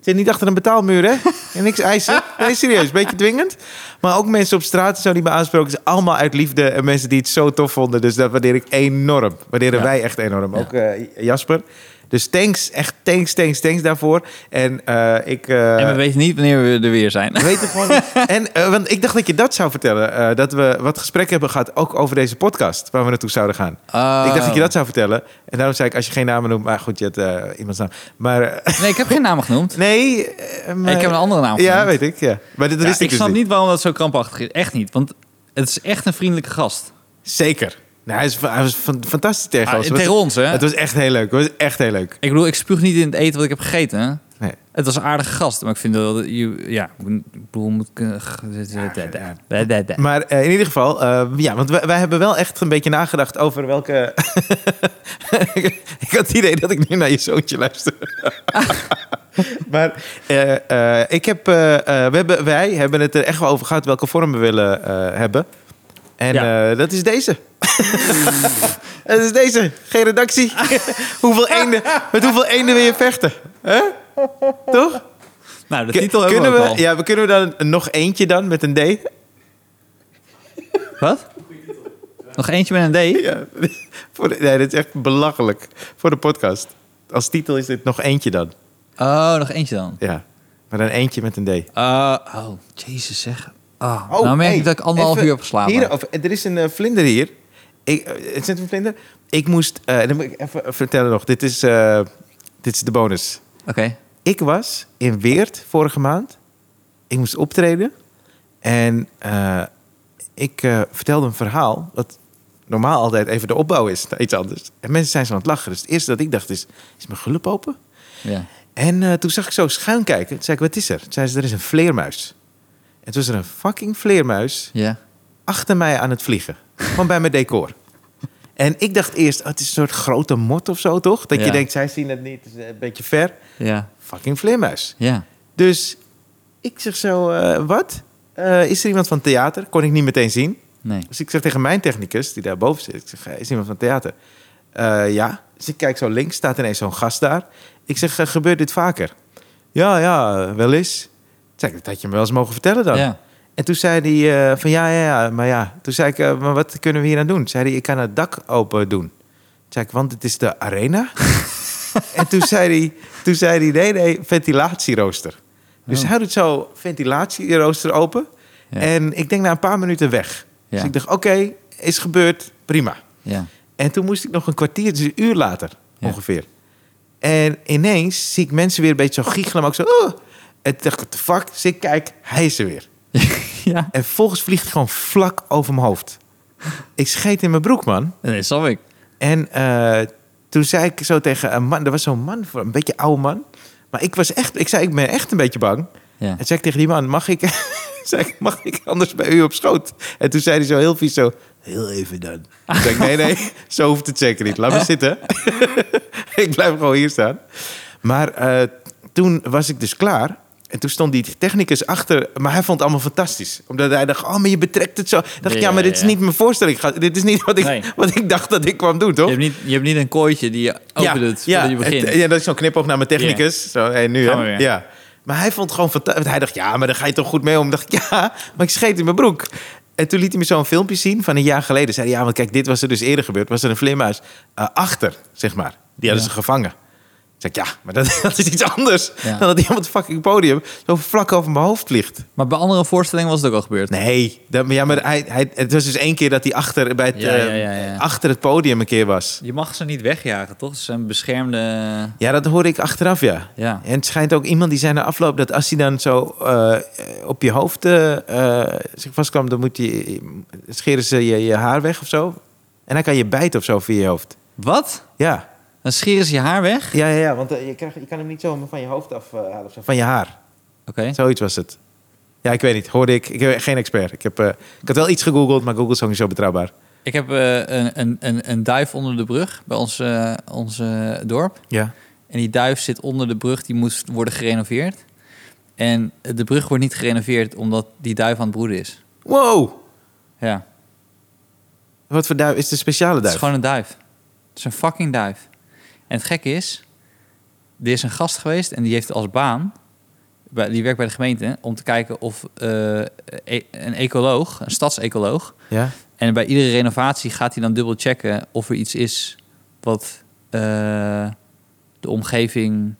Speaker 2: zit niet achter een betaalmuur, hè? En niks eisen. Nee, serieus, een beetje dwingend. Maar ook mensen op straat en zo die me aansproken. is allemaal uit liefde en mensen die het zo tof vonden. Dus dat waardeer ik enorm. Waarderen
Speaker 1: Ja.
Speaker 2: wij echt enorm.
Speaker 1: Ja.
Speaker 2: Ook eh, Jasper. Dus thanks, echt thanks, thanks, thanks daarvoor. En eh, ik... eh,
Speaker 1: en we weten niet wanneer we er weer zijn.
Speaker 2: we [LAUGHS] weten gewoon niet. En, eh, want ik dacht dat je dat zou vertellen. eh, dat we wat gesprekken hebben gehad, ook over deze podcast, waar we naartoe zouden gaan. Ik
Speaker 1: Oh.
Speaker 2: dacht dat je dat zou vertellen. En daarom zei ik, als je geen namen noemt... Maar goed, je hebt eh, iemands naam. Maar eh,
Speaker 1: Nee, ik heb geen namen genoemd.
Speaker 2: [LAUGHS] nee... eh, maar-
Speaker 1: ik heb een andere naam
Speaker 2: Ja,
Speaker 1: genoemd.
Speaker 2: weet ik. Ja. Maar dit
Speaker 1: Ja,
Speaker 2: wist ik,
Speaker 1: ik
Speaker 2: dus
Speaker 1: snap
Speaker 2: niet.
Speaker 1: niet waarom dat zo krampachtig is. Echt niet, want het is echt een vriendelijke gast.
Speaker 2: Zeker. Nou, hij, is, hij was fan- fantastisch tegen
Speaker 1: Ah,
Speaker 2: ons.
Speaker 1: tegen
Speaker 2: het, was,
Speaker 1: ons, hè?
Speaker 2: het was echt heel leuk. Het was echt heel leuk.
Speaker 1: Ik bedoel, ik spuug niet in het eten wat ik heb gegeten. hè.
Speaker 2: Nee.
Speaker 1: Het was een aardige gast, maar ik vind wel dat je... Ja, ik bedoel, moet... ik, eh, g-
Speaker 2: ja.
Speaker 1: Da- da- da.
Speaker 2: Maar eh, in ieder geval, eh, ja, want wij, wij hebben wel echt een beetje nagedacht over welke... [LAUGHS] ik had het idee dat ik nu naar je zoontje luister. [LAUGHS] maar eh, eh, ik heb, eh, eh, we hebben, wij hebben het er echt wel over gehad welke vorm we willen eh, hebben. En
Speaker 1: Ja.
Speaker 2: eh, dat is deze. [LAUGHS] dat is deze. Geen redactie. [LAUGHS] hoeveel eenden, met hoeveel eenden wil je vechten? Hè? Toch?
Speaker 1: Nou, de
Speaker 2: K-
Speaker 1: titel hebben
Speaker 2: kunnen
Speaker 1: we, ook
Speaker 2: we,
Speaker 1: al.
Speaker 2: ja, we kunnen we dan nog eentje dan met een D?
Speaker 1: Wat? Nog eentje met een D?
Speaker 2: [LAUGHS] Ja, voor de- nee, dit is echt belachelijk voor de podcast. Als titel is dit nog eentje dan.
Speaker 1: Oh, nog eentje dan.
Speaker 2: Ja, maar dan eentje met een D.
Speaker 1: Eh, oh, jezus zeg. Oh, nou merk ik dat ik anderhalf uur heb geslapen.
Speaker 2: Hier, of, er is een eh, vlinder hier. Ik, eh, het zit een vlinder. Ik moest, eh, dan moet ik even vertellen nog. Dit is, eh, dit is de bonus.
Speaker 1: Oké.
Speaker 2: Ik was in Weert vorige maand. Ik moest optreden. En eh, ik eh, vertelde een verhaal. Wat normaal altijd even de opbouw is. naar Iets anders. En mensen zijn zo aan het lachen. Dus het eerste dat ik dacht is... Is mijn gulp open?
Speaker 1: Ja.
Speaker 2: En eh, toen zag ik zo schuin kijken. Toen zei ik, wat is er? Toen zei ze, er is een vleermuis. En toen was er een fucking vleermuis
Speaker 1: Ja.
Speaker 2: achter mij aan het vliegen. Gewoon bij mijn decor. En ik dacht eerst, oh, het is een soort grote mot of zo, toch? Dat
Speaker 1: Ja.
Speaker 2: je denkt, zij zien het niet, het is een beetje ver.
Speaker 1: Ja.
Speaker 2: Fucking vleermuis.
Speaker 1: Ja.
Speaker 2: Dus ik zeg zo, eh, wat? Eh, is er iemand van theater? Kon ik niet meteen zien.
Speaker 1: Nee.
Speaker 2: Dus ik zeg tegen mijn technicus, die daarboven zit, ik zeg, "Hey, is iemand van theater? Eh, ja. Dus ik kijk zo links, staat ineens zo'n gast daar. Ik zeg, "Eh, gebeurt dit vaker? Ja, ja, eh, wel eens. Ik Zeg, dat had je me wel eens mogen vertellen dan.
Speaker 1: Ja.
Speaker 2: En toen zei hij eh, van ja, ja, ja, maar ja. Toen zei ik, eh, maar wat kunnen we hier aan doen? Zei hij, ik kan het dak open doen. Toen zei ik, want het is
Speaker 1: [LAUGHS]
Speaker 2: de arena. en toen zei, hij, toen zei hij, nee, nee, ventilatierooster. Dus
Speaker 1: Oh.
Speaker 2: hij doet zo ventilatierooster open.
Speaker 1: Ja.
Speaker 2: En ik denk na een paar minuten weg. Dus
Speaker 1: Ja.
Speaker 2: ik dacht, oké, is gebeurd, prima.
Speaker 1: Ja. [LAUGHS]
Speaker 2: En toen moest ik nog een kwartier, dus een uur later
Speaker 1: Ja.
Speaker 2: ongeveer. En ineens zie ik mensen weer een beetje zo giechelen, maar ook zo... "Oh." En toen dacht ik, what the fuck? Dus ik kijk, hij is er weer.
Speaker 1: ja.
Speaker 2: En volgens vliegt het gewoon vlak over mijn hoofd. Ik scheet in mijn broek, man.
Speaker 1: Nee, snap ik.
Speaker 2: En eh, toen zei ik zo tegen een man... Er was zo'n man, voor- een beetje oude man. Maar ik was echt... Ik zei, ik ben echt een beetje bang.
Speaker 1: Ja.
Speaker 2: En zei ik tegen die man, mag ik... [LAUGHS] zei ik, mag ik anders bij u op schoot? En toen zei hij zo heel vies zo... Heel even dan. Toen zei ik, nee, nee, [LAUGHS] zo hoeft het zeker niet. Laat me zitten. [LAUGHS] ik blijf gewoon hier staan. Maar eh, toen was ik dus klaar. En toen stond die technicus achter. Maar hij vond het allemaal fantastisch. Omdat hij dacht, oh, maar je betrekt het zo. Dan dacht ik, ja,
Speaker 1: Ja,
Speaker 2: maar dit is
Speaker 1: ja, ja.
Speaker 2: niet mijn voorstelling. Ik ga- Dit is niet wat ik,
Speaker 1: Nee.
Speaker 2: wat ik dacht dat ik kwam doen,
Speaker 1: Je
Speaker 2: toch?
Speaker 1: hebt, niet, je hebt niet een kooitje die je opent het
Speaker 2: ja,
Speaker 1: voordat je begint.
Speaker 2: het- ja, dat is zo'n knipoog naar mijn technicus. Zo, hey, nu,
Speaker 1: Gaan
Speaker 2: hè?
Speaker 1: we weer.
Speaker 2: Ja. Maar hij vond het gewoon fantastisch. Hij dacht, ja, maar daar ga je toch goed mee om? dacht ik, [LAUGHS] ja, maar ik scheet in mijn broek. En toen liet hij me zo'n filmpje zien van een jaar geleden. Zei hij, ja, want kijk, dit was er dus eerder gebeurd. Was er een vleermuis eh, achter, zeg maar. Die hadden
Speaker 1: Ja.
Speaker 2: ze gevangen. Zeg ik, ja, maar dat, [LAUGHS] dat is iets anders
Speaker 1: Ja.
Speaker 2: dan dat hij op het fucking podium zo vlak over mijn hoofd vliegt.
Speaker 1: Maar bij andere voorstellingen was het ook al gebeurd.
Speaker 2: Nee, dat, ja, maar hij, hij, het was dus één keer dat hij achter, bij het,
Speaker 1: Ja, ja,
Speaker 2: eh,
Speaker 1: ja, ja.
Speaker 2: achter het podium een keer was.
Speaker 1: Je mag ze niet wegjagen, toch? Ze zijn beschermde...
Speaker 2: Ja, dat hoorde ik achteraf, ja.
Speaker 1: Ja.
Speaker 2: En het schijnt ook iemand die zei na afloop dat als hij dan zo eh, eh, op je hoofd eh, eh, zich vastkwam, dan moet je, scheren ze je, je haar weg of zo. En dan kan je bijten of zo via je hoofd.
Speaker 1: Wat?
Speaker 2: Ja,
Speaker 1: Dan scheren ze je haar weg? Oké.
Speaker 2: ja, ja, ja want eh, je, krijgt, je kan hem niet zo van je hoofd afhalen of zo. Van je haar. Zoiets was het. Ja, ik weet niet. Hoorde ik. Ik ben geen expert. Ik, heb, eh, ik had wel iets gegoogeld, maar Google is ook niet zo betrouwbaar.
Speaker 1: Ik heb eh, een, een, een, een duif onder de brug bij ons, eh, ons eh, dorp.
Speaker 2: Ja.
Speaker 1: En die duif zit onder de brug, die moet worden gerenoveerd. En de brug wordt niet gerenoveerd omdat die duif aan het broeden is.
Speaker 2: Wow!
Speaker 1: Ja, het
Speaker 2: Wat voor duif? Is het een speciale
Speaker 1: is
Speaker 2: duif?
Speaker 1: gewoon een duif. Het is een fucking duif. En het gekke is, er is een gast geweest en die heeft als baan, bij- die werkt bij de gemeente, om te kijken of eh, e- een ecoloog, een stadsecoloog,
Speaker 2: Ja.
Speaker 1: En bij iedere renovatie gaat hij dan dubbel checken of er iets is wat eh, de omgeving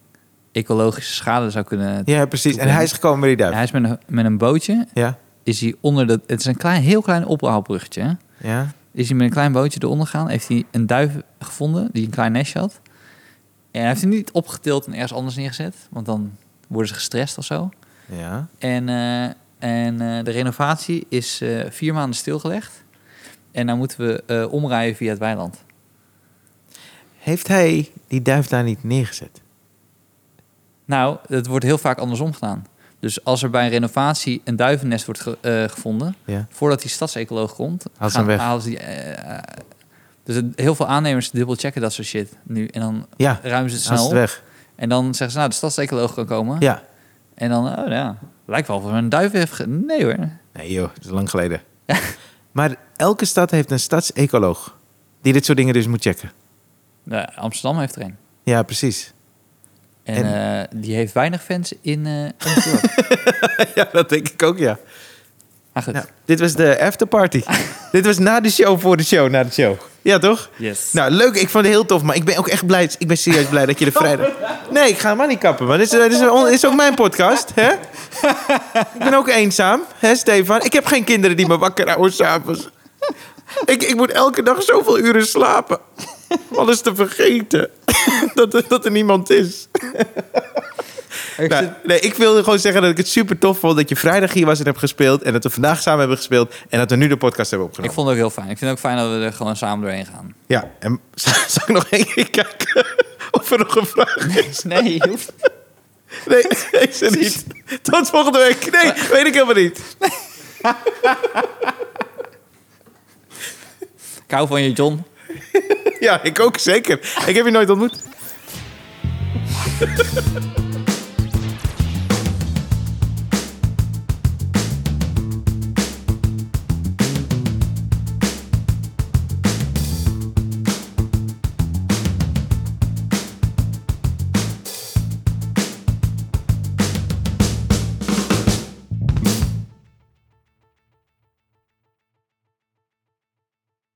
Speaker 1: ecologische schade zou kunnen.
Speaker 2: ja, precies. En hij is gekomen met die
Speaker 1: Hij
Speaker 2: duif.
Speaker 1: is met een, met een bootje,
Speaker 2: Ja.
Speaker 1: is hij onder de. Het is een klein, heel klein ophaalbruggetje. hè.
Speaker 2: Ja.
Speaker 1: Is hij met een klein bootje eronder gegaan? Heeft hij een duif gevonden die een klein nestje had? En hij heeft hem niet opgetild en ergens anders neergezet, want dan worden ze gestrest of zo.
Speaker 2: Ja.
Speaker 1: En, eh, en eh, de renovatie is eh, vier maanden stilgelegd. En dan moeten we eh, omrijden via het weiland.
Speaker 2: Heeft hij die duif daar niet neergezet?
Speaker 1: Nou, het wordt heel vaak andersom gedaan. Dus als er bij een renovatie een duivennest wordt ge- eh, gevonden,
Speaker 2: Ja.
Speaker 1: voordat die stadsecoloog komt,
Speaker 2: Haal ze hem weg.
Speaker 1: halen ze die. eh, eh, dus het- heel veel aannemers dubbel checken dat soort shit nu. En dan
Speaker 2: Ja,
Speaker 1: ruimen ze het
Speaker 2: haal ze
Speaker 1: snel
Speaker 2: het
Speaker 1: op.
Speaker 2: weg.
Speaker 1: En dan zeggen ze, nou, de stadsecoloog kan komen.
Speaker 2: Ja.
Speaker 1: En dan, oh nou ja, lijkt wel of er een duif heeft. ge- Nee hoor.
Speaker 2: Nee joh, dat is lang geleden. [LAUGHS] maar elke stad heeft een stadsecoloog. Die dit soort dingen dus moet checken.
Speaker 1: Nou, Amsterdam heeft er een.
Speaker 2: Ja, precies.
Speaker 1: En, eh, die heeft weinig fans in eh ons
Speaker 2: [LAUGHS]
Speaker 1: dorp.
Speaker 2: [LAUGHS] ja, dat denk ik ook, ja.
Speaker 1: Maar goed.
Speaker 2: Ja, dit was de [LAUGHS] afterparty. dit was na de show, voor de show, na de show. Ja, toch?
Speaker 1: Yes.
Speaker 2: Nou, leuk. Ik vond het heel tof, maar ik ben ook echt blij. Ik ben serieus blij dat je de vrijdag... Nee, ik ga hem maar niet kappen, man. Dit is, dit is, dit is ook mijn podcast, hè? ik ben ook eenzaam, hè, Stefan? Ik heb geen kinderen die me wakker houden s'avonds. Ik, ik moet elke dag zoveel uren slapen. Om Alles te vergeten. [LAUGHS] dat, er- dat er niemand is.
Speaker 1: Ik
Speaker 2: Nou,
Speaker 1: zit-
Speaker 2: nee, ik wilde gewoon zeggen dat ik het super tof vond dat je vrijdag hier was en hebt gespeeld. En dat we vandaag samen hebben gespeeld. En dat we nu de podcast hebben
Speaker 1: ik
Speaker 2: opgenomen.
Speaker 1: vond het ook heel fijn. Ik vind het ook fijn dat we er gewoon samen doorheen gaan.
Speaker 2: Ja, en [LAUGHS] zal ik nog één keer kijken of er nog een vraag is?
Speaker 1: Nee, je hoeft
Speaker 2: Nee, [LAUGHS] deze niet. Tot volgende week. Nee, weet ik helemaal niet.
Speaker 1: Ik hou van je, John.
Speaker 2: Ja, ik ook zeker. Ik heb je nooit ontmoet.